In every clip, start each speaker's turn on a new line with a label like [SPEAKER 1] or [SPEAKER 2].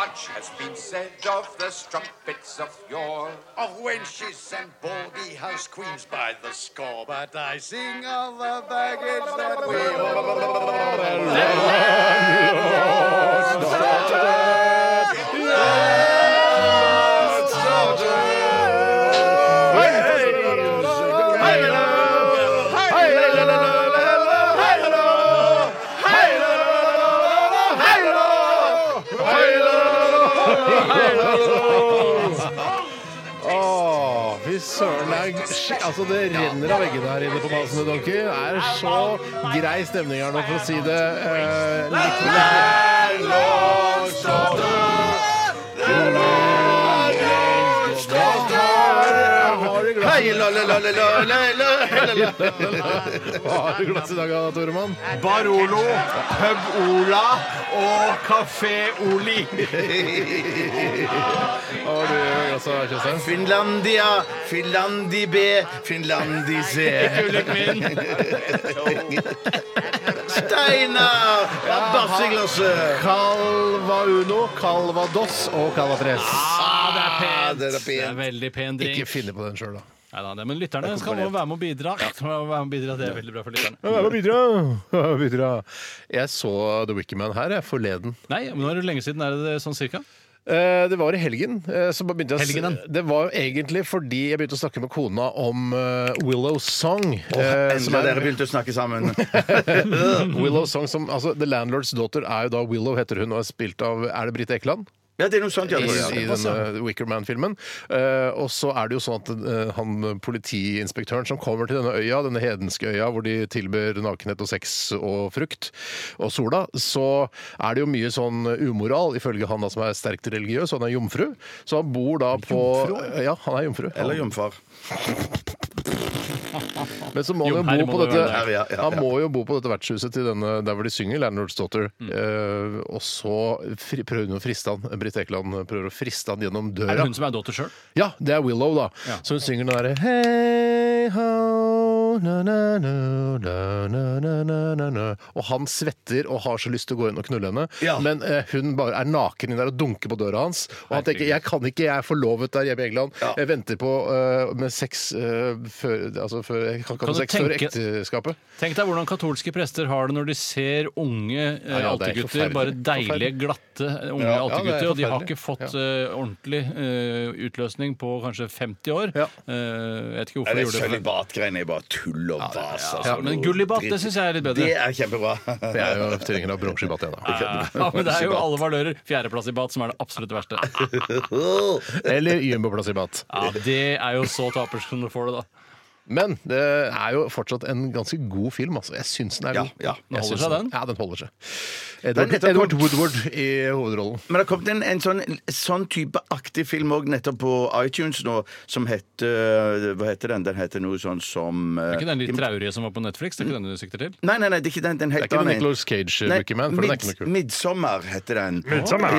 [SPEAKER 1] Much has been said of the strumpets of yore, of wenches and baldy house queens by the score, but I sing of the baggage that we
[SPEAKER 2] Åh, fy søren. det er sk- Altså, det renner av veggene her inne på Masene Donkey. Det er så grei stemning her nå, for å si det eh, litt Hei, Hva har du glass i dag, Anna Toremann?
[SPEAKER 3] Barolo, Pub Ola og Café Oli.
[SPEAKER 2] Hva har du i glasset, Kjøstheim?
[SPEAKER 3] Finlandia, Finlandi B, Finlandi C. Steinar! Ja, Basseglasset!
[SPEAKER 2] Calvauno, Calvados og Calvatres.
[SPEAKER 3] Ah, det er
[SPEAKER 4] Det er
[SPEAKER 3] pent.
[SPEAKER 4] veldig pen
[SPEAKER 2] Ikke
[SPEAKER 4] drink.
[SPEAKER 2] finne på den sjøl, da.
[SPEAKER 4] Nei, da, det- men lytterne skal nå være med og bidra. Skal nå være med og bidra. Det er veldig bra for lytterne.
[SPEAKER 2] Jeg må bidra. Jeg må bidra. Jeg så The Wickman her jeg, forleden.
[SPEAKER 4] Nei, men nå er det lenge siden. Er det det sånn cirka?
[SPEAKER 2] Eh, Det var i helgen. eh, Så bare begynte jeg å s-
[SPEAKER 4] Helgenen.
[SPEAKER 2] Det var egentlig fordi jeg begynte å snakke med kona om eh, Willow's Song. eh, som
[SPEAKER 3] Endelig
[SPEAKER 2] er-
[SPEAKER 3] dere begynte å snakke sammen.
[SPEAKER 2] Willow Song som, altså, The Landlord's Daughter er jo da Willow, heter hun, og er spilt av Er det Britt Ekeland?
[SPEAKER 3] Ja, det er noe sånt, ja.
[SPEAKER 2] I,
[SPEAKER 3] tror jeg.
[SPEAKER 2] i eh, denne Wickerman-filmen. Eh, og så er det jo sånn at eh, han politiinspektøren som kommer til denne øya, denne hedenske øya hvor de tilbyr nakenhet og sex og frukt og sola, så er det jo mye sånn umoral, ifølge han da som er sterkt religiøs, og han er jomfru. Så han bor da på Ja, han er jomfru.
[SPEAKER 3] Eller jomfar.
[SPEAKER 2] Men så må
[SPEAKER 4] Jo,
[SPEAKER 2] han
[SPEAKER 4] her
[SPEAKER 2] jo
[SPEAKER 4] må
[SPEAKER 2] bo på
[SPEAKER 4] det
[SPEAKER 2] dette
[SPEAKER 4] være
[SPEAKER 3] der. Ja, ja, ja.
[SPEAKER 2] Han må jo bo på dette vertshuset til denne, der hvor de synger, 'Landlord's Daughter'.
[SPEAKER 4] Mm.
[SPEAKER 2] Eh, og så fri, prøver hun å friste han. Britt Ekeland prøver å friste han gjennom
[SPEAKER 4] Er det
[SPEAKER 2] døra.
[SPEAKER 4] hun som er daughter sjøl?
[SPEAKER 2] Ja, det er Willow, da.
[SPEAKER 4] Ja.
[SPEAKER 2] Så hun synger den derre Hey ho, na-na-na, na-na-na-na-na. Og han svetter og har så lyst til å gå inn og knulle henne,
[SPEAKER 3] Ja.
[SPEAKER 2] men eh, hun bare er naken inn der og dunker på døra hans. Og han tenker 'jeg kan ikke, jeg er forlovet der hjemme i England'.
[SPEAKER 3] Ja.
[SPEAKER 2] Jeg venter på eh, med sex eh, før Altså før jeg kan ikke
[SPEAKER 4] Kan
[SPEAKER 2] ha
[SPEAKER 4] du
[SPEAKER 2] sex før
[SPEAKER 4] tenke-
[SPEAKER 2] ekteskapet.
[SPEAKER 4] Tenk deg hvordan katolske prester har det når de ser unge eh,
[SPEAKER 2] ja, det er
[SPEAKER 4] altergutter.
[SPEAKER 2] forferdelig.
[SPEAKER 4] Bare deilige,
[SPEAKER 2] Forferdelig.
[SPEAKER 4] glatte eh, unge
[SPEAKER 2] Ja, ja, det er
[SPEAKER 4] altergutter. og de har ikke fått
[SPEAKER 2] forferdelig.
[SPEAKER 4] eh, ordentlig eh, utløsning på kanskje 50 år.
[SPEAKER 2] Ja.
[SPEAKER 4] Eh, jeg vet
[SPEAKER 3] Nei,
[SPEAKER 4] ikke hvorfor de
[SPEAKER 3] det
[SPEAKER 4] gjorde det.
[SPEAKER 3] Sølibat-greiene er bare tull og vas.
[SPEAKER 2] Altså,
[SPEAKER 3] altså.
[SPEAKER 4] Ja, men gullibat, det syns jeg er litt bedre.
[SPEAKER 3] Det er kjempebra.
[SPEAKER 2] Det er jo trenger av bronse i batt igjen, da.
[SPEAKER 4] Ja, men det er jo alle valører. Fjerdeplass i bat som er det absolutt verste.
[SPEAKER 2] Eller jumboplass i batt.
[SPEAKER 4] Ja, Det er jo så tapers som du får det, da.
[SPEAKER 2] Men det er jo fortsatt en ganske god film. Altså. Jeg syns den er
[SPEAKER 3] Ja,
[SPEAKER 2] god.
[SPEAKER 3] ja.
[SPEAKER 4] Den
[SPEAKER 2] Jeg
[SPEAKER 4] holder
[SPEAKER 2] syns
[SPEAKER 4] seg, den.
[SPEAKER 2] Ja, den holder seg. Edward,
[SPEAKER 3] nettopp-
[SPEAKER 2] Edward Woodward i hovedrollen.
[SPEAKER 3] Men det har kommet en, en sånn, sånn type aktig film òg nettopp på iTunes nå, som heter Hva heter den? Den heter noe sånn som eh,
[SPEAKER 4] Det er ikke den litt traurige som var på Netflix? Det er ikke den du sikter til?
[SPEAKER 3] Nei, nei, nei, det er ikke den. den
[SPEAKER 2] Det er ikke den Nicolas Cage-Wickman, for den er ikke noe kul.
[SPEAKER 3] Midtsommer heter den.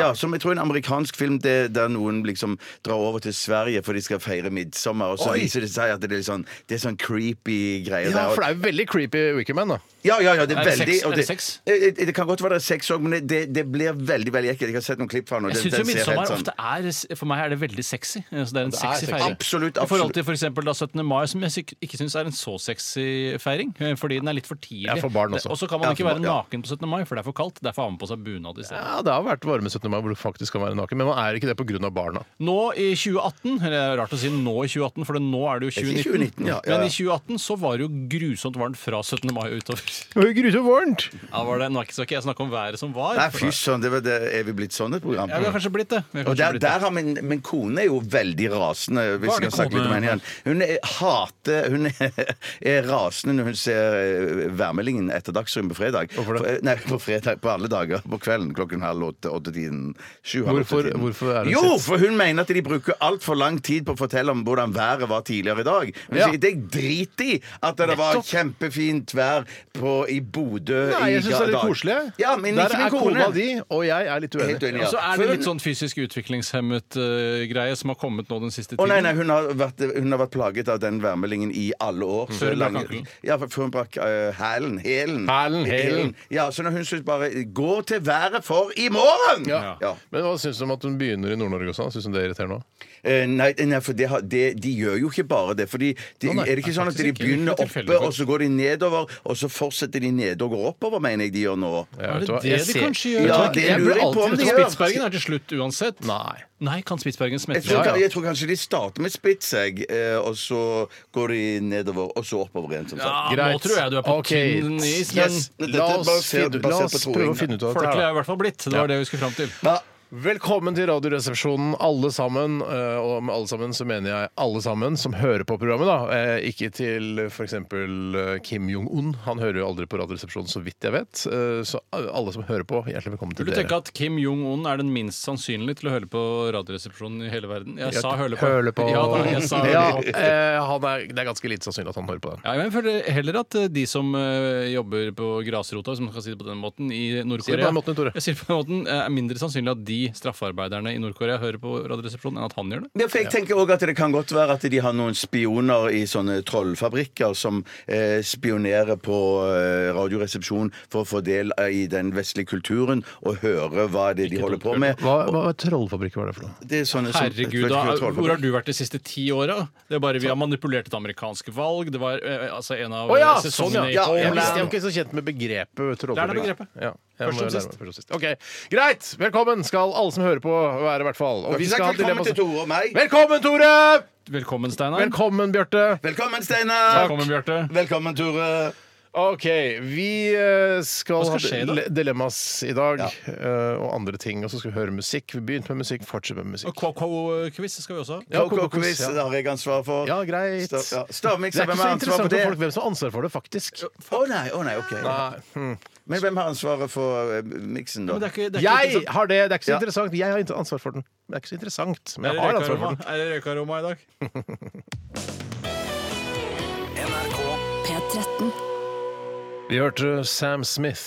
[SPEAKER 3] Ja, som jeg tror en amerikansk film det, der noen liksom drar over til Sverige for de skal feire midtsommer, og så viser det seg at det er litt sånn, det er sånn creepy greier
[SPEAKER 2] Ja,
[SPEAKER 3] der.
[SPEAKER 2] for det er jo veldig creepy Wickerman, da.
[SPEAKER 3] Ja, ja, ja, det er,
[SPEAKER 4] Er det
[SPEAKER 3] veldig
[SPEAKER 4] sex?
[SPEAKER 3] og
[SPEAKER 4] Er det sex?
[SPEAKER 3] Eh, eh, Det kan godt være det er sex òg, men det- det, det blir veldig veldig ekkelt. Jeg har sett noen klipp fra den. og
[SPEAKER 4] Jeg
[SPEAKER 3] den-
[SPEAKER 4] syns jo
[SPEAKER 3] den ser helt
[SPEAKER 4] midtsommer
[SPEAKER 3] sånn-
[SPEAKER 4] ofte er For meg er det veldig sexy. Så det er en
[SPEAKER 2] er
[SPEAKER 4] sexy
[SPEAKER 2] sexy.
[SPEAKER 4] feiring.
[SPEAKER 3] Absolutt,
[SPEAKER 4] I forhold
[SPEAKER 3] absolutt.
[SPEAKER 4] til for eksempel da 17. mai, som jeg sik- ikke syns er en så sexy feiring. eh, Fordi den er litt for tidlig.
[SPEAKER 2] Ja, for barn også.
[SPEAKER 4] Og så kan man
[SPEAKER 3] Ja,
[SPEAKER 4] ikke
[SPEAKER 3] for
[SPEAKER 4] være
[SPEAKER 3] barn, ja.
[SPEAKER 4] naken på 17. mai, for det er for kaldt. Derfor har man på seg bunad i stedet.
[SPEAKER 2] Ja, Det har vært varme 17. mai hvor du faktisk kan være naken, men man er ikke det pga. barna.
[SPEAKER 4] Nå i 2018, eller det er rart å si nå i 2018, for nå er det jo
[SPEAKER 3] Det er
[SPEAKER 4] 2019.
[SPEAKER 3] ikke 2019, ja, ja, ja.
[SPEAKER 4] Men i 2018 så var det jo grusomt varmt fra 17. mai og utover.
[SPEAKER 2] Det var jo grusomt varmt!
[SPEAKER 4] Ja, var det, nå er ikke- skal ikke jeg snakke om været som var.
[SPEAKER 3] Nei, fy søren, det var det- er vi blitt sånn et program?
[SPEAKER 4] Ja, vi har kanskje blitt det. Vi har
[SPEAKER 3] Og
[SPEAKER 4] kanskje
[SPEAKER 3] der,
[SPEAKER 4] blitt
[SPEAKER 3] der har min, min kone er jo veldig rasende. Hvis
[SPEAKER 4] Var
[SPEAKER 3] jeg kan
[SPEAKER 4] det
[SPEAKER 3] snakke litt om
[SPEAKER 4] kone?
[SPEAKER 3] henne igjen Hun er, hater Hun er, er rasende når hun ser eh, værmeldingen etter Dagsrevyen på fredag.
[SPEAKER 2] Hvorfor det?
[SPEAKER 3] For- eh, Nei, på fredag på alle dager på kvelden klokken halv åtte, åttetiden. Sju, halv
[SPEAKER 2] Hvorfor-
[SPEAKER 3] åttetiden.
[SPEAKER 2] hvorfor er det
[SPEAKER 3] Jo,
[SPEAKER 2] sitt?
[SPEAKER 3] for hun mener at de bruker altfor lang tid på å fortelle om hvordan været var tidligere i dag. Hun
[SPEAKER 2] Ja.
[SPEAKER 3] sier, det jeg drit i at det var kjempefint vær på, i Bodø
[SPEAKER 2] Nei, jeg syns det er litt
[SPEAKER 3] dag.
[SPEAKER 2] koselig. jeg.
[SPEAKER 3] Ja, men
[SPEAKER 2] Der
[SPEAKER 3] ikke min
[SPEAKER 2] er
[SPEAKER 3] kone.
[SPEAKER 2] kona di, og jeg er litt
[SPEAKER 3] Helt
[SPEAKER 2] uenig.
[SPEAKER 3] uenig, ja.
[SPEAKER 4] Og så er det
[SPEAKER 3] For-
[SPEAKER 4] litt sånn fysisk utviklingshemmet eh, greie som har kommet nå den siste
[SPEAKER 3] Å nei,
[SPEAKER 4] tiden.
[SPEAKER 3] nei, hun har, vært, hun har vært plaget av den værmeldingen i alle år. Så
[SPEAKER 4] Før hun brakk
[SPEAKER 3] lang-
[SPEAKER 4] ankelen.
[SPEAKER 3] Ja, for- før hun brakk eh, hælen. Hælen.
[SPEAKER 2] Hælen, hælen.
[SPEAKER 3] Ja, så når hun syns bare Gå til været for i morgen!
[SPEAKER 2] Ja. Men hva syns du om at hun begynner i Nord-Norge også? Syns du det er irriterende òg?
[SPEAKER 3] Eh, nei, nei, for det har, det, de gjør jo ikke bare det. Fordi de,
[SPEAKER 2] Å, nei,
[SPEAKER 3] Er det ikke
[SPEAKER 2] nei,
[SPEAKER 3] sånn at
[SPEAKER 4] faktisk
[SPEAKER 3] de
[SPEAKER 4] ikke.
[SPEAKER 3] begynner
[SPEAKER 4] Det er tilfeldig,
[SPEAKER 3] oppe, og så går de nedover, og så fortsetter de nede og går oppover, mener jeg de gjør nå?
[SPEAKER 4] Er det det de kanskje
[SPEAKER 3] Ja,
[SPEAKER 4] gjør? Jeg tror-
[SPEAKER 3] det
[SPEAKER 4] jeg
[SPEAKER 3] lurer
[SPEAKER 4] blir
[SPEAKER 3] jeg på
[SPEAKER 4] alltid-
[SPEAKER 3] om de
[SPEAKER 4] jeg tror
[SPEAKER 3] gjør.
[SPEAKER 4] Spitsbergen er til slutt uansett.
[SPEAKER 2] Nei.
[SPEAKER 4] Nei, kan Spitsbergen smette
[SPEAKER 3] Jeg tror,
[SPEAKER 4] seg?
[SPEAKER 2] Ja, ja.
[SPEAKER 3] jeg tror kanskje de starter med spits, jeg, eh, og så går de nedover, og så oppover igjen. Som sagt.
[SPEAKER 4] Ja, nå tror jeg du er på
[SPEAKER 2] Ok.
[SPEAKER 4] tynn is, men
[SPEAKER 3] Yes. Dette er
[SPEAKER 2] La oss,
[SPEAKER 3] basert-
[SPEAKER 2] finne, ut- la
[SPEAKER 3] basert på
[SPEAKER 2] oss
[SPEAKER 3] troing,
[SPEAKER 2] prøve
[SPEAKER 3] da.
[SPEAKER 2] å finne ut av dette. her,
[SPEAKER 4] folkelig er
[SPEAKER 2] da.
[SPEAKER 4] jeg i hvert fall blitt. Det
[SPEAKER 2] Ja.
[SPEAKER 4] var det vi skulle fram til.
[SPEAKER 3] Ja.
[SPEAKER 2] Velkommen til Radioresepsjonen, alle sammen. eh, Og med alle sammen så mener jeg alle sammen som hører på programmet, da. Eh, Ikke til f.eks. Kim Jong-un. Han hører jo aldri på Radioresepsjonen, så vidt jeg vet. Eh, Så alle som hører på, hjertelig velkommen til
[SPEAKER 4] Vil du tenke
[SPEAKER 2] dere.
[SPEAKER 4] at Kim Jong-un er den minst sannsynlige til å høre på Radioresepsjonen i hele verden? Jeg sa høle på.
[SPEAKER 2] Høle på.
[SPEAKER 4] Ja, da, jeg sa
[SPEAKER 2] Ja,
[SPEAKER 4] høle på.
[SPEAKER 2] eh, han er, det er ganske lite sannsynlig at han hører på den.
[SPEAKER 4] Ja, men jeg føler heller at eh, de som eh, jobber på grasrota, som man kan si det på den måten, i
[SPEAKER 2] Sier det på
[SPEAKER 4] Nord-Korea
[SPEAKER 2] den måten, Tore.
[SPEAKER 4] Jeg sier det på den måten, eh, er mindre sannsynlig at de straffarbeiderne i Nord-Korea hører på Radioresepsjonen, enn at han gjør det.
[SPEAKER 3] Ja, for jeg tenker også at Det kan godt være at de har noen spioner i sånne trollfabrikker som eh, spionerer på eh, Radioresepsjonen for å få del eh, i den vestlige kulturen og høre hva det er de holder på med.
[SPEAKER 2] Hva, hva, hva trollfabrikk var det for noe?
[SPEAKER 3] Det er sånne som-
[SPEAKER 4] Herregud, da,
[SPEAKER 3] trollfabrikk.
[SPEAKER 4] hvor har du vært de siste ti åra? Det er bare Vi har manipulert et amerikansk valg. Det var eh, altså en av
[SPEAKER 2] Å ja,
[SPEAKER 4] eh,
[SPEAKER 2] sånn ja!
[SPEAKER 4] sesongene
[SPEAKER 2] ja
[SPEAKER 4] i
[SPEAKER 2] jeg, visste, jeg
[SPEAKER 4] Homeland.
[SPEAKER 2] var ikke så kjent med begrepet
[SPEAKER 4] Det er det
[SPEAKER 2] trollfabrikk.
[SPEAKER 4] begrepet.
[SPEAKER 2] Ja, jeg må
[SPEAKER 4] Først som
[SPEAKER 2] lære meg
[SPEAKER 4] sist.
[SPEAKER 2] Først som sist. Ok, Greit! Velkommen skal alle som hører på være, i hvert fall. Og
[SPEAKER 3] Du har
[SPEAKER 2] vi
[SPEAKER 3] ikke
[SPEAKER 2] skal ha
[SPEAKER 3] sagt velkommen
[SPEAKER 2] dilemma-
[SPEAKER 3] til Tore og meg.
[SPEAKER 2] Velkommen, Tore!
[SPEAKER 4] Velkommen, Steinar.
[SPEAKER 2] Velkommen, Bjarte.
[SPEAKER 3] Velkommen, Steinar!
[SPEAKER 4] Velkommen, Bjarte.
[SPEAKER 3] Velkommen, Tore.
[SPEAKER 2] OK, vi eh, skal,
[SPEAKER 4] Hva skal skje i
[SPEAKER 2] ha
[SPEAKER 4] dag?
[SPEAKER 2] dile- dilemmas i dag eh, og andre ting. Og så skal vi høre musikk. Vi begynte med musikk, fortsetter med
[SPEAKER 4] Og
[SPEAKER 2] musikk.
[SPEAKER 4] KK-quiz skal vi også ha.
[SPEAKER 2] Ja,
[SPEAKER 3] KK-quiz
[SPEAKER 2] ja.
[SPEAKER 3] det har jeg ansvar for.
[SPEAKER 2] Ja, greit.
[SPEAKER 3] Stav- ja.
[SPEAKER 2] Det er
[SPEAKER 3] Stavmikser,
[SPEAKER 2] ikke
[SPEAKER 3] hvem
[SPEAKER 2] så
[SPEAKER 3] har ansvar
[SPEAKER 2] interessant
[SPEAKER 3] for
[SPEAKER 2] for
[SPEAKER 3] det?
[SPEAKER 2] folk hvem som har ansvar for det, faktisk.
[SPEAKER 3] Å nei, å nei, ok. Men hvem har ansvaret for eh, miksen, da?
[SPEAKER 4] Men det er ikke, det er ikke
[SPEAKER 2] Jeg
[SPEAKER 4] interessant.
[SPEAKER 2] har det! Det er ikke så
[SPEAKER 3] Ja.
[SPEAKER 2] interessant. Jeg har ikke ansvar for den. Det er ikke så interessant, men jeg
[SPEAKER 4] Er det
[SPEAKER 2] har ansvar for
[SPEAKER 4] røykaroma?
[SPEAKER 2] den.
[SPEAKER 4] Er det røykaroma i dag?
[SPEAKER 5] NRK
[SPEAKER 6] P13.
[SPEAKER 2] Vi hørte Sam Smith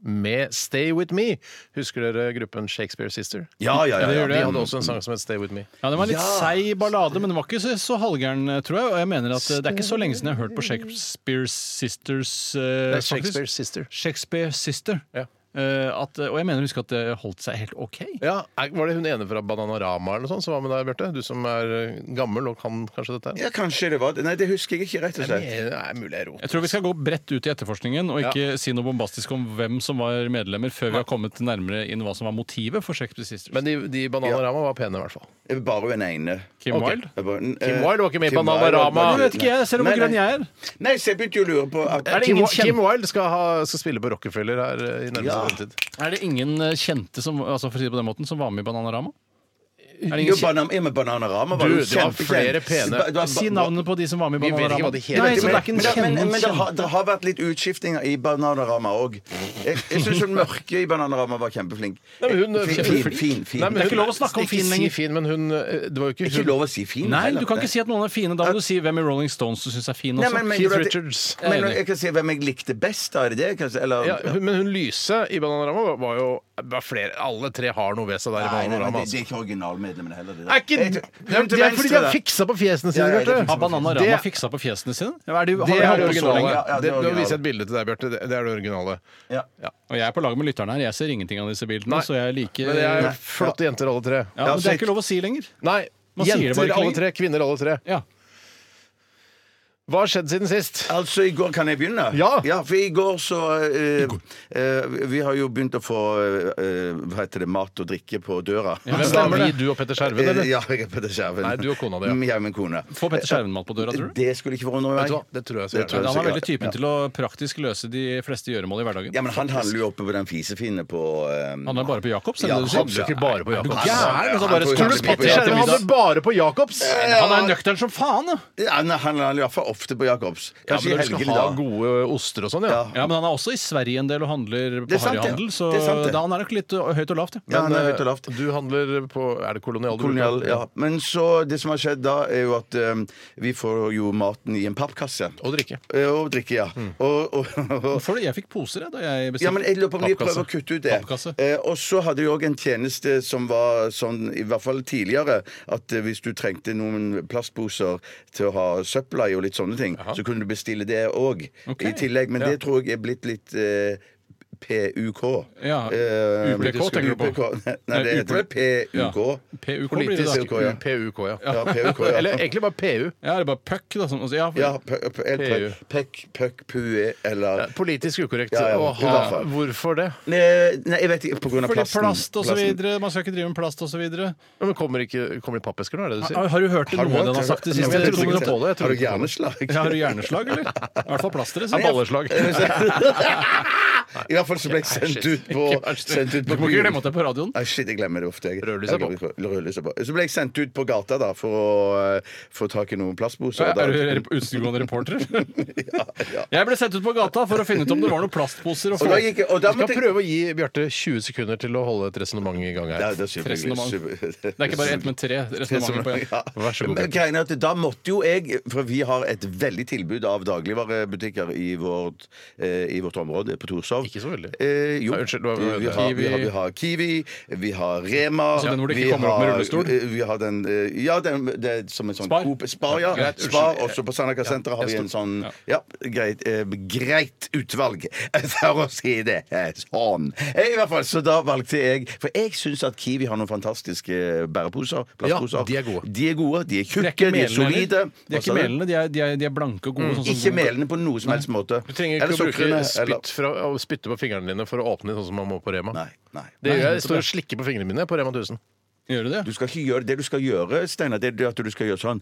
[SPEAKER 2] med Stay With Me. Husker dere gruppen Shakespeare Sister?
[SPEAKER 3] Ja, ja, ja.
[SPEAKER 4] det
[SPEAKER 3] ja.
[SPEAKER 4] gjør
[SPEAKER 2] De
[SPEAKER 4] det.
[SPEAKER 2] hadde også en sang som het Stay With Me.
[SPEAKER 4] Ja, Det var en litt seig ballade, men den var ikke så, så halvgæren, tror jeg. Og jeg mener at eh, Det er ikke så lenge siden jeg har hørt på Shakespeare Sisters. eh,
[SPEAKER 2] Det er Shakespeare
[SPEAKER 4] faktisk.
[SPEAKER 2] Sister.
[SPEAKER 4] Shakespeare Sister.
[SPEAKER 2] Ja.
[SPEAKER 4] Eh, at, og jeg mener å huske at det holdt seg helt OK.
[SPEAKER 2] Ja, er- Var det hun ene fra Bananarama eller noe sånt som var med deg, Bjarte? Du som er eh, gammel og kan kanskje dette? her?
[SPEAKER 3] Ja, kanskje det var det. Nei, det husker jeg ikke, rett og
[SPEAKER 2] Nei,
[SPEAKER 3] slett.
[SPEAKER 2] det er mulig jeg roter.
[SPEAKER 4] Jeg tror vi skal gå bredt ut i etterforskningen og ikke si noe bombastisk om hvem som var medlemmer, før vi har kommet nærmere inn hva som var motivet for Shakespeare Sisters.
[SPEAKER 2] Men de, de i Bananarama var pene, i hvert fall.
[SPEAKER 3] Jeg vil Bare hun ene.
[SPEAKER 4] Kim
[SPEAKER 2] Ok.
[SPEAKER 4] Wilde?
[SPEAKER 3] Jeg bare-
[SPEAKER 2] Kim
[SPEAKER 3] eh,
[SPEAKER 2] Wilde var ikke med i
[SPEAKER 3] Kim
[SPEAKER 2] Bananarama.
[SPEAKER 3] Wilde var-
[SPEAKER 2] Du vet
[SPEAKER 4] ikke jeg, selv om hvor
[SPEAKER 3] Nei,
[SPEAKER 4] grønn jeg er.
[SPEAKER 3] Nei, så jeg begynte jo å lure på at,
[SPEAKER 4] Er det
[SPEAKER 2] Kim,
[SPEAKER 4] ingen
[SPEAKER 2] Kim
[SPEAKER 4] kjente-
[SPEAKER 2] Wilde skal, ha, skal spille på Rockefeller her eh, i nærmeste
[SPEAKER 3] Ja.
[SPEAKER 2] fremtid.
[SPEAKER 4] Er det ingen eh, kjente som, altså for å si det på den måten, som var med i Bananarama? Er det
[SPEAKER 3] jo,
[SPEAKER 4] ingen kjente?
[SPEAKER 3] banan, ja, men Bananarama var
[SPEAKER 2] Du,
[SPEAKER 3] jo
[SPEAKER 2] det var flere
[SPEAKER 3] kjempekjent.
[SPEAKER 2] pene.
[SPEAKER 3] Ba- det var-
[SPEAKER 4] Si navnet på de som var med i
[SPEAKER 2] Vi vet ikke
[SPEAKER 4] Bananarama.
[SPEAKER 2] hva de heter.
[SPEAKER 4] Nei,
[SPEAKER 3] Men,
[SPEAKER 4] så det er ikke
[SPEAKER 3] men,
[SPEAKER 4] en
[SPEAKER 3] det- men,
[SPEAKER 4] kjent-
[SPEAKER 3] men det, har,
[SPEAKER 4] kjent-
[SPEAKER 3] det har vært litt utskiftinger i Bananarama òg. Jeg, jeg syns hun mørke i Bananarama var kjempeflink.
[SPEAKER 2] Nei, men hun- eh,
[SPEAKER 3] fin, fin, fin, fin.
[SPEAKER 2] Nei, men
[SPEAKER 4] Det er ikke
[SPEAKER 2] hun-
[SPEAKER 4] lov å snakke om
[SPEAKER 2] ikke
[SPEAKER 4] fin
[SPEAKER 2] si
[SPEAKER 4] lenger.
[SPEAKER 2] Fin, men hun, eh, det var jo ikke
[SPEAKER 3] Ikke
[SPEAKER 2] hun.
[SPEAKER 3] lov å si fin.
[SPEAKER 4] Nei,
[SPEAKER 3] heller.
[SPEAKER 4] du kan ikke si at noen er fine. Da må du si hvem i Rolling Stones du syns er fin
[SPEAKER 3] Nei,
[SPEAKER 4] også.
[SPEAKER 3] men- men-
[SPEAKER 2] altså, Keith
[SPEAKER 3] du vet-
[SPEAKER 2] Richards.
[SPEAKER 3] Men jeg kan si hvem jeg likte best, da. Er det det? jeg kan si? Eller,
[SPEAKER 2] Ja, hun, men hun lyse i Bananarama var- var jo var flere, Alle tre har noe ved seg der i
[SPEAKER 3] Nei, nei, nei, det, det
[SPEAKER 2] Bananarama. altså.
[SPEAKER 3] er ikke originalmedlemmene heller. Det, der.
[SPEAKER 2] Er ikke,
[SPEAKER 3] Jeg
[SPEAKER 2] det,
[SPEAKER 3] tror- hun til
[SPEAKER 2] er fordi de
[SPEAKER 3] venstre
[SPEAKER 2] har
[SPEAKER 3] der.
[SPEAKER 2] fiksa på fjesene
[SPEAKER 3] Ja, ja, det
[SPEAKER 2] sine,
[SPEAKER 3] er
[SPEAKER 2] Bjarte.
[SPEAKER 3] fiksa
[SPEAKER 4] har Bananarama
[SPEAKER 2] Det-
[SPEAKER 4] fiksa på fjesene sine? Ja, er de-
[SPEAKER 2] Det
[SPEAKER 4] har
[SPEAKER 2] er
[SPEAKER 4] de
[SPEAKER 2] det
[SPEAKER 4] holdt på så
[SPEAKER 2] originale.
[SPEAKER 4] lenge?
[SPEAKER 3] Ja, ja, det
[SPEAKER 2] Det,
[SPEAKER 3] er
[SPEAKER 2] nå
[SPEAKER 3] originale.
[SPEAKER 2] viser jeg et bilde til deg, Bjarte. Det, det er det originale.
[SPEAKER 3] Ja.
[SPEAKER 4] Og jeg er på lag med lytterne her. Jeg ser ingenting av disse bildene.
[SPEAKER 2] Nei,
[SPEAKER 4] så jeg liker
[SPEAKER 2] Men det er flotte jenter, alle tre.
[SPEAKER 4] ja, men Det er ikke lov å si lenger.
[SPEAKER 2] Nei,
[SPEAKER 4] Man sier det bare
[SPEAKER 2] jenter
[SPEAKER 4] ikke
[SPEAKER 2] alle
[SPEAKER 4] lenger.
[SPEAKER 2] tre, kvinner alle tre.
[SPEAKER 4] Ja.
[SPEAKER 2] Hva har skjedd siden sist?
[SPEAKER 3] Altså, i går kan jeg begynne?
[SPEAKER 2] Ja.
[SPEAKER 3] for i går så eh, eh, Vi har jo begynt å få eh, hva heter det, mat og drikke på døra.
[SPEAKER 2] Hvem
[SPEAKER 3] Så-
[SPEAKER 2] stemmer det? Du og Petter Skjerven,
[SPEAKER 3] Eh,
[SPEAKER 2] eller?
[SPEAKER 3] Ja, jeg er Petter Skjerven.
[SPEAKER 2] Nei, du og kona di, ja.
[SPEAKER 3] Mm, Jeg og min kone.
[SPEAKER 4] Får Petter Skjerven-mat på døra, tror du?
[SPEAKER 3] Det skulle ikke forundre meg.
[SPEAKER 2] Vet du hva? Det tror jeg så gjerne.
[SPEAKER 3] tror
[SPEAKER 4] Han
[SPEAKER 3] så
[SPEAKER 4] er veldig
[SPEAKER 3] gjerne.
[SPEAKER 4] typen til å praktisk løse de fleste gjøremål i hverdagen.
[SPEAKER 3] Ja, men han handler jo oppe på den fisefine på eh,
[SPEAKER 4] Han er bare på Jacobs.
[SPEAKER 3] Ja,
[SPEAKER 4] er det det du
[SPEAKER 3] han handler
[SPEAKER 4] sier?
[SPEAKER 2] ikke bare på Jacobs.
[SPEAKER 4] Er du gæren? Altså, bare
[SPEAKER 3] Han får jo
[SPEAKER 4] skole-
[SPEAKER 3] handle mye på
[SPEAKER 4] Petter
[SPEAKER 3] Jacobs.
[SPEAKER 4] Skjerven,
[SPEAKER 2] Skjerven
[SPEAKER 4] han
[SPEAKER 2] handler bare på Jacobs!
[SPEAKER 4] er- Han er nøktern som faen, da!
[SPEAKER 3] ja, nei, Han handler iallfall ofte på Jacobs.
[SPEAKER 2] Ja,
[SPEAKER 3] Kanskje
[SPEAKER 2] men
[SPEAKER 3] i
[SPEAKER 2] dere skal
[SPEAKER 3] helgene,
[SPEAKER 2] ha
[SPEAKER 3] da.
[SPEAKER 2] gode oster og sånn, ja.
[SPEAKER 3] Ja.
[SPEAKER 4] Ja, Men han er også i Sverige en del og handler
[SPEAKER 3] Det
[SPEAKER 4] på
[SPEAKER 3] er sant, ja.
[SPEAKER 4] harryhandel, så
[SPEAKER 3] Det er sant, det.
[SPEAKER 4] da han er nok litt ø, høyt og lavt.
[SPEAKER 3] Ja,
[SPEAKER 4] Ja.
[SPEAKER 3] han er
[SPEAKER 2] eh,
[SPEAKER 3] høyt og lavt.
[SPEAKER 2] Du handler på Er det kolonial? du
[SPEAKER 3] Kolonial,
[SPEAKER 2] bruker?
[SPEAKER 3] ja. Men så det som har skjedd da, er jo at eh, vi får jo maten i en pappkasse.
[SPEAKER 2] Og drikke.
[SPEAKER 3] Eh, Og drikke, ja.
[SPEAKER 4] Mm.
[SPEAKER 3] Og, og, og,
[SPEAKER 4] Får du- Jeg fikk poser jeg, da jeg bestilte.
[SPEAKER 3] Ja, men jeg lurer på om de prøver
[SPEAKER 4] Pappkasse.
[SPEAKER 3] å kutte ut det.
[SPEAKER 4] Pappkasse.
[SPEAKER 3] Eh, og så hadde de òg en tjeneste som var sånn, i hvert fall tidligere, at eh, hvis du trengte noen plastposer til å ha søpla i og litt sånne ting, så kunne du bestille det òg
[SPEAKER 4] Ok.
[SPEAKER 3] i tillegg. Men
[SPEAKER 2] Ja.
[SPEAKER 3] det tror jeg er blitt litt eh, PUK.
[SPEAKER 4] Ja,
[SPEAKER 3] Eh,
[SPEAKER 4] UPK
[SPEAKER 3] det skulle-
[SPEAKER 4] tenker du på?
[SPEAKER 3] UPK. Nei, det
[SPEAKER 4] Nei,
[SPEAKER 3] heter vel
[SPEAKER 4] Ja.
[SPEAKER 3] PUK.
[SPEAKER 4] PUK blir det
[SPEAKER 2] Politisk
[SPEAKER 4] da.
[SPEAKER 3] Politisk. PUK, ja.
[SPEAKER 2] PUK, ja.
[SPEAKER 3] Ja, PUK, ja.
[SPEAKER 2] Eller egentlig bare PU.
[SPEAKER 4] Ja, det er bare puck, da. Som, altså, ja, for-
[SPEAKER 3] Ja, p- p- eller
[SPEAKER 2] PU.
[SPEAKER 3] Pøkk, pøkk, pue, E, eller
[SPEAKER 2] Politisk ukorrekt
[SPEAKER 3] Ja, ja,
[SPEAKER 2] å
[SPEAKER 3] i hvert
[SPEAKER 2] ha.
[SPEAKER 3] fall.
[SPEAKER 2] Hvorfor det?
[SPEAKER 3] Nei, nei, jeg vet ikke. På grunn av
[SPEAKER 4] Fordi
[SPEAKER 3] plasten.
[SPEAKER 4] plast og så
[SPEAKER 3] Plasten.
[SPEAKER 4] videre. Man skal ikke drive med plast og så videre.
[SPEAKER 2] Ja, Men kommer, ikke, kommer det pappesker nå, er det det du sier?
[SPEAKER 4] Har, har du hørt det,
[SPEAKER 3] Har du
[SPEAKER 4] noe av
[SPEAKER 3] hørt
[SPEAKER 4] det han har sagt de
[SPEAKER 3] det?
[SPEAKER 4] siste
[SPEAKER 2] Ja, men jeg trodde ikke
[SPEAKER 4] 200
[SPEAKER 2] på det.
[SPEAKER 3] Har
[SPEAKER 2] Jeg trodde
[SPEAKER 3] du
[SPEAKER 2] ikke på det.
[SPEAKER 3] hjerneslag?
[SPEAKER 4] Ja, har du hjerneslag, eller? I hvert fall plasteret.
[SPEAKER 2] Ja, Balleslag.
[SPEAKER 3] I hvert fall så ble jeg sendt
[SPEAKER 2] shit.
[SPEAKER 3] ut på, sendt ut
[SPEAKER 4] Du
[SPEAKER 3] på
[SPEAKER 4] må ikke
[SPEAKER 3] byen.
[SPEAKER 4] glemme at det er på radioen.
[SPEAKER 3] Nei, shit, jeg glemmer det ofte. Jeg.
[SPEAKER 2] Rødlyset er på.
[SPEAKER 3] Jeg glemmer- rødlyset er på. Så ble jeg sendt ut på gata da for å eh, få tak i noen plastposer.
[SPEAKER 4] Er
[SPEAKER 3] Da-
[SPEAKER 4] du rep- utegående reporter?
[SPEAKER 3] ja, ja.
[SPEAKER 4] Jeg ble sendt ut på gata for å finne ut om det var noen plastposer. Og
[SPEAKER 3] Og da gikk jeg og da
[SPEAKER 2] Vi
[SPEAKER 3] måtte
[SPEAKER 2] skal
[SPEAKER 3] jeg
[SPEAKER 2] prøve å gi Bjarte 20 sekunder til å holde et resonnement i gang
[SPEAKER 3] ja,
[SPEAKER 2] her.
[SPEAKER 3] det, er super-
[SPEAKER 4] Resonnement.
[SPEAKER 3] super-
[SPEAKER 4] det er ikke bare ett, men tre resonnementer på én.
[SPEAKER 3] Ja.
[SPEAKER 2] Vær så god,
[SPEAKER 3] Men greien er at Da måtte jo jeg, for vi har et veldig tilbud av dagligvarebutikker i vårt, eh, i vårt område på Torshov.
[SPEAKER 2] Ikke så veldig.
[SPEAKER 3] Eh, jo.
[SPEAKER 2] Nei, unnskyld, det var-
[SPEAKER 3] vi, har, vi, har, vi har Kiwi, vi har Rema
[SPEAKER 4] Altså den hvor du ikke
[SPEAKER 3] vi
[SPEAKER 4] kommer opp med
[SPEAKER 3] har-
[SPEAKER 4] rullestol?
[SPEAKER 3] eh, Vi har den eh, Ja, den, det er som en sånn
[SPEAKER 4] Spar?
[SPEAKER 3] Coop- Spar, ja.
[SPEAKER 4] greit,
[SPEAKER 3] Spar
[SPEAKER 4] unnskyld.
[SPEAKER 3] også på Sandaka senteret har
[SPEAKER 4] jeg
[SPEAKER 3] vi en
[SPEAKER 4] står-
[SPEAKER 3] sånn
[SPEAKER 4] ja.
[SPEAKER 3] Ja, greit, eh, greit utvalg, eh, for å si det eh, sånn. Eh, I hvert fall, Så da valgte jeg For jeg syns at Kiwi har noen fantastiske eh, bæreposer. plastposer.
[SPEAKER 2] Ja, de er gode.
[SPEAKER 3] De er gode, de er
[SPEAKER 4] De er
[SPEAKER 3] tjukke,
[SPEAKER 4] ikke
[SPEAKER 3] de er
[SPEAKER 4] melende,
[SPEAKER 3] solide.
[SPEAKER 4] eller? De er, ikke
[SPEAKER 3] Hva sa du? Mm.
[SPEAKER 4] melende, de, er, de, er, de er blanke og gode. sånn som
[SPEAKER 3] Ikke
[SPEAKER 4] gode-
[SPEAKER 3] melende på noen som helst måte.
[SPEAKER 2] Du trenger ikke
[SPEAKER 3] Eller
[SPEAKER 2] å bruke
[SPEAKER 3] sukrene, eller-
[SPEAKER 2] spytt fra, å spytte på fingrene dine for å åpne de sånn som man må på Rema.
[SPEAKER 3] Nei, nei.
[SPEAKER 2] Det gjør
[SPEAKER 4] Nei,
[SPEAKER 2] jeg. Jeg står og slikker på fingrene mine på Rema 1000.
[SPEAKER 4] Gjør du det?
[SPEAKER 3] Du skal ikke gjøre det du skal gjøre, Steinar. Det er at du skal gjøre sånn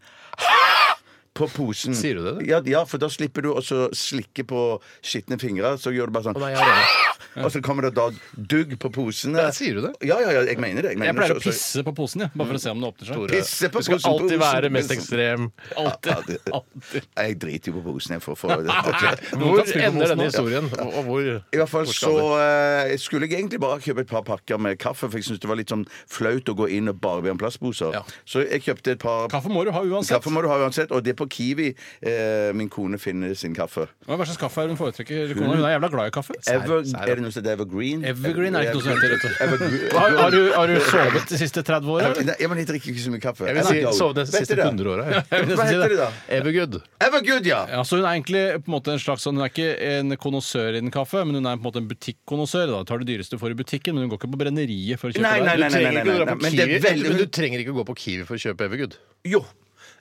[SPEAKER 3] på posen.
[SPEAKER 2] Sier du det, du?
[SPEAKER 3] Ja, ja, for da slipper du også slikke på skitne fingre. Så gjør du bare sånn
[SPEAKER 2] Å, nei, jeg har Rema.
[SPEAKER 3] Og så kommer det da dugg på posene.
[SPEAKER 2] Ja, sier du det?
[SPEAKER 3] Ja, ja, ja, jeg mener det. Jeg, mener
[SPEAKER 4] Jeg pleier
[SPEAKER 3] det.
[SPEAKER 4] å pisse på posen, jeg, bare for å se om den åpner seg.
[SPEAKER 2] Tore,
[SPEAKER 3] Pisse på
[SPEAKER 2] du skal
[SPEAKER 3] posen,
[SPEAKER 2] alltid
[SPEAKER 3] posen,
[SPEAKER 2] være mest
[SPEAKER 3] posen.
[SPEAKER 2] ekstrem.
[SPEAKER 3] Ja,
[SPEAKER 4] Alltid.
[SPEAKER 3] det-
[SPEAKER 4] Alltid.
[SPEAKER 3] jeg driter jo på posen, jeg, for å få det.
[SPEAKER 2] Hvor
[SPEAKER 4] spille på
[SPEAKER 2] ender
[SPEAKER 4] posen
[SPEAKER 2] denne
[SPEAKER 4] nå?
[SPEAKER 2] historien? Og og hvor
[SPEAKER 3] I hvert fall
[SPEAKER 2] hvor
[SPEAKER 3] så
[SPEAKER 2] skal det?
[SPEAKER 3] eh, skulle jeg egentlig bare kjøpe et par pakker med kaffe, for jeg syntes det var litt sånn flaut å gå inn og bare be om plastposer.
[SPEAKER 2] Ja.
[SPEAKER 3] Så jeg kjøpte et par
[SPEAKER 4] Kaffe må du ha uansett.
[SPEAKER 3] Kaffe må du ha uansett, og det er på Kiwi eh, min kone finner sin kaffe.
[SPEAKER 4] Hva slags kaffe er hun foretrekker? Kona hun er jævla glad i kaffe.
[SPEAKER 3] Ever,
[SPEAKER 2] sær, ja.
[SPEAKER 3] er det noe som heter Evergreen?
[SPEAKER 4] Evergreen er ikke noe som heter, vet du.
[SPEAKER 3] Evergreen-
[SPEAKER 4] Har, har, du, har du sovet de siste 30 åra?
[SPEAKER 3] Nei, ja, men jeg drikker ikke så mye kaffe.
[SPEAKER 2] Jeg vil si
[SPEAKER 3] Evergo.
[SPEAKER 2] sovne de
[SPEAKER 3] Vet
[SPEAKER 2] siste
[SPEAKER 3] dere?
[SPEAKER 2] 100 åra.
[SPEAKER 4] vil nesten
[SPEAKER 3] Hva
[SPEAKER 4] si
[SPEAKER 3] heter
[SPEAKER 4] det.
[SPEAKER 3] de da?
[SPEAKER 2] Evergood.
[SPEAKER 3] Evergood, ja!
[SPEAKER 4] Ja, så Hun er egentlig på en måte en slags sånn, Hun er ikke en konnoissør innen kaffe, men hun er på en måte en butikkonnoissør. Da tar det dyreste du får i butikken, men hun går ikke på brenneriet for å kjøpe
[SPEAKER 3] Nei,
[SPEAKER 4] det.
[SPEAKER 3] nei, nei,
[SPEAKER 2] Du
[SPEAKER 3] nei,
[SPEAKER 2] trenger
[SPEAKER 3] nei,
[SPEAKER 2] ikke å dra
[SPEAKER 3] nei,
[SPEAKER 2] på
[SPEAKER 3] men det er
[SPEAKER 2] Kiwi-
[SPEAKER 3] veldig-
[SPEAKER 2] men du trenger ikke å gå på Kiwi for å kjøpe Evergood.
[SPEAKER 3] Jo.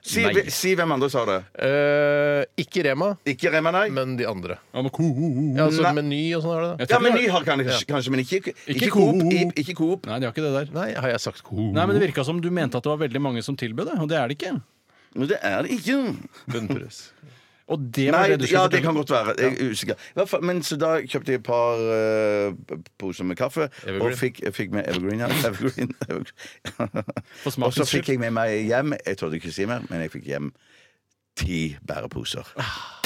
[SPEAKER 3] Si,
[SPEAKER 4] Nei.
[SPEAKER 3] si hvem andre sa det.
[SPEAKER 2] Eh, ikke Rema,
[SPEAKER 3] Ikke Rema, nei?
[SPEAKER 2] men de andre.
[SPEAKER 4] Ja, men ko- ko- ko-
[SPEAKER 2] Ja, altså
[SPEAKER 3] Nei.
[SPEAKER 2] Meny og sånn er det da.
[SPEAKER 4] Jeg
[SPEAKER 3] Ja,
[SPEAKER 4] tror
[SPEAKER 3] men
[SPEAKER 4] ikke-
[SPEAKER 3] ny har kanskje, kanskje, men ikke, ikke
[SPEAKER 4] Coop.
[SPEAKER 3] Coop. i- Ikke Coop.
[SPEAKER 4] Nei, de har ikke det der.
[SPEAKER 2] Nei, har jeg sagt ko?
[SPEAKER 4] Nei, men Det virka som du mente at det var veldig mange som tilbød det, og det er det ikke.
[SPEAKER 3] Men det er det ikke.
[SPEAKER 2] Bunnpris.
[SPEAKER 4] Og det var
[SPEAKER 3] Nei,
[SPEAKER 4] det du skulle
[SPEAKER 3] ja, det
[SPEAKER 4] fortelle.
[SPEAKER 3] kan godt være. Jeg er usikker. I hvert fall, men så da kjøpte jeg et par eh, poser med kaffe,
[SPEAKER 2] Evergreen.
[SPEAKER 3] og fikk, jeg fikk med Evergreen. Ja. Evergreen, Evergreen. og
[SPEAKER 4] For
[SPEAKER 3] så
[SPEAKER 4] smakens
[SPEAKER 3] fikk
[SPEAKER 4] skyld.
[SPEAKER 3] jeg med meg hjem Jeg trodde ikke å si mer, men jeg fikk hjem ti bæreposer.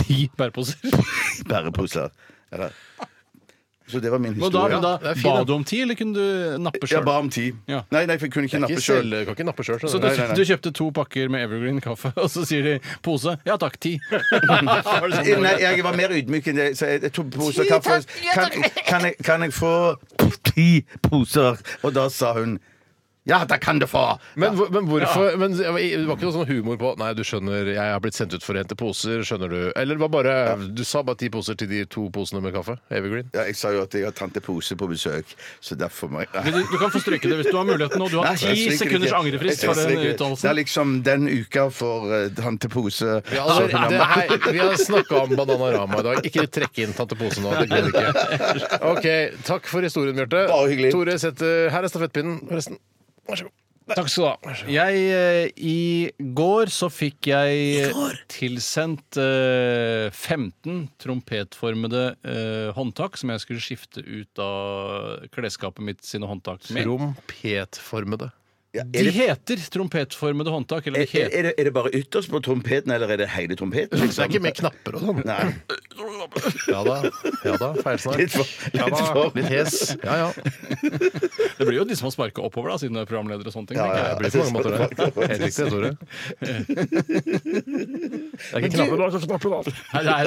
[SPEAKER 4] Ti bæreposer.
[SPEAKER 3] Bæreposer. Eller Så det var min
[SPEAKER 4] Og da,
[SPEAKER 3] historie.
[SPEAKER 4] men da
[SPEAKER 2] Ja, det er fint,
[SPEAKER 4] ba
[SPEAKER 2] da.
[SPEAKER 4] du om ti, eller kunne du nappe
[SPEAKER 3] Jeg
[SPEAKER 4] sjøl?
[SPEAKER 3] ba om ti.
[SPEAKER 4] Ja.
[SPEAKER 3] Nei, nei, for jeg kunne ikke nappe
[SPEAKER 2] Ikke
[SPEAKER 3] sjøl.
[SPEAKER 2] selv, kan ikke nappe sjøl.
[SPEAKER 4] Så du,
[SPEAKER 2] Nei, nei,
[SPEAKER 4] du kjøpte to pakker med Evergreen kaffe, og så sier de 'pose'? Ja takk, ti. Var det sånn?
[SPEAKER 3] Nei, jeg var mer ydmyk enn det. Så jeg, jeg tok poser kaffe. Kan, kan, jeg, kan jeg få ti poser? Og da sa hun ja, det kan du få!
[SPEAKER 2] Men, hvor- men hvorfor men, Det var ikke noe sånn humor på Nei, du skjønner, jeg har blitt sendt ut for å hente poser, skjønner du. Eller det var bare Du sa bare ti poser til de to posene med kaffe? Evergreen?
[SPEAKER 3] Ja, jeg sa jo at jeg har tante Pose på besøk, så derfor må jeg
[SPEAKER 4] Du, du kan få stryke det hvis du har muligheten nå. Du har
[SPEAKER 3] Nei, jeg
[SPEAKER 4] ti
[SPEAKER 3] stryker
[SPEAKER 4] sekunders
[SPEAKER 3] ikke.
[SPEAKER 4] angrefrist
[SPEAKER 3] Jeg
[SPEAKER 4] for den
[SPEAKER 3] stryker ikke. Det er
[SPEAKER 4] uttalelsen.
[SPEAKER 3] liksom den uka for eh, tante Pose.
[SPEAKER 2] Vi har,
[SPEAKER 3] så
[SPEAKER 2] allerede-
[SPEAKER 3] hun har-
[SPEAKER 2] det, hei, vi har snakka om Bananarama i dag. Ikke trekke inn Tante Pose nå. Det går ikke. OK. Takk for historien, Bjarte.
[SPEAKER 3] Bare hyggelig.
[SPEAKER 2] Tore setter Her er stafettpinnen, forresten. Vær så god.
[SPEAKER 4] Takk skal du ha. Jeg, eh, I går så fikk jeg tilsendt eh, 15 trompetformede eh, håndtak som jeg skulle skifte ut av klesskapet mitt sine håndtak med.
[SPEAKER 2] Trompetformede.
[SPEAKER 3] Ja, er,
[SPEAKER 4] De
[SPEAKER 3] det,
[SPEAKER 4] heter trompetformede håndtak. Eller
[SPEAKER 3] er,
[SPEAKER 4] de heter
[SPEAKER 3] er, det, er det bare ytterst på trompeten, eller er det hele trompeten?
[SPEAKER 2] Det er
[SPEAKER 3] Liksom?
[SPEAKER 2] ikke med knapper og sånn.
[SPEAKER 3] Nei.
[SPEAKER 2] Ja da. ja da, Feilsnark.
[SPEAKER 3] Litt for,
[SPEAKER 2] Ja
[SPEAKER 3] litt
[SPEAKER 2] da,
[SPEAKER 3] for.
[SPEAKER 2] sånn. litt hes. Ja ja.
[SPEAKER 4] Det blir jo de som har sparka oppover, da, siden du er programleder og sånne ting. tenker
[SPEAKER 2] Det
[SPEAKER 4] jeg.
[SPEAKER 2] blir på mange måter det. Helt riktig, Tore. Det er ikke knapper, bare sånn knapper, da.
[SPEAKER 4] Nei, det er,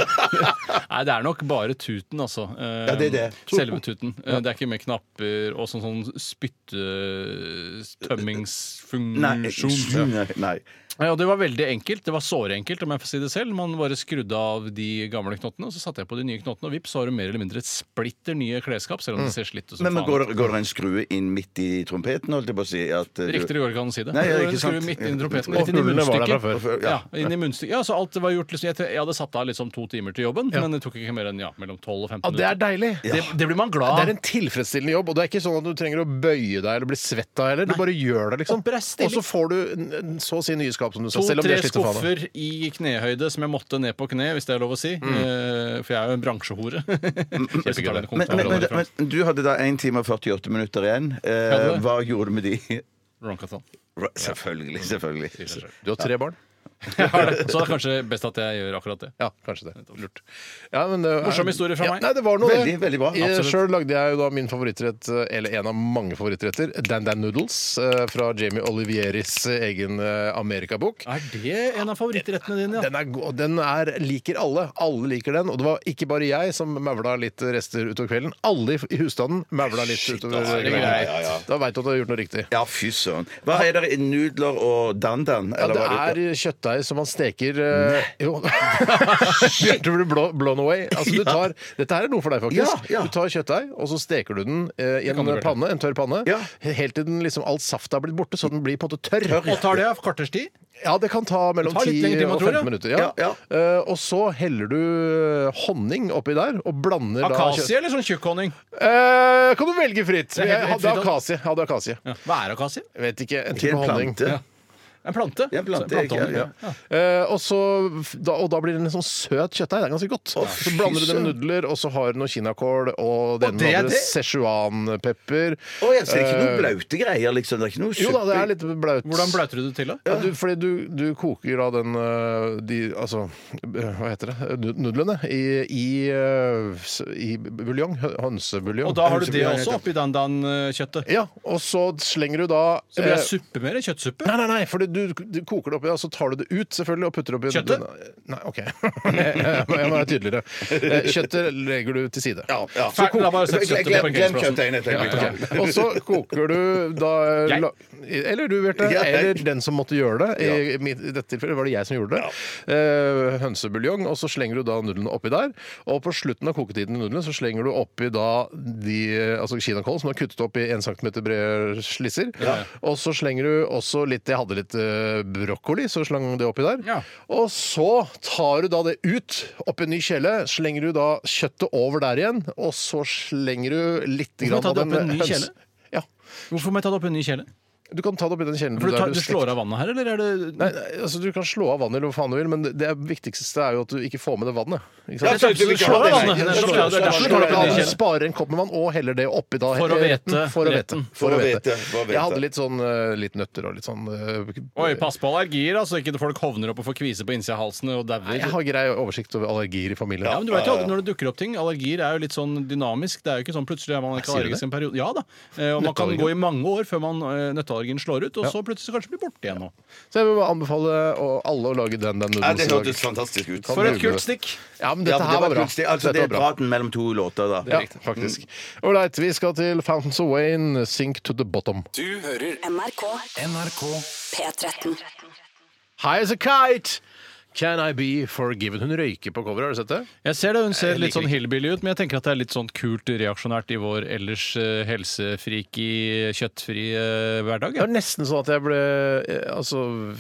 [SPEAKER 4] nei, det er nok bare tuten, altså. Eh,
[SPEAKER 3] Ja, det er det.
[SPEAKER 4] Selve tuten. Eh, Det er ikke med knapper og sånn, sånn
[SPEAKER 3] Eh,
[SPEAKER 2] Mm,
[SPEAKER 3] Nei,
[SPEAKER 4] spyttetømmingsfunksjon.
[SPEAKER 3] nei, nei.
[SPEAKER 4] Ja, og det var veldig enkelt. Det var såre enkelt, om jeg får si det selv. Man bare skrudde av de gamle knottene, og så satte jeg på de nye knottene, og vips, så har du mer eller mindre et splitter nye klesskap, selv om det ser slitt ut som
[SPEAKER 3] Mm. Men, men
[SPEAKER 4] faen.
[SPEAKER 3] går, det, går det en skrue inn midt i trompeten, holdt jeg på å si? At, eh, du-
[SPEAKER 4] Riktig går det ikke an å si det.
[SPEAKER 3] Nei, ja,
[SPEAKER 4] Det var
[SPEAKER 3] ikke
[SPEAKER 4] en skrue
[SPEAKER 3] sant.
[SPEAKER 4] midt inn i trompeten,
[SPEAKER 2] Og
[SPEAKER 4] rett inn i
[SPEAKER 2] hullene var der
[SPEAKER 4] munnstykket.
[SPEAKER 2] fra
[SPEAKER 3] før, ja.
[SPEAKER 4] Ja, inn i munnstykket. Ja, så alt var gjort liksom, jeg, jeg hadde satt av liksom to timer til jobben, men det tok ikke mer enn ja, mellom 12 og 15
[SPEAKER 2] Ja, det
[SPEAKER 4] minutter.
[SPEAKER 2] er deilig.
[SPEAKER 4] Det, det blir man glad
[SPEAKER 2] Det er
[SPEAKER 4] av.
[SPEAKER 2] en tilfredsstillende jobb, og det er ikke sånn at du trenger å bøye deg eller bli svett av heller. Du bare gjør det, liksom.
[SPEAKER 4] Oppreist stilling.
[SPEAKER 2] Og så får du n- n- så å si nye skap, som du sa, selv om det
[SPEAKER 4] To-tre
[SPEAKER 2] er slitt og faen.
[SPEAKER 4] skuffer i knehøyde som jeg måtte ned på kne, hvis det er lov å si.
[SPEAKER 2] Mm.
[SPEAKER 4] Eh, for jeg er jo en bransjehore. Kjempegøy.
[SPEAKER 3] men, men, men, men du hadde da 1 time og 48 minutter igjen. Eh,
[SPEAKER 4] Hadde det?
[SPEAKER 3] hva gjorde du med de?
[SPEAKER 4] Ronkatan.
[SPEAKER 3] Selvfølgelig, selvfølgelig.
[SPEAKER 2] Du har tre barn?
[SPEAKER 4] Jeg har det. Så det er kanskje best at jeg gjør akkurat det.
[SPEAKER 2] Ja, kanskje det. Lurt. Ja, men det er-
[SPEAKER 4] Morsom historie fra
[SPEAKER 2] Ja,
[SPEAKER 4] meg.
[SPEAKER 2] Nei, det var noe, det.
[SPEAKER 3] Veldig, veldig bra. Absolutt.
[SPEAKER 2] Sjøl lagde jeg jo da min favorittrett, eller en av mange favorittretter, Dan Dan Noodles eh, fra Jamie Olivieris egen eh, amerikabok.
[SPEAKER 4] Er det en av favorittrettene dine?
[SPEAKER 2] Den er god, og den er, liker alle. Alle liker den. Og det var ikke bare jeg som maula litt rester utover kvelden. Alle i- i husstanden maula litt utover
[SPEAKER 4] altså, det er
[SPEAKER 2] kvelden.
[SPEAKER 4] greit.
[SPEAKER 3] Ja, ja, ja.
[SPEAKER 2] Da veit du at du har gjort noe riktig.
[SPEAKER 3] Ja, fy søren. Hva er det i nudler og dandan?
[SPEAKER 2] Ja,
[SPEAKER 3] eller
[SPEAKER 2] det
[SPEAKER 3] hva
[SPEAKER 2] er kjøttdeig som man steker eh, Jo. Bjarte blir blå- blown away. Altså, du tar, dette her er noe for deg, faktisk.
[SPEAKER 3] Ja, ja.
[SPEAKER 2] Du tar kjøttdeig, og så steker du den eh, i en
[SPEAKER 4] kan du, Bjarte.
[SPEAKER 2] panne, en tørr panne,
[SPEAKER 3] Ja.
[SPEAKER 2] helt til den liksom alt saftet har blitt borte, så den blir på en måte tørr.
[SPEAKER 4] Og tar det av kvarters tid?
[SPEAKER 2] Ja, det kan ta mellom
[SPEAKER 4] Det tar litt
[SPEAKER 2] 10
[SPEAKER 4] lengre tid enn man
[SPEAKER 2] og
[SPEAKER 4] tror,
[SPEAKER 2] 15
[SPEAKER 4] ja.
[SPEAKER 2] minutter. Ja.
[SPEAKER 3] Ja,
[SPEAKER 2] Eh, og så heller du honning oppi der, og blander da
[SPEAKER 4] Akasie eller sånn tjukkhonning?
[SPEAKER 2] Eh, kan du velge fritt.
[SPEAKER 4] er helt-
[SPEAKER 2] Jeg hadde
[SPEAKER 4] helt fritt,
[SPEAKER 2] akasie. Jeg Hadde akasie.
[SPEAKER 4] Hva er akasie?
[SPEAKER 2] Vet ikke. En
[SPEAKER 3] Til
[SPEAKER 2] type
[SPEAKER 3] en
[SPEAKER 2] honning.
[SPEAKER 3] plante.
[SPEAKER 4] En plante.
[SPEAKER 3] Ja, en plante,
[SPEAKER 4] Så- plantehonning.
[SPEAKER 3] ja,
[SPEAKER 2] Eh, og, så, da, og da blir det en sånn søt kjøttdeig. Det er ganske godt. så
[SPEAKER 3] fy
[SPEAKER 2] blander du det med
[SPEAKER 3] søren.
[SPEAKER 2] nudler, og så har du noe kinakål og den
[SPEAKER 4] det er
[SPEAKER 2] andre
[SPEAKER 4] det?
[SPEAKER 2] Szechuanpepper. Eh,
[SPEAKER 3] Å, jeg ser ikke noen blaute greier, liksom. Det er ikke noe
[SPEAKER 2] Jo da, det er litt blaut.
[SPEAKER 4] Hvordan blauter du det til, da?
[SPEAKER 2] Ja, du, fordi du, du koker da den eh, de, Altså, eh, hva heter det? Nu- Nudlene i, i, eh, s- i buljong. hø- Hønsebuljong.
[SPEAKER 4] Og da har du det
[SPEAKER 2] Hønsebuljong
[SPEAKER 4] også
[SPEAKER 2] heter det.
[SPEAKER 4] oppi dandan-kjøttet.
[SPEAKER 2] Ja, og så slenger du da
[SPEAKER 4] Så blir
[SPEAKER 2] eh,
[SPEAKER 4] det suppe mer? Kjøttsuppe?
[SPEAKER 2] Nei, nei, nei, for du, du koker det oppi, og så tar du det ut selvfølgelig og putter det oppi
[SPEAKER 4] Kjøttet?
[SPEAKER 2] Nei, OK. Jeg må være tydeligere. Eh, Kjøttet legger du til side.
[SPEAKER 3] ja.
[SPEAKER 4] Ferdig, la bare sette kjøttet på
[SPEAKER 3] Glem, glem
[SPEAKER 4] parkeringsplassen.
[SPEAKER 3] kjøttdeigen et øyeblikk.
[SPEAKER 2] Ok. Og så koker du da eh,
[SPEAKER 4] Jeg.
[SPEAKER 2] la, Eller du, Bjarte.
[SPEAKER 3] Ja, jeg.
[SPEAKER 2] Eller den som måtte gjøre det. I, mitt- i dette tilfellet var det jeg som gjorde det. Eh, hønsebuljong, og så slenger du da nudlene oppi der. Og på slutten av koketiden i nudlene så slenger du oppi da de altså kinakål som du har kuttet opp i 1 cm brede slisser. Og så slenger du også litt Jeg hadde litt eh, brokkoli, så slang det oppi der.
[SPEAKER 4] Ja.
[SPEAKER 2] Og så tar du da det ut oppi en ny kjele, slenger du da kjøttet over der igjen, og så slenger du litt
[SPEAKER 4] Hvorfor
[SPEAKER 2] grann
[SPEAKER 4] ta
[SPEAKER 2] av
[SPEAKER 4] det opp i en
[SPEAKER 2] den
[SPEAKER 4] ny
[SPEAKER 2] høns-
[SPEAKER 4] kjele?
[SPEAKER 2] Ja.
[SPEAKER 4] Hvorfor må jeg ta det opp i en ny kjele?
[SPEAKER 2] Du kan ta det oppi den kjelen.
[SPEAKER 4] For du,
[SPEAKER 2] der
[SPEAKER 4] tar, du
[SPEAKER 2] stekte.
[SPEAKER 4] slår av vannet her, eller er det
[SPEAKER 2] Nei, nei, altså Du kan slå av vannet eller hva faen du vil, men det- det viktigste er jo at du ikke får med det vannet. Ikke sant?
[SPEAKER 4] Ja, så du slår av vannet.
[SPEAKER 3] Nei,
[SPEAKER 4] Det
[SPEAKER 2] Ja, så
[SPEAKER 4] slår av, det er derfor du tar
[SPEAKER 2] kan
[SPEAKER 4] det
[SPEAKER 2] du
[SPEAKER 4] opp i en ny
[SPEAKER 2] ikke
[SPEAKER 4] kjele.
[SPEAKER 2] spare en kopp med vann og heller det oppi da.
[SPEAKER 4] For å vete
[SPEAKER 2] retten, For å vete.
[SPEAKER 4] retten.
[SPEAKER 2] For å vete.
[SPEAKER 3] For å vete.
[SPEAKER 2] Jeg hadde litt sånn eh, litt nøtter og litt sånn eh,
[SPEAKER 4] Oi, pass på allergier, da, så ikke folk hovner opp og får kvise på innsida av halsen og dauer.
[SPEAKER 2] Jeg
[SPEAKER 4] Ja,
[SPEAKER 2] har grei oversikt over allergier i familien.
[SPEAKER 4] men du vet jo aldri når det dukker opp ting. Allergier er jo litt sånn dynamisk. Det er jo ikke sånn plutselig er man ikke
[SPEAKER 2] sier du
[SPEAKER 4] allergisk i en periode. Ja da. Eh, Og man kan
[SPEAKER 2] Nøtteallergi.
[SPEAKER 4] gå i mange år før man eh, nøtteallergien slår ut, og så plutselig kanskje blir borte igjen nå.
[SPEAKER 2] Så jeg vil bare anbefale å- alle å lage den, den
[SPEAKER 3] Ja,
[SPEAKER 2] noodles
[SPEAKER 3] det
[SPEAKER 2] i dag.
[SPEAKER 3] hørtes fantastisk ut.
[SPEAKER 2] Kan
[SPEAKER 4] For et
[SPEAKER 2] google
[SPEAKER 4] kult
[SPEAKER 2] det.
[SPEAKER 4] stikk!
[SPEAKER 2] Ja, men
[SPEAKER 3] Ja,
[SPEAKER 2] dette
[SPEAKER 3] men
[SPEAKER 2] her var bra.
[SPEAKER 3] plutselig- Altså,
[SPEAKER 2] Dette
[SPEAKER 3] det
[SPEAKER 2] var
[SPEAKER 3] er
[SPEAKER 2] bra.
[SPEAKER 3] praten mellom to låter, da.
[SPEAKER 2] Ja, faktisk. Ålreit, vi skal til Fountains of Wayne, Sink to the Bottom.
[SPEAKER 7] Du hører
[SPEAKER 6] NRK
[SPEAKER 5] NRK
[SPEAKER 6] P13.
[SPEAKER 2] High as a kite! Can I be forgiven? Hun røyker på coveret, har du sett det?
[SPEAKER 4] Jeg ser det, Hun ser litt
[SPEAKER 2] liker
[SPEAKER 4] sånn hillbilly ut, men jeg tenker at det er litt sånn kult reaksjonært i vår ellers eh, helsefriki, kjøttfrie eh, hverdag.
[SPEAKER 2] Det
[SPEAKER 4] Ja.
[SPEAKER 2] var nesten sånn at jeg ble eh, Altså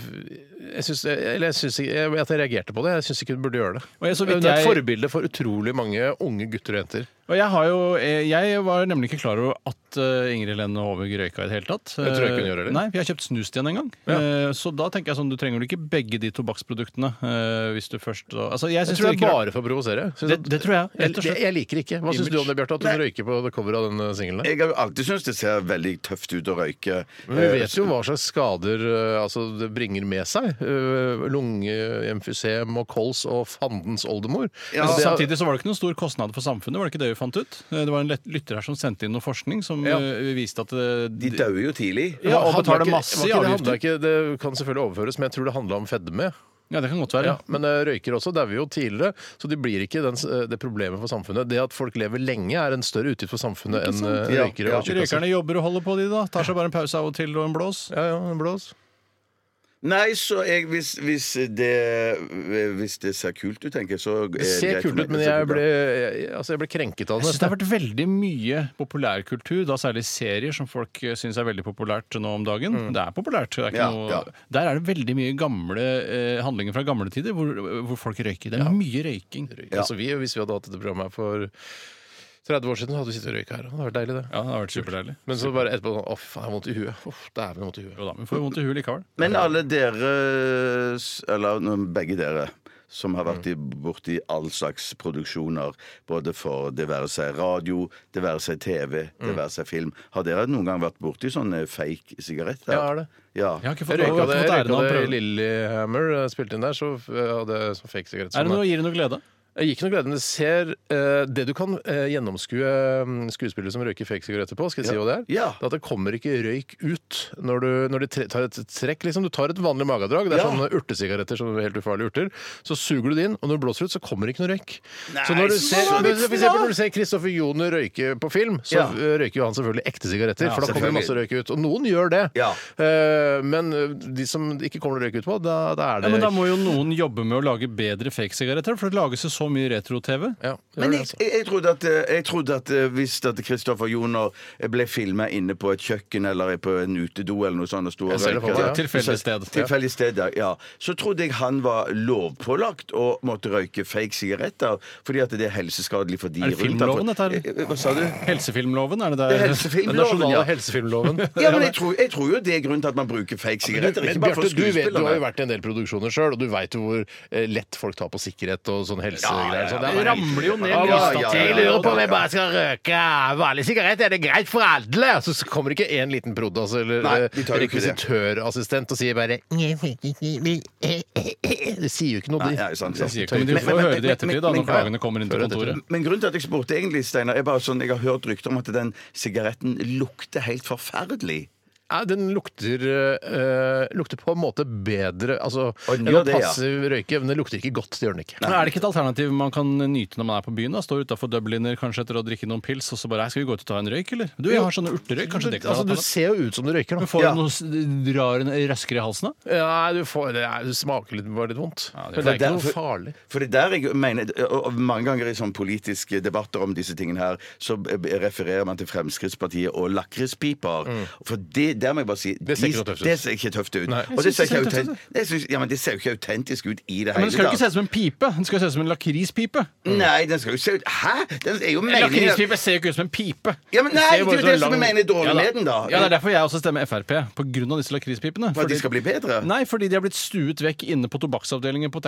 [SPEAKER 2] Jeg syns Eller jeg syns ikke jeg, At jeg reagerte på det. Jeg syns ikke hun burde gjøre det.
[SPEAKER 4] Og jeg- så vidt
[SPEAKER 2] hun er et
[SPEAKER 4] jeg-
[SPEAKER 2] forbilde for utrolig mange unge gutter og jenter.
[SPEAKER 4] Og jeg, har jo, eh, jeg var nemlig ikke klar over at eh, Ingrid Lenne Håvig røyka i det hele tatt. Det
[SPEAKER 2] tror jeg ikke hun gjør heller.
[SPEAKER 4] Nei, for jeg har kjøpt snus til henne en gang.
[SPEAKER 2] Ja.
[SPEAKER 4] Eh, Så da tenker jeg sånn, du trenger jo ikke begge de tobakksproduktene eh, hvis du først altså, jeg
[SPEAKER 2] Jeg
[SPEAKER 4] synes
[SPEAKER 2] tror det
[SPEAKER 4] virker
[SPEAKER 2] er
[SPEAKER 4] rart.
[SPEAKER 2] bare for å provosere. Synes
[SPEAKER 4] Det-
[SPEAKER 2] at-
[SPEAKER 4] det tror jeg, rett og
[SPEAKER 2] Jeg,
[SPEAKER 4] slett.
[SPEAKER 2] jeg liker ikke. Hva syns
[SPEAKER 4] Image.
[SPEAKER 2] du om det, Bjarte? At hun røyker på det coveret av den eh, singelen? der?
[SPEAKER 3] Jeg har jo alltid syntes det ser veldig tøft ut å røyke. Eh,
[SPEAKER 2] Men vi vet jo hva slags skader eh, altså, det bringer med seg. Eh, Lungeemfysem og kols og fandens oldemor.
[SPEAKER 3] Ja.
[SPEAKER 2] Men
[SPEAKER 4] Men
[SPEAKER 2] det er-
[SPEAKER 4] Samtidig så var det ikke noen stor kostnad for samfunnet. var Det ikke det vi fant ut? Eh, Det var en lett- lytter her som sendte inn noe forskning som
[SPEAKER 2] Ja.
[SPEAKER 4] eh, viste at eh,
[SPEAKER 3] De dør jo tidlig.
[SPEAKER 4] ja, og
[SPEAKER 2] Handler
[SPEAKER 4] betaler
[SPEAKER 2] ikke-
[SPEAKER 4] masse
[SPEAKER 2] var ikke
[SPEAKER 4] i
[SPEAKER 2] det-
[SPEAKER 4] avgifter.
[SPEAKER 2] handler ikke- Det kan selvfølgelig overføres, men jeg tror det handla om fedme.
[SPEAKER 4] Ja, det kan godt være.
[SPEAKER 2] Ja, men eh, røykere også dauer jo tidligere, så de blir ikke den, s- eh, det problemet for samfunnet. Det at folk lever lenge, er en større utgift for samfunnet enn eh,
[SPEAKER 3] Ja,
[SPEAKER 2] røykere
[SPEAKER 3] ja.
[SPEAKER 2] og tjukkaser.
[SPEAKER 4] Røykerne jobber og holder på, de da. Tar seg bare en pause av og til og en blås.
[SPEAKER 2] Ja, ja, en blås.
[SPEAKER 3] Nei, så jeg, hvis, hvis, det, hvis det ser kult ut, tenker jeg, så er
[SPEAKER 2] Det ser
[SPEAKER 3] greit for
[SPEAKER 2] kult
[SPEAKER 3] meg.
[SPEAKER 2] ut, men
[SPEAKER 3] Det ser
[SPEAKER 2] jeg
[SPEAKER 3] kult ut.
[SPEAKER 2] ble, jeg, altså, jeg ble krenket av
[SPEAKER 4] Jeg
[SPEAKER 2] det.
[SPEAKER 4] synes Det har vært veldig mye populærkultur, da særlig serier som folk eh, synes er veldig populært nå om dagen. Det er populært. Det er ikke
[SPEAKER 3] Ja,
[SPEAKER 4] noe...
[SPEAKER 3] ja.
[SPEAKER 4] Der er det veldig mye gamle eh, handlinger fra gamle tider hvor, hvor folk røyker. Det er mye røyking.
[SPEAKER 2] Altså, vi, hvis vi hadde hatt dette programmet her for 30 år siden, hadde vi sittet og røyka her. Det hadde vært deilig, det.
[SPEAKER 4] Ja, det har vært superdeilig.
[SPEAKER 2] Men så bare etterpå sånn Å, fy faen, jeg har vondt i huet. Uff, dæven, jeg har vondt i huet.
[SPEAKER 4] Jo da, men får jo vondt i huet likevel.
[SPEAKER 3] Men alle dere, s- eller nå, begge dere, som har vært i-
[SPEAKER 2] Mm.
[SPEAKER 3] borti all slags produksjoner, både for det være seg radio, det være seg TV,
[SPEAKER 2] Mm.
[SPEAKER 3] det være seg film, har dere noen gang vært borti sånne fake sigaretter?
[SPEAKER 2] Ja, er det.
[SPEAKER 3] Ja.
[SPEAKER 4] Jeg har ikke
[SPEAKER 2] Jeg
[SPEAKER 4] fått, jeg
[SPEAKER 2] røyka det,
[SPEAKER 4] har ikke
[SPEAKER 2] jeg
[SPEAKER 4] fått æren
[SPEAKER 2] røyka
[SPEAKER 4] av å
[SPEAKER 2] det i
[SPEAKER 4] prøve.
[SPEAKER 2] Lillehammer, eh, spilte inn der, så eh, hadde jeg sånn fake sigarett.
[SPEAKER 4] Er det
[SPEAKER 2] som-
[SPEAKER 4] noe, gir det noe glede?
[SPEAKER 2] Jeg gikk noe glede, men det ser eh, Det du kan eh, gjennomskue eh, skuespillere som røyker fake-sigaretter på, skal jeg si hva det er,
[SPEAKER 3] Ja.
[SPEAKER 2] det er at det kommer ikke røyk ut når du når de tre- tar et trekk. liksom Du tar et vanlig magedrag, det er
[SPEAKER 3] Ja.
[SPEAKER 2] sånne urtesigaretter, sånne helt ufarlige urter, så suger du det inn, og når du blåser ut, så kommer det ikke noe røyk. så når du ser,
[SPEAKER 3] så
[SPEAKER 2] men for eksempel, når du ser Kristoffer Joner røyke på film, så
[SPEAKER 3] Ja.
[SPEAKER 2] eh, røyker jo han selvfølgelig ekte sigaretter, for da kommer det masse røyk ut. Og noen gjør det,
[SPEAKER 3] Ja.
[SPEAKER 2] Eh, men eh, de som det ikke kommer noe røyk ut på, da, da er
[SPEAKER 4] Ja,
[SPEAKER 2] det
[SPEAKER 4] men Da må jo noen jobbe med å lage bedre fake-sigaretter, for det lages jo så mye retro-TV.
[SPEAKER 2] ja, det gjør
[SPEAKER 3] Men
[SPEAKER 2] det,
[SPEAKER 3] jeg,
[SPEAKER 2] altså.
[SPEAKER 3] jeg, jeg, trodde at, eh, jeg trodde at eh, hvis at Kristoffer Joner eh, ble filma inne på et kjøkken eller på en utedo eller noe sånt og sto og
[SPEAKER 2] Jeg ser det for meg, ja.
[SPEAKER 4] Tilfeldig sted.
[SPEAKER 3] Tilfeldig sted, ja. ja. Så trodde jeg han var lovpålagt å måtte røyke fake sigaretter fordi at det er helseskadelig for de
[SPEAKER 4] Er det
[SPEAKER 3] rundt ham.
[SPEAKER 4] filmloven, dette her?
[SPEAKER 3] Eh, eh, Hva sa du?
[SPEAKER 4] Helsefilmloven, er det
[SPEAKER 3] Det er
[SPEAKER 4] der?
[SPEAKER 2] Den
[SPEAKER 3] helsefilmloven,
[SPEAKER 2] nasjonale
[SPEAKER 3] ja.
[SPEAKER 2] helsefilmloven.
[SPEAKER 3] Ja, men jeg tror, jeg tror jo det er grunnen til at man bruker fake
[SPEAKER 2] Men,
[SPEAKER 3] sigaretter.
[SPEAKER 2] men
[SPEAKER 3] Ikke bare for
[SPEAKER 2] Bjarte, du, vet, du
[SPEAKER 3] skuespillerne.
[SPEAKER 2] har jo vært i en del produksjoner sjøl, og du veit jo hvor eh, lett folk tar på sikkerhet og sånn helsegreier. og sånn.
[SPEAKER 4] Det ramler jo ned
[SPEAKER 2] Ja, ja,
[SPEAKER 4] lista
[SPEAKER 2] ja,
[SPEAKER 4] til.
[SPEAKER 2] Jeg lurer på om jeg bare skal røyke vanlig sigarett. Er det greit for alle? Så kommer det ikke en liten prod.ass eller
[SPEAKER 3] Nei,
[SPEAKER 2] eh,
[SPEAKER 3] de tar jo ikke det.
[SPEAKER 2] rekvisitørassistent og sier bare Det sier jo ikke noe.
[SPEAKER 3] Nei,
[SPEAKER 2] de.
[SPEAKER 3] nei, sant, sant.
[SPEAKER 4] Det sier ikke noe, men de får høre det i ettertid, da, når klagene kommer inn til kontoret.
[SPEAKER 3] Men grunnen til at jeg spurte egentlig, Steinar, er bare sånn jeg har hørt rykter om at den sigaretten lukter helt forferdelig.
[SPEAKER 2] Nei, den lukter eh, Lukter på en måte bedre altså,
[SPEAKER 3] Og den
[SPEAKER 2] enn å
[SPEAKER 3] gjør det, ja.
[SPEAKER 2] passiv røyke, men det lukter ikke godt. Det gjør den ikke.
[SPEAKER 4] Men Er det ikke et alternativ man kan nyte når man er på byen? da? Står utafor Dubliner kanskje etter å drikke noen pils, og så bare «Hei, 'Skal vi gå ut og ta en røyk', eller? Du, jeg har sånne urterøyk. Kanskje det kan
[SPEAKER 2] altså, du ser jo ut som du røyker, da.
[SPEAKER 4] Men får
[SPEAKER 3] Ja.
[SPEAKER 4] du noe s- drar en røskere i halsen, da?
[SPEAKER 2] Ja, du får, det, er, det smaker litt, bare litt vondt. men
[SPEAKER 4] det
[SPEAKER 2] det er ikke noe farlig.
[SPEAKER 3] For det der jeg mener, og og Mange ganger i sånne politiske debatter om disse tingene her, så eh, refererer man til Fremskrittspartiet og lakrispiper. For det der må jeg bare si
[SPEAKER 2] Det ser ikke
[SPEAKER 3] de-
[SPEAKER 2] noe tøft ut.
[SPEAKER 3] Det ser ikke tøft ut.
[SPEAKER 2] Nei.
[SPEAKER 3] Og det
[SPEAKER 4] Jeg
[SPEAKER 3] ser
[SPEAKER 4] synes
[SPEAKER 3] ikke
[SPEAKER 4] det ser tøft ut,
[SPEAKER 3] autent- Jeg synes- ja, men det ser jo ikke autentisk ut i det hele
[SPEAKER 4] Men den skal jo
[SPEAKER 3] tatt.
[SPEAKER 4] ikke se ut som en pipe. Den skal jo se ut som en lakrispipe.
[SPEAKER 3] Nei, den skal jo se ut Hæ?! Den er jo
[SPEAKER 4] En
[SPEAKER 3] meningen
[SPEAKER 4] lakrispipe ser jo ikke ut som en pipe.
[SPEAKER 3] Ja, men nei,
[SPEAKER 4] ser
[SPEAKER 3] det er jo
[SPEAKER 4] bare ut som en
[SPEAKER 3] det som jeg mener er dårlig
[SPEAKER 4] Ja,
[SPEAKER 3] med den, da.
[SPEAKER 4] Ja, Det er derfor jeg også stemmer Frp. På grunn av disse lakrispipene.
[SPEAKER 3] For at de skal bli bedre?
[SPEAKER 4] Nei, fordi de har blitt stuet vekk inne på tobakksavdelingen på
[SPEAKER 3] Mm. Ja, nettopp,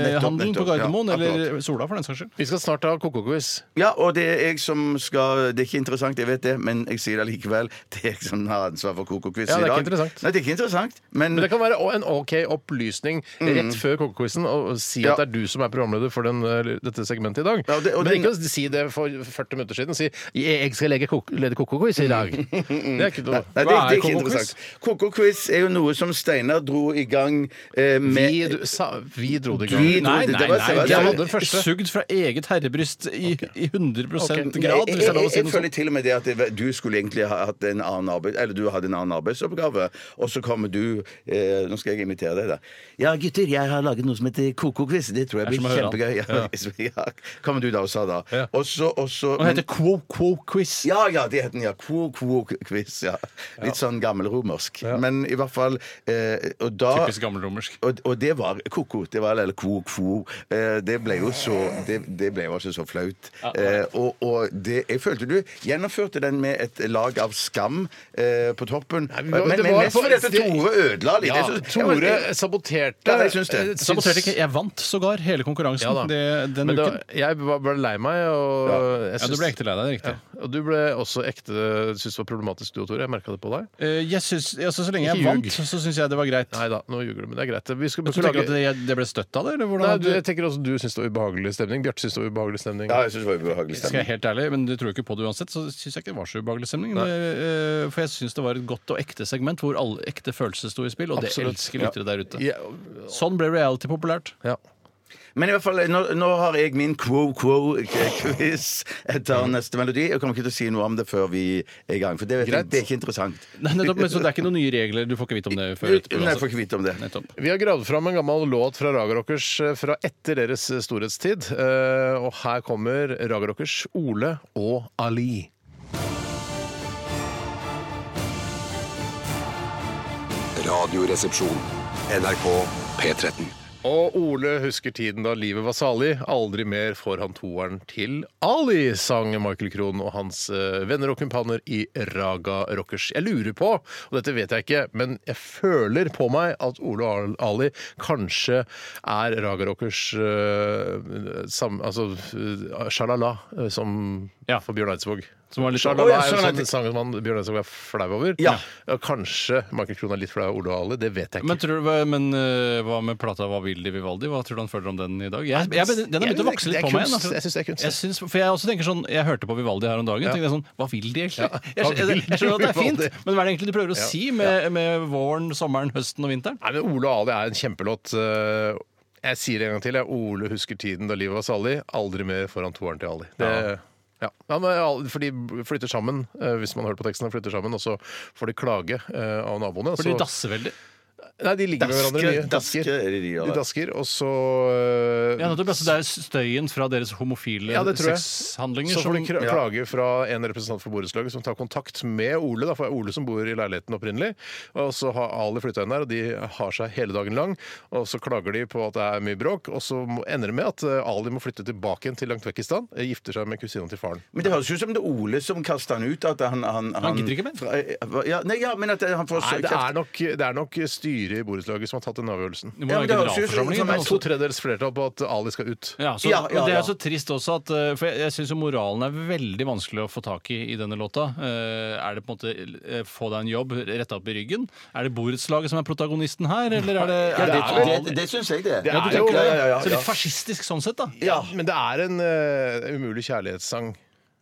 [SPEAKER 4] taxfree-handelen
[SPEAKER 3] nettopp.
[SPEAKER 4] på
[SPEAKER 3] Ja,
[SPEAKER 4] Gardermoen. eller
[SPEAKER 3] akkurat.
[SPEAKER 4] Sola, for den saks skyld.
[SPEAKER 2] Vi skal snart ha koko-quiz.
[SPEAKER 3] Ja, og det er jeg som skal Det er ikke interessant, jeg vet det, men jeg sier det likevel. Det er jeg som har ansvar for Koko-quiz
[SPEAKER 2] Ja,
[SPEAKER 3] i
[SPEAKER 2] det er
[SPEAKER 3] dag.
[SPEAKER 2] ikke interessant.
[SPEAKER 3] Nei, det er ikke interessant. Men,
[SPEAKER 2] Men det kan være en OK opplysning rett før koko-quizen og si at
[SPEAKER 3] Mm. Ja.
[SPEAKER 2] det er du som er programleder for den, eh, dette segmentet i dag.
[SPEAKER 3] Ja, det- og
[SPEAKER 2] men
[SPEAKER 3] den-
[SPEAKER 2] ikke å si det for 40 minutter siden. Si 'jeg skal lede koko- lede koko-quiz i dag'. Det er ikke noe.
[SPEAKER 3] Nei, det, det
[SPEAKER 4] Hva er
[SPEAKER 3] er ikke
[SPEAKER 4] Coco
[SPEAKER 3] interessant. Koko-quiz er jo noe som Steinar dro i gang eh, med
[SPEAKER 2] Vi, du, sa, vi dro det i gang.
[SPEAKER 3] Vi-
[SPEAKER 4] Nei,
[SPEAKER 3] Det-
[SPEAKER 4] nei,
[SPEAKER 3] det var-
[SPEAKER 4] nei.
[SPEAKER 3] det var-
[SPEAKER 4] De
[SPEAKER 2] det var
[SPEAKER 4] er
[SPEAKER 2] den første.
[SPEAKER 4] sugd fra eget herrebryst i, i 100
[SPEAKER 2] Ok.
[SPEAKER 4] grad.
[SPEAKER 3] jeg,
[SPEAKER 4] Hvis det er
[SPEAKER 3] jeg,
[SPEAKER 4] lov å si
[SPEAKER 3] jeg,
[SPEAKER 4] noe
[SPEAKER 3] føler
[SPEAKER 4] sånt.
[SPEAKER 3] til og med det at det, du skulle egentlig ha hatt en annen arbeid Eller du hadde en annen arbeidsoppgave, og så kommer du eh, Nå skal jeg imitere deg, da. Ja, gutter, jeg har laget noe som heter Koko-quiz. Det tror jeg
[SPEAKER 4] Det
[SPEAKER 3] blir
[SPEAKER 4] er som å høre
[SPEAKER 3] kjempegøy. Ja, ja. Kommer du da og sa da.
[SPEAKER 4] Ja.
[SPEAKER 3] Og så, og så
[SPEAKER 4] Den heter Quo Quo Quiz.
[SPEAKER 3] ja, ja, det het den, ja. Quo, quo, quiz, ja. Litt sånn gammelromersk. Men i hvert fall eh, Og da
[SPEAKER 4] Typisk gammelromersk.
[SPEAKER 3] og, og det var ko-ko. Det var eller kvo, kvo. Eh, det ble jo så Det, det ble jo altså så flaut. Eh, og og det, jeg følte du gjennomførte den med et lag av skam eh, på toppen.
[SPEAKER 2] Nei, men det
[SPEAKER 3] men,
[SPEAKER 2] var-
[SPEAKER 3] men,
[SPEAKER 2] det var
[SPEAKER 3] mest
[SPEAKER 2] på-
[SPEAKER 3] fordi at
[SPEAKER 2] det-
[SPEAKER 3] Tore ødela litt.
[SPEAKER 2] Ja,
[SPEAKER 3] Jeg synes- jeg-
[SPEAKER 2] Tore
[SPEAKER 3] jeg-
[SPEAKER 2] saboterte.
[SPEAKER 3] Ja, jeg syns det.
[SPEAKER 2] eh, syns-
[SPEAKER 4] Saboterte ikke. Jeg vant sågar hele konkurransen
[SPEAKER 2] Ja da.
[SPEAKER 4] det, den
[SPEAKER 2] Men det
[SPEAKER 4] uken.
[SPEAKER 2] var- jeg var bare lei meg, og jeg
[SPEAKER 4] Ja, du
[SPEAKER 2] syns-
[SPEAKER 4] ble ekte lei deg, det er riktig.
[SPEAKER 2] Ja. Og du ble også ekte synes det var problematisk, du og Tore. Jeg merka det på deg.
[SPEAKER 4] Eh, Jeg synes, altså, så lenge
[SPEAKER 2] Ikke
[SPEAKER 4] jeg
[SPEAKER 2] ljug.
[SPEAKER 4] vant, så syns jeg det var greit.
[SPEAKER 2] Nei da, nå ljuger du, men det er greit. Vi skal
[SPEAKER 4] Men så tenker du at det, det ble støtt av det? Eller hvordan
[SPEAKER 2] Nei,
[SPEAKER 4] hadde
[SPEAKER 2] du, jeg tenker også du syns det var ubehagelig stemning. Bjarte syns det var ubehagelig stemning.
[SPEAKER 3] Ja, jeg syns det var ubehagelig
[SPEAKER 4] Skal
[SPEAKER 3] stemning.
[SPEAKER 4] jeg helt ærlig, men du tror jo ikke på det uansett, så syns jeg ikke det var så ubehagelig stemning. Det, eh, for jeg syns det var et godt og ekte segment hvor alle ekte følelser sto i spill, og
[SPEAKER 2] Absolutt.
[SPEAKER 4] det elsker lyttere der ute.
[SPEAKER 2] Ja,
[SPEAKER 4] Sånn ble reality populært.
[SPEAKER 2] ja.
[SPEAKER 3] Men i hvert fall, nå, nå har jeg min quo-quo-quiz etter
[SPEAKER 4] Mm.
[SPEAKER 3] neste melodi. Jeg kommer ikke til å si noe om det før vi er i gang, for det, vet jeg,
[SPEAKER 2] Greit.
[SPEAKER 3] det er ikke interessant.
[SPEAKER 4] Nei, nettopp, men så det er ikke noen nye regler, du får ikke vite om det før
[SPEAKER 3] Nei, jeg får
[SPEAKER 4] etterpå. uansett.
[SPEAKER 3] ikke vite om det.
[SPEAKER 4] Nettopp.
[SPEAKER 2] Vi har gravd fram en gammel låt fra Raga Rockers eh, fra etter deres storhetstid. Eh, Og her kommer Raga Rockers Ole og Ali.
[SPEAKER 7] Radioresepsjon. NRK P13.
[SPEAKER 2] Og Ole husker tiden da livet var salig. Aldri mer får han toeren til Ali, sang Michael Krohn og hans eh, venner og kumpanjer i Raga Rockers. Jeg lurer på, og dette vet jeg ikke, men jeg føler på meg at Ole og Al- Ali kanskje er Raga Rockers eh, sam, Altså eh, Sjalala, eh, som
[SPEAKER 4] Ja.
[SPEAKER 2] for Bjørn Eidsvåg.
[SPEAKER 4] Som var litt-
[SPEAKER 2] Sjalala
[SPEAKER 3] Å, ja,
[SPEAKER 2] er jo
[SPEAKER 3] sånn
[SPEAKER 2] sånn sang som han, Bjørn Eidsvåg er flau over.
[SPEAKER 3] Ja.
[SPEAKER 2] Kanskje Michael Krohn er litt flau av Ole og Ali, det vet jeg ikke.
[SPEAKER 4] Men, tror, du- hva- men eh, hva med plata 'Hva vil de Vivaldi'? Hva tror du han føler om den i dag? Jeg, jeg, den har begynt å vokse litt
[SPEAKER 2] Altså, Det er
[SPEAKER 4] på meg.
[SPEAKER 2] kunst.
[SPEAKER 4] igjen, altså.
[SPEAKER 2] Jeg synes det er kunst.
[SPEAKER 4] Jeg syns- for jeg også tenker sånn Jeg hørte på Vivaldi her om dagen.
[SPEAKER 2] Ja.
[SPEAKER 4] Tenkte jeg sånn Hva vil de egentlig?
[SPEAKER 2] Ja,
[SPEAKER 4] Jeg,
[SPEAKER 2] hva
[SPEAKER 4] jeg, jeg,
[SPEAKER 2] vil
[SPEAKER 4] skjønner at det er fint,
[SPEAKER 2] Vivaldi?
[SPEAKER 4] men hva er det egentlig de prøver å si med, med våren, sommeren, høsten og vinteren?
[SPEAKER 2] Nei, men Ole og Ali er en kjempelåt. Eh, Jeg sier det en gang til. Jeg. Ole husker tiden da livet var salig. Aldri mer foran toeren til Ali. Det, ja. Ja, men, al- for de flytter sammen, eh, hvis man hører på teksten. flytter sammen, Og så får de klage eh, av naboene.
[SPEAKER 4] For de
[SPEAKER 2] så-
[SPEAKER 4] dasser veldig.
[SPEAKER 2] Nei, de ligger med hverandre mye.
[SPEAKER 3] dasker
[SPEAKER 2] Dasker.
[SPEAKER 3] er det de gjør.
[SPEAKER 2] De
[SPEAKER 3] da.
[SPEAKER 2] dasker, og så eh,
[SPEAKER 4] Ja, nettopp, altså, det er støyen fra deres homofile
[SPEAKER 2] Ja, det tror jeg.
[SPEAKER 4] sexhandlinger
[SPEAKER 2] Så får de
[SPEAKER 4] som
[SPEAKER 2] kra- klage fra en representant for borettslaget som tar kontakt med Ole. Da, for det er Ole som bor i leiligheten opprinnelig. Og så har Ali flytta inn der, og de har seg hele dagen lang. Og så klager de på at det er mye bråk, og så må- ender det med at eh, Ali må flytte tilbake igjen til langt vekk i stand. eh, Gifter seg med kusina til faren.
[SPEAKER 3] Men det høres ut som det er Ole som kaster han ut. At han, han,
[SPEAKER 4] gidder ikke mer.
[SPEAKER 3] mer? Ja, nei, ja, men at han får
[SPEAKER 2] Nei, det
[SPEAKER 3] kjeft.
[SPEAKER 2] er nok, det er nok styret i borettslaget som har tatt den avgjørelsen.
[SPEAKER 4] Det må
[SPEAKER 3] Ja,
[SPEAKER 4] være
[SPEAKER 3] men det høres jo ut som-
[SPEAKER 4] generalforsamlingen.
[SPEAKER 3] som en
[SPEAKER 4] altså.
[SPEAKER 2] To tredjedels flertall på at Ali skal ut.
[SPEAKER 4] Ja, så,
[SPEAKER 3] Ja, ja,
[SPEAKER 4] og Det
[SPEAKER 3] ja.
[SPEAKER 4] er så trist også at eh, For jeg, jeg syns moralen er veldig vanskelig å få tak i i denne låta. Eh, Er det på en måte eh, få deg en jobb, rette opp i ryggen? Er det borettslaget som er protagonisten her, eller er
[SPEAKER 3] Ja,
[SPEAKER 4] det, er
[SPEAKER 3] det,
[SPEAKER 4] det,
[SPEAKER 3] det, det, det syns jeg det.
[SPEAKER 2] Det
[SPEAKER 4] Ja, du
[SPEAKER 2] er jo-
[SPEAKER 4] tenker det?
[SPEAKER 3] ja, ja, ja,
[SPEAKER 4] Så
[SPEAKER 3] ja.
[SPEAKER 4] litt fascistisk sånn sett, da.
[SPEAKER 3] Ja.
[SPEAKER 2] Men det er en eh, umulig kjærlighetssang.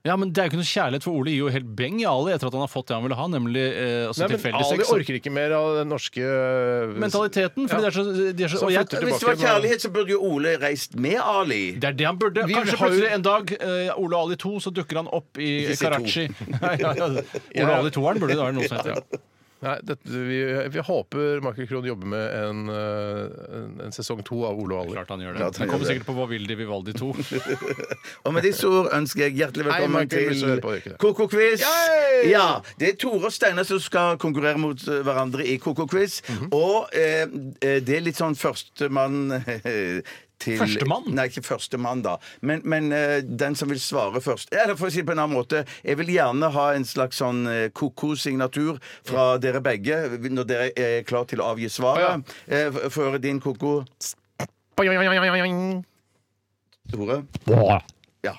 [SPEAKER 4] Ja, Men det er jo ikke noe kjærlighet, for Ole gir jo helt beng i Ali etter at han har fått det han ville ha, nemlig eh, altså,
[SPEAKER 2] Nei, men
[SPEAKER 4] tilfeldig
[SPEAKER 2] Ali
[SPEAKER 4] sex.
[SPEAKER 2] orker ikke mer av den norske eh,
[SPEAKER 4] Mentaliteten. For
[SPEAKER 2] Ja.
[SPEAKER 4] de er så, de er så,
[SPEAKER 2] Så
[SPEAKER 4] og jeg,
[SPEAKER 2] flytter
[SPEAKER 3] Hvis det var kjærlighet, så burde jo Ole reist med Ali.
[SPEAKER 4] det er det han burde.
[SPEAKER 2] Vi
[SPEAKER 4] Kanskje
[SPEAKER 2] har jo-
[SPEAKER 4] plutselig en dag, eh, Ole Ali 2, så dukker han opp i
[SPEAKER 3] Ikke si to.
[SPEAKER 4] Karachi. Ja, ja, ja.
[SPEAKER 2] Ja,
[SPEAKER 4] Ole
[SPEAKER 2] ja.
[SPEAKER 4] Ali 2-eren burde det være noe som heter. ja.
[SPEAKER 2] Nei, dette, vi, vi håper Michael Krohn jobber med en, eh, en, en sesong to av Ole og Ali.
[SPEAKER 4] Klart han gjør det.
[SPEAKER 3] Klart han
[SPEAKER 4] det
[SPEAKER 3] gjør
[SPEAKER 4] kommer
[SPEAKER 3] det.
[SPEAKER 4] sikkert på Hva vil de Vivaldi 2.
[SPEAKER 3] Og med disse ord ønsker jeg hjertelig
[SPEAKER 2] Nei,
[SPEAKER 3] velkommen
[SPEAKER 2] Michael, hvis du hører på, gjør ikke
[SPEAKER 3] til
[SPEAKER 2] det.
[SPEAKER 3] Koko-quiz.
[SPEAKER 2] Yay!
[SPEAKER 3] Ja, det er Tore og Steinar som skal konkurrere mot eh, hverandre i Koko-quiz. Og eh, eh, det er litt sånn førstemann eh, til
[SPEAKER 4] Førstemann?
[SPEAKER 3] Nei, ikke førstemann, da. Men, men eh, den som vil svare først. Eller for å si det på en annen måte, jeg vil gjerne ha en slags sånn eh, koko-signatur fra dere begge når dere er klar til å avgi svaret. Eh, f- Få høre din koko, Tore. Ja.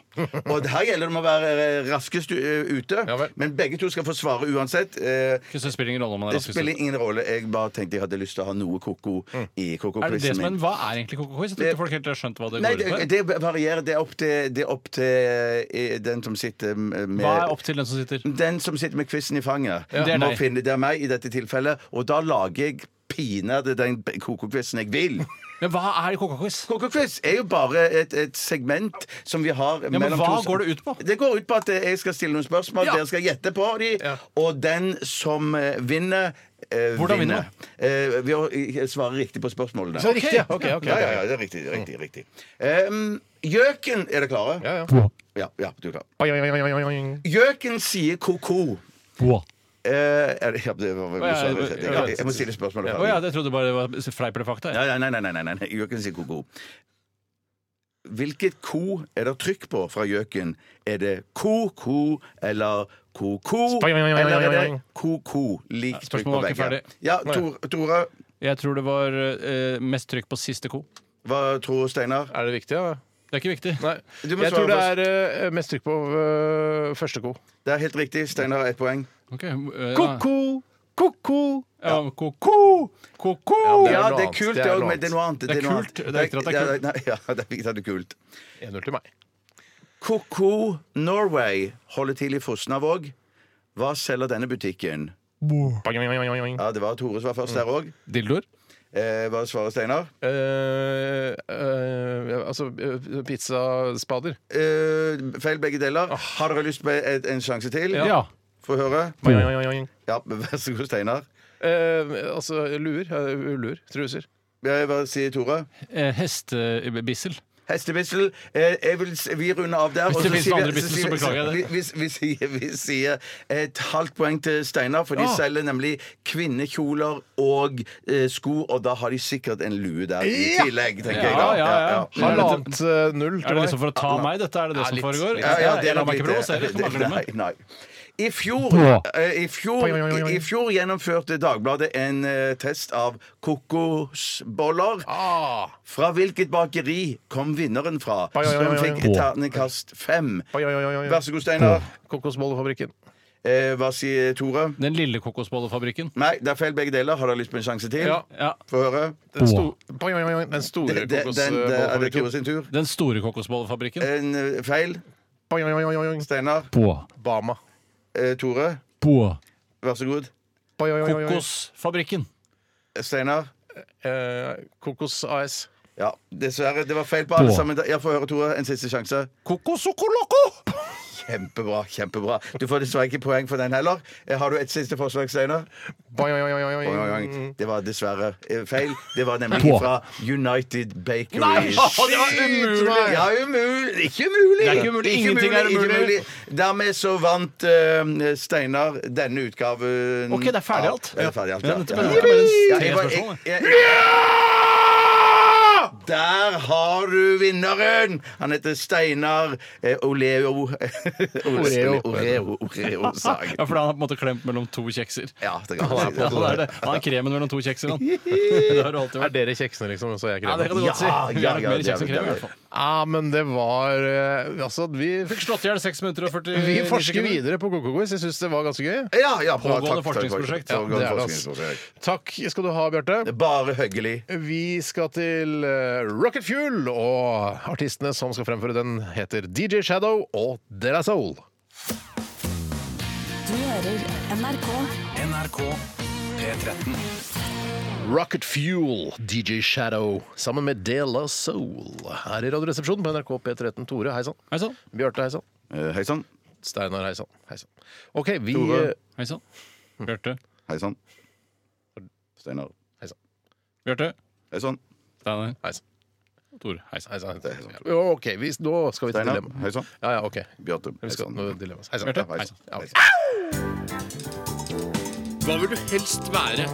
[SPEAKER 3] Og her gjelder det om å være eh, raskest eh, ute.
[SPEAKER 2] Ja vel.
[SPEAKER 3] men begge to skal få svare uansett. Eh,
[SPEAKER 4] Så det spiller ingen rolle om han er
[SPEAKER 3] Det
[SPEAKER 4] raskest.
[SPEAKER 3] spiller ingen rolle. Jeg bare tenkte jeg hadde lyst til å ha noe koko i
[SPEAKER 4] Mm. Er det det
[SPEAKER 3] koko-quizen
[SPEAKER 4] som er en,
[SPEAKER 3] min.
[SPEAKER 4] hva er egentlig Coco Quiz? Jeg tror ikke folk helt har skjønt hva det
[SPEAKER 3] Nei,
[SPEAKER 4] går
[SPEAKER 3] det,
[SPEAKER 4] ut på.
[SPEAKER 3] det varierer. Det er opp til, det er opp til eh, den som sitter med
[SPEAKER 4] Hva er opp til den som sitter?
[SPEAKER 3] Den som sitter med quizen i fanget,
[SPEAKER 4] Det er
[SPEAKER 3] må
[SPEAKER 4] deg.
[SPEAKER 3] finne det er meg i dette tilfellet. Og da lager jeg pinadø den koko-quizen jeg vil.
[SPEAKER 4] Men hva er Coca-Quiz?
[SPEAKER 3] Koko-quiz er jo bare et, et segment som vi har
[SPEAKER 4] men
[SPEAKER 3] mellom
[SPEAKER 4] hva
[SPEAKER 3] to
[SPEAKER 4] går det ut på?
[SPEAKER 3] Det går ut på at jeg skal stille noen spørsmål,
[SPEAKER 4] Ja.
[SPEAKER 3] dere skal gjette på de,
[SPEAKER 4] Ja.
[SPEAKER 3] og den som eh, vinner eh,
[SPEAKER 4] Hvordan vinner man?
[SPEAKER 3] Eh, ved å eh, svare riktig på spørsmålene.
[SPEAKER 2] Så riktig, ja. Ok, ok, ok.
[SPEAKER 3] Ja, ja, ja, det er riktig.
[SPEAKER 4] Mm.
[SPEAKER 3] riktig, riktig. Em, gjøken Er dere klare?
[SPEAKER 2] Ja, ja.
[SPEAKER 3] Ja, ja, du er klar.
[SPEAKER 2] Oi, oi, oi, oi, oi.
[SPEAKER 3] Gjøken sier ko-ko. Eh, er det- ja, det var vel
[SPEAKER 4] Å, ja,
[SPEAKER 3] så-
[SPEAKER 4] det-
[SPEAKER 3] jeg- jeg- Jeg må stille spørsmålet.
[SPEAKER 4] Å ja, det trodde bare det var fleip eller fakta. jeg.
[SPEAKER 3] Nei, nei, nei, nei, nei, nei, nei. Gjøken sier ko-ko. Hvilket ko er det trykk på fra gjøken? Er det ko-ko eller ko-ko?
[SPEAKER 2] Oi, oi, oi, oi,
[SPEAKER 3] Eller er det
[SPEAKER 2] oi.
[SPEAKER 3] ko-ko? Lik trykk på
[SPEAKER 4] Spørsmålet var ikke
[SPEAKER 3] begge.
[SPEAKER 4] ferdig.
[SPEAKER 3] Ja, Tor, Tore.
[SPEAKER 4] Jeg tror det var eh, mest trykk på siste ko.
[SPEAKER 3] Hva tror Steinar?
[SPEAKER 2] Er det viktig, ja?
[SPEAKER 4] Det er ikke viktig.
[SPEAKER 2] Nei.
[SPEAKER 3] Du må
[SPEAKER 2] Jeg
[SPEAKER 3] svare
[SPEAKER 2] tror det er eh, mest trykk på eh, første ko.
[SPEAKER 3] Det er helt riktig. Steinar har ett poeng.
[SPEAKER 4] Ok, eh,
[SPEAKER 2] Ko-ko, ko-ko.
[SPEAKER 4] Ja, ko-ko! Ko-ko!
[SPEAKER 2] er
[SPEAKER 3] Ja,
[SPEAKER 2] noe
[SPEAKER 3] det er
[SPEAKER 2] annet.
[SPEAKER 3] kult,
[SPEAKER 2] Det er
[SPEAKER 3] det òg,
[SPEAKER 2] noe
[SPEAKER 3] men det er noe annet.
[SPEAKER 4] Det er
[SPEAKER 3] noe
[SPEAKER 4] kult.
[SPEAKER 3] annet.
[SPEAKER 4] Det er riktig at det er kult.
[SPEAKER 3] Nei, Ja, det er viktig at det er kult.
[SPEAKER 2] 1-0 til meg.
[SPEAKER 3] Ko-ko Norway holder til i Fosnavåg. Hva selger denne butikken?
[SPEAKER 2] Oi, oi, oi, oi, oi.
[SPEAKER 3] Ja, Det var Tore som var først der òg.
[SPEAKER 4] Dildoer?
[SPEAKER 3] Eh, hva svarer Steinar?
[SPEAKER 2] Eh, eh, altså eh, pizzaspader.
[SPEAKER 3] Eh, feil begge deler. Har dere lyst på et, en sjanse til?
[SPEAKER 4] Ja.
[SPEAKER 3] Få høre.
[SPEAKER 2] Oi, oi, oi, oi.
[SPEAKER 3] Ja, Vær så god, Steinar.
[SPEAKER 2] Eh, altså luer. eh, Ullur. Truser.
[SPEAKER 3] Eh, Hva sier Tore?
[SPEAKER 4] Eh, Hestebissel.
[SPEAKER 3] Hestebissel. Eh, jeg vil, s- vi runder av der.
[SPEAKER 4] Hvis
[SPEAKER 3] og
[SPEAKER 4] det
[SPEAKER 3] så
[SPEAKER 4] finnes
[SPEAKER 3] sier vi-
[SPEAKER 4] andre bissel, så
[SPEAKER 3] sier-
[SPEAKER 4] beklager jeg det.
[SPEAKER 3] Vi, vi, vi, sier, vi sier et halvt poeng til Steinar, for de
[SPEAKER 4] Ah.
[SPEAKER 3] selger nemlig kvinnekjoler og eh, sko, og da har de sikkert en lue der i
[SPEAKER 2] Ja.
[SPEAKER 3] tillegg, tenker
[SPEAKER 4] Ja,
[SPEAKER 3] jeg da.
[SPEAKER 4] ja, ja.
[SPEAKER 3] Har dere-
[SPEAKER 2] Halvannet eh, null til
[SPEAKER 4] Er det
[SPEAKER 2] meg.
[SPEAKER 4] liksom for å ta meg, dette? Er det det
[SPEAKER 2] Ja,
[SPEAKER 4] som
[SPEAKER 2] litt.
[SPEAKER 4] foregår?
[SPEAKER 3] Ja, ja, det
[SPEAKER 4] jeg
[SPEAKER 3] er
[SPEAKER 4] lar
[SPEAKER 3] nok
[SPEAKER 4] liksom meg ikke
[SPEAKER 3] litt eh, det.
[SPEAKER 4] provosere. skal bare glemme.
[SPEAKER 3] Nei, nei. I fjor,
[SPEAKER 4] Bra.
[SPEAKER 3] eh, i, fjor,
[SPEAKER 2] Oi, oi, oi, oi.
[SPEAKER 3] i, I fjor gjennomførte Dagbladet en eh, test av kokosboller.
[SPEAKER 2] Ah,
[SPEAKER 3] Fra hvilket bakeri kom vinneren fra,
[SPEAKER 2] Oi, oi, oi,
[SPEAKER 3] som
[SPEAKER 2] oi, oi.
[SPEAKER 3] fikk ternekast fem?
[SPEAKER 2] oi, oi, oi, oi.
[SPEAKER 3] Vær så god, Steinar.
[SPEAKER 2] Kokosbollefabrikken.
[SPEAKER 3] Eh, hva sier Tore?
[SPEAKER 4] Den lille kokosbollefabrikken.
[SPEAKER 3] Nei, det er feil begge deler. Har dere lyst på en sjanse til?
[SPEAKER 2] Ja.
[SPEAKER 4] Ja.
[SPEAKER 3] Få høre.
[SPEAKER 2] Den, sto oi, oi, oi, den store
[SPEAKER 3] Det, det, den,
[SPEAKER 2] eh,
[SPEAKER 3] det, er det Tore
[SPEAKER 2] kokosbollefabrikken.
[SPEAKER 3] sin tur?
[SPEAKER 4] Den store kokosbollefabrikken.
[SPEAKER 3] En eh, feil.
[SPEAKER 2] Oi, oi, oi, oi, oi.
[SPEAKER 3] Steinar.
[SPEAKER 4] På.
[SPEAKER 2] Bama.
[SPEAKER 3] Eh, Tore.
[SPEAKER 4] På.
[SPEAKER 3] Vær så god.
[SPEAKER 2] Oi, oi, oi, oi.
[SPEAKER 4] Kokosfabrikken.
[SPEAKER 3] Steinar.
[SPEAKER 2] Eh, Kokos AS.
[SPEAKER 3] Ja, dessverre. Det var feil på alle
[SPEAKER 4] På.
[SPEAKER 3] sammen. Ja, Få høre, Tore. En siste sjanse.
[SPEAKER 4] Kokosokoloco!
[SPEAKER 3] Kjempebra. kjempebra Du får dessverre ikke poeng for den heller. Eh, Har du et siste forslag, Steinar?
[SPEAKER 2] Oi, oi, oi, oi, oi.
[SPEAKER 3] Oi, oi,
[SPEAKER 4] Mm.
[SPEAKER 3] oi. Det var dessverre eh, feil. Det var nemlig
[SPEAKER 4] På.
[SPEAKER 3] fra United Bakeries.
[SPEAKER 4] det var umulig!
[SPEAKER 3] Ja, umulig. Ikke umulig.
[SPEAKER 4] Det er ikke umulig. Ingenting er
[SPEAKER 3] ikke
[SPEAKER 4] umulig.
[SPEAKER 3] Dermed så vant eh, Steinar denne utgaven.
[SPEAKER 4] Ok, det er ferdig alt.
[SPEAKER 3] Ja, det er ferdig alt, ja.
[SPEAKER 4] Ja, dette
[SPEAKER 3] Ja,
[SPEAKER 4] ble-
[SPEAKER 3] ja.
[SPEAKER 4] dette ble
[SPEAKER 3] Ja,
[SPEAKER 4] en
[SPEAKER 3] jeg var-
[SPEAKER 4] spørsmål,
[SPEAKER 3] jeg- jeg- Der har du vinneren! Han heter Steinar eh, Oleo Oreo. Oreo, Oreo Sagen.
[SPEAKER 4] Ja, for da har han på en måte klemt mellom to kjekser.
[SPEAKER 3] Ja, det kan
[SPEAKER 4] Han
[SPEAKER 3] man
[SPEAKER 4] er,
[SPEAKER 3] si.
[SPEAKER 4] på, han er, det. Han er kremen mellom to kjekser, han. Det har du alltid
[SPEAKER 2] Er
[SPEAKER 4] vært.
[SPEAKER 2] dere kjeksene, liksom? Så er jeg
[SPEAKER 4] Ja,
[SPEAKER 2] kremen.
[SPEAKER 4] det kan du godt si.
[SPEAKER 3] Ja,
[SPEAKER 4] Vi
[SPEAKER 3] ja,
[SPEAKER 4] har nok
[SPEAKER 3] ja,
[SPEAKER 4] mer
[SPEAKER 3] det er
[SPEAKER 4] kjeks enn
[SPEAKER 3] det,
[SPEAKER 4] krem, i
[SPEAKER 3] det er
[SPEAKER 4] hvert fall.
[SPEAKER 2] Ja, men det var eh, Altså, vi
[SPEAKER 4] Fikk slått i hjel 6 minutter og 40
[SPEAKER 2] Vi forsker videre på Coco-quiz. Jeg syns det var ganske gøy.
[SPEAKER 3] Ja, ja, bra. Takk, takk, takk.
[SPEAKER 4] Pågående forskningsprosjekt.
[SPEAKER 2] Ja, det
[SPEAKER 3] Pågående
[SPEAKER 2] er det, altså.
[SPEAKER 3] forskningsprosjekt.
[SPEAKER 2] Takk skal du ha, Bjarte.
[SPEAKER 3] Det er Bare hyggelig.
[SPEAKER 2] Vi skal til eh, Rocket Fuel, og artistene som skal fremføre den, heter DJ Shadow og Dela Soul.
[SPEAKER 6] Du hører NRK.
[SPEAKER 5] NRK P13.
[SPEAKER 2] Rocket Fuel, DJ Shadow, sammen med Dela Soul. Her i Radioresepsjonen på NRK P13. Tore, hei sann.
[SPEAKER 4] Hei sann.
[SPEAKER 2] Bjarte, hei sann.
[SPEAKER 3] Eh, Hei sann.
[SPEAKER 2] Steinar, hei sann. Hei sann. OK, vi
[SPEAKER 3] Tore.
[SPEAKER 4] Hei sann. Bjarte.
[SPEAKER 3] Hei sann. Steinar.
[SPEAKER 4] Bjarte.
[SPEAKER 3] Hei sann.
[SPEAKER 4] Steinar.
[SPEAKER 2] Hei sann.
[SPEAKER 4] Tore. Hei sann.
[SPEAKER 2] Hei sann. Jo, OK, vi, nå skal vi til
[SPEAKER 3] Steinar.
[SPEAKER 2] dilemma.
[SPEAKER 3] Hei sann.
[SPEAKER 2] Ja, ja, OK.
[SPEAKER 3] Bjarte.
[SPEAKER 2] Vi
[SPEAKER 3] Hei
[SPEAKER 2] skal
[SPEAKER 3] sann.
[SPEAKER 2] nå dilemmas. Hei sann.
[SPEAKER 4] Bjarte.
[SPEAKER 3] Hei
[SPEAKER 4] Hei
[SPEAKER 3] sann.
[SPEAKER 4] sann.
[SPEAKER 2] Ja, ok.
[SPEAKER 8] Hva vil du helst være?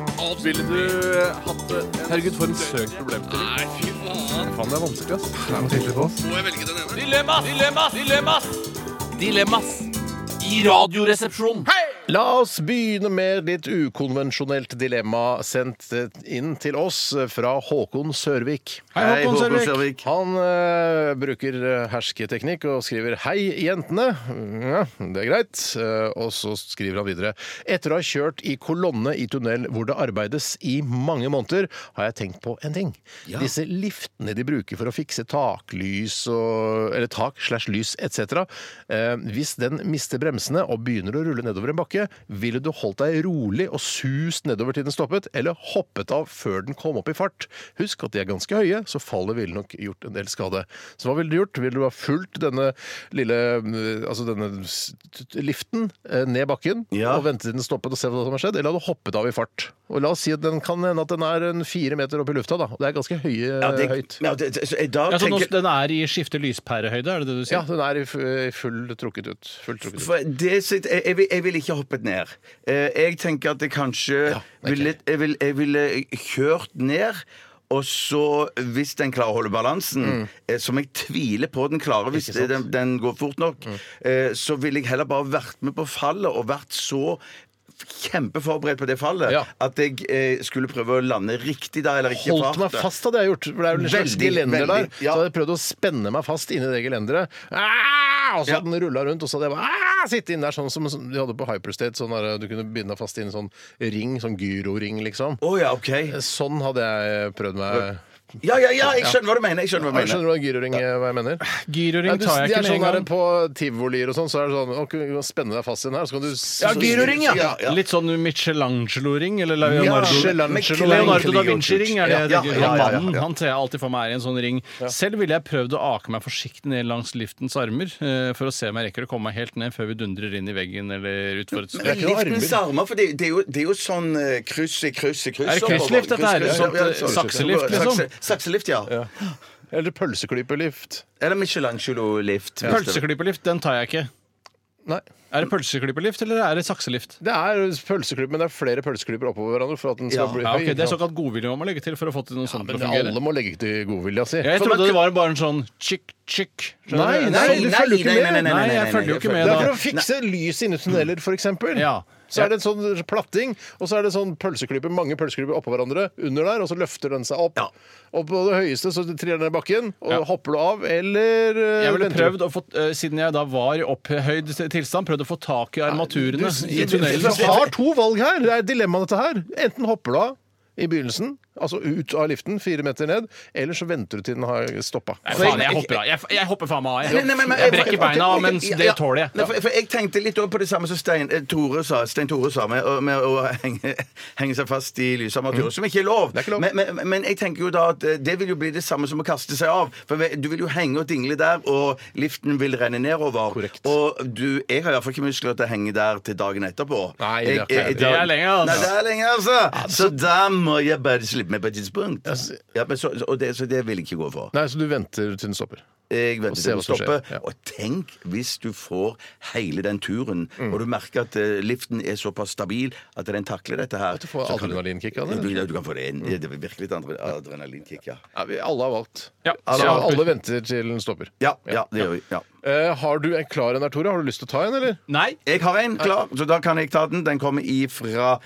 [SPEAKER 8] Ville du
[SPEAKER 3] eh,
[SPEAKER 8] hatt det? Herregud, for en søk problemstilling. Nei, fy faen. Faen, det er vanskelig, ass. Det er noe tydelig på oss. Må jeg velge den ene? Dilemmas! Dilemmas! Dilemmas! Dilemmas! I radioresepsjonen.
[SPEAKER 2] La oss begynne med litt ukonvensjonelt dilemma sendt inn til oss fra Håkon Sørvik.
[SPEAKER 3] Hei, Håkon Sørvik.
[SPEAKER 2] Han eh, bruker eh, hersketeknikk og skriver 'Hei, jentene'. Ja, det er greit. Eh, og så skriver han videre. Etter å ha kjørt i kolonne i tunnel hvor det arbeides i mange måneder, har jeg tenkt på en ting. Disse liftene de bruker for å fikse taklys og Eller tak slash lys etc. Eh, hvis den mister bremsene og begynner å rulle nedover en bakke, tilbake, ville du holdt deg rolig og sust nedover til den stoppet, eller hoppet av før den kom opp i fart? Husk at de er ganske høye, så fallet ville nok gjort en del skade. Så hva ville du gjort? Ville du ha fulgt denne lille eh, altså denne s- t- t- liften eh, ned bakken
[SPEAKER 3] Ja.
[SPEAKER 2] og ventet til den stoppet og se hva som har skjedd, eller hadde du hoppet av i fart? Og la oss si at den kan hende at den er en fire meter opp i lufta, da. Og det er ganske høye,
[SPEAKER 3] det,
[SPEAKER 2] høyt.
[SPEAKER 3] ja, det, det- så jeg da
[SPEAKER 4] Ja, så nå,
[SPEAKER 3] tenker,
[SPEAKER 4] den er i skifte lyspærehøyde, er det det du
[SPEAKER 2] Ja,
[SPEAKER 4] sier?
[SPEAKER 2] den er i f- i full trukket ut. Fullt trukket ut.
[SPEAKER 3] for det, sitt- jeg, jeg, vil- jeg ville ikke hoppet ned. Eh, Jeg tenker at jeg kanskje
[SPEAKER 2] ok.
[SPEAKER 3] ville, jeg, vil, jeg ville kjørt ned. Og så, hvis den klarer å holde
[SPEAKER 2] Mm.
[SPEAKER 3] balansen, eh, som jeg tviler på den klarer hvis den, den går fort nok,
[SPEAKER 2] Mm.
[SPEAKER 3] eh, så ville jeg heller bare vært med på fallet og vært så kjempeforberedt på det fallet
[SPEAKER 2] Ja.
[SPEAKER 3] at jeg eh, skulle prøve å lande riktig der, eller ikke
[SPEAKER 2] Holdt meg
[SPEAKER 3] fartet.
[SPEAKER 2] fast, hadde jeg gjort. For det er jo en slags
[SPEAKER 3] Veldig,
[SPEAKER 2] gelender der.
[SPEAKER 3] veldig,
[SPEAKER 2] Så
[SPEAKER 3] ja.
[SPEAKER 2] hadde jeg prøvd å spenne meg fast inni det gelenderet. Ah, Og så
[SPEAKER 3] Ja.
[SPEAKER 2] hadde den rulla rundt, og så hadde jeg bare ah, sittet inne der sånn som som de hadde på Hyperstate. Sånn der, du kunne binde deg fast inn i en sånn ring, sånn gyroring, liksom.
[SPEAKER 3] Å ja, OK.
[SPEAKER 2] Sånn hadde jeg prøvd meg.
[SPEAKER 3] Ja, ja, ja, jeg skjønner hva du mener. Jeg skjønner
[SPEAKER 2] Ja,
[SPEAKER 3] hva
[SPEAKER 2] jeg
[SPEAKER 3] du
[SPEAKER 2] skjønner
[SPEAKER 3] mener.
[SPEAKER 2] du hva gyroring er, hva jeg mener?
[SPEAKER 4] Gyroring
[SPEAKER 2] du, de
[SPEAKER 4] tar jeg ikke
[SPEAKER 2] er
[SPEAKER 4] med
[SPEAKER 2] sånn
[SPEAKER 4] en
[SPEAKER 2] der,
[SPEAKER 4] gang.
[SPEAKER 2] På tivolier og sånn, så er det sånn OK, du kan spenne deg fast inn her, så kan du s-
[SPEAKER 3] Ja, gyroring, ja. Ja, ja.
[SPEAKER 4] Litt sånn Michelangelo-ring, eller Leonardo,
[SPEAKER 2] Michelangelo-
[SPEAKER 3] Michelangelo-
[SPEAKER 4] Leonardo da Vinci-ring. er det jeg
[SPEAKER 3] Ja,
[SPEAKER 4] tenker.
[SPEAKER 3] ja, ja, ja, ja.
[SPEAKER 4] Han mannen han ser jeg alltid for meg er i en sånn ring. Selv ville jeg prøvd å ake meg forsiktig ned langs liftens armer eh, for å se om jeg rekker å komme meg helt ned før vi dundrer inn i veggen eller utfor et
[SPEAKER 3] Men
[SPEAKER 4] stup.
[SPEAKER 3] Liftens armer, for det, det, er jo, det er jo sånn eh, kryss i kryss i kryss.
[SPEAKER 4] Er det krysslift, dette her?
[SPEAKER 3] Kryss, kryss,
[SPEAKER 4] Sånn,
[SPEAKER 3] ja, ja,
[SPEAKER 4] eh, sakselift, liksom?
[SPEAKER 3] Sakse- Sakselift, ja.
[SPEAKER 2] Eller pølseklypelift.
[SPEAKER 3] Eller Michelangelo-lift. hvis det-
[SPEAKER 4] Pølseklipperlift, den tar jeg ikke.
[SPEAKER 2] Nei.
[SPEAKER 4] Er det pølseklipperlift eller er det sakselift?
[SPEAKER 2] Det er pølseklyper, men det er flere pølseklyper oppå hverandre for at den skal
[SPEAKER 3] Ja.
[SPEAKER 2] bli
[SPEAKER 4] Ja, ok,
[SPEAKER 2] høy.
[SPEAKER 4] Det er såkalt godvilje man må legge til for å få til noe sånt til å
[SPEAKER 2] Men
[SPEAKER 4] fungere.
[SPEAKER 2] alle må legge til godvilja si.
[SPEAKER 4] Jeg
[SPEAKER 3] For man
[SPEAKER 4] trodde det
[SPEAKER 3] kan-
[SPEAKER 4] var bare en sånn chick, chick.
[SPEAKER 2] Nei, nei, du følger jo ikke med.
[SPEAKER 4] Nei, jeg følger jo ikke
[SPEAKER 2] Det
[SPEAKER 4] med, da.
[SPEAKER 2] er for å fikse lys inne i tunneler, f.eks.
[SPEAKER 4] Ja.
[SPEAKER 2] Så er det en sånn platting, og så er det sånn pølseklype, mange pølseklyper oppå hverandre under der, og så løfter den seg opp.
[SPEAKER 3] Ja.
[SPEAKER 2] Og på det høyeste så triller den ned i bakken, og
[SPEAKER 4] Ja.
[SPEAKER 2] hopper du av, eller eh,
[SPEAKER 4] Jeg ville
[SPEAKER 2] venter du?
[SPEAKER 4] prøvd å få, eh, Siden jeg da var i opphøyd tilstand, prøvd å få tak i armaturene i
[SPEAKER 2] Du
[SPEAKER 4] tunnelen.
[SPEAKER 2] har to valg her! Det er et dilemma, dette her. Enten hopper du av i begynnelsen, altså ut av liften, fire meter ned, eller så venter du til den har stoppa.
[SPEAKER 4] Nei, faen, jeg hopper av. Jeg, jeg hopper faen meg av.
[SPEAKER 3] Nei,
[SPEAKER 4] Jeg,
[SPEAKER 3] nei, men- men-
[SPEAKER 4] jeg brekker
[SPEAKER 3] ok,
[SPEAKER 4] beina av,
[SPEAKER 3] ok,
[SPEAKER 4] men
[SPEAKER 3] ja,
[SPEAKER 4] det
[SPEAKER 3] ja.
[SPEAKER 4] tåler jeg.
[SPEAKER 3] Nei, for, for jeg tenkte litt over på det samme som Stein eh, Tore sa, Stein Tore sa med, å- med å henge, henge seg fast i lysarmaturer, som ikke er lov.
[SPEAKER 2] er ikke lov.
[SPEAKER 3] Men, men, men jeg tenker jo da at eh, det vil jo bli det samme som å kaste seg av. For vi- du vil jo henge og dingle der, og liften vil renne nedover.
[SPEAKER 2] Korrekt.
[SPEAKER 3] Og du, jeg har i hvert fall ikke muskler til å henge der til dagen etterpå.
[SPEAKER 2] Nei, det er
[SPEAKER 3] Jeg-
[SPEAKER 2] ikke-
[SPEAKER 3] jeg-
[SPEAKER 4] det er lenge, altså.
[SPEAKER 3] Nei, det er lenge, altså. Så da må jeg bare slippe meg på et tidspunkt. Ja, men så, og det, så det vil jeg ikke gå for.
[SPEAKER 2] Nei, så du venter til den stopper.
[SPEAKER 3] Jeg
[SPEAKER 2] Og
[SPEAKER 3] venter
[SPEAKER 2] se
[SPEAKER 3] til den
[SPEAKER 2] hva som
[SPEAKER 3] stopper.
[SPEAKER 2] skjer, ja.
[SPEAKER 3] Og tenk hvis du får hele den turen,
[SPEAKER 2] Mm.
[SPEAKER 3] og du merker at eh, liften er såpass stabil at den takler dette her.
[SPEAKER 2] du får
[SPEAKER 3] så kan
[SPEAKER 2] adrenalinkick av det, Mm.
[SPEAKER 3] Du, ja, du kan få det inn. Det er virkelig et andre- adrenalinkick, ja.
[SPEAKER 2] Ja, vi, alle har valgt.
[SPEAKER 4] Ja,
[SPEAKER 2] Så
[SPEAKER 4] jeg hopper.
[SPEAKER 2] alle venter til den stopper.
[SPEAKER 3] Ja, ja, det gjør vi. Ja.
[SPEAKER 2] Eh, har du en klar en der, Tore? Har du lyst til å ta en, eller?
[SPEAKER 4] Nei.
[SPEAKER 3] Jeg har en klar, så da kan jeg ta den. Den kommer ifra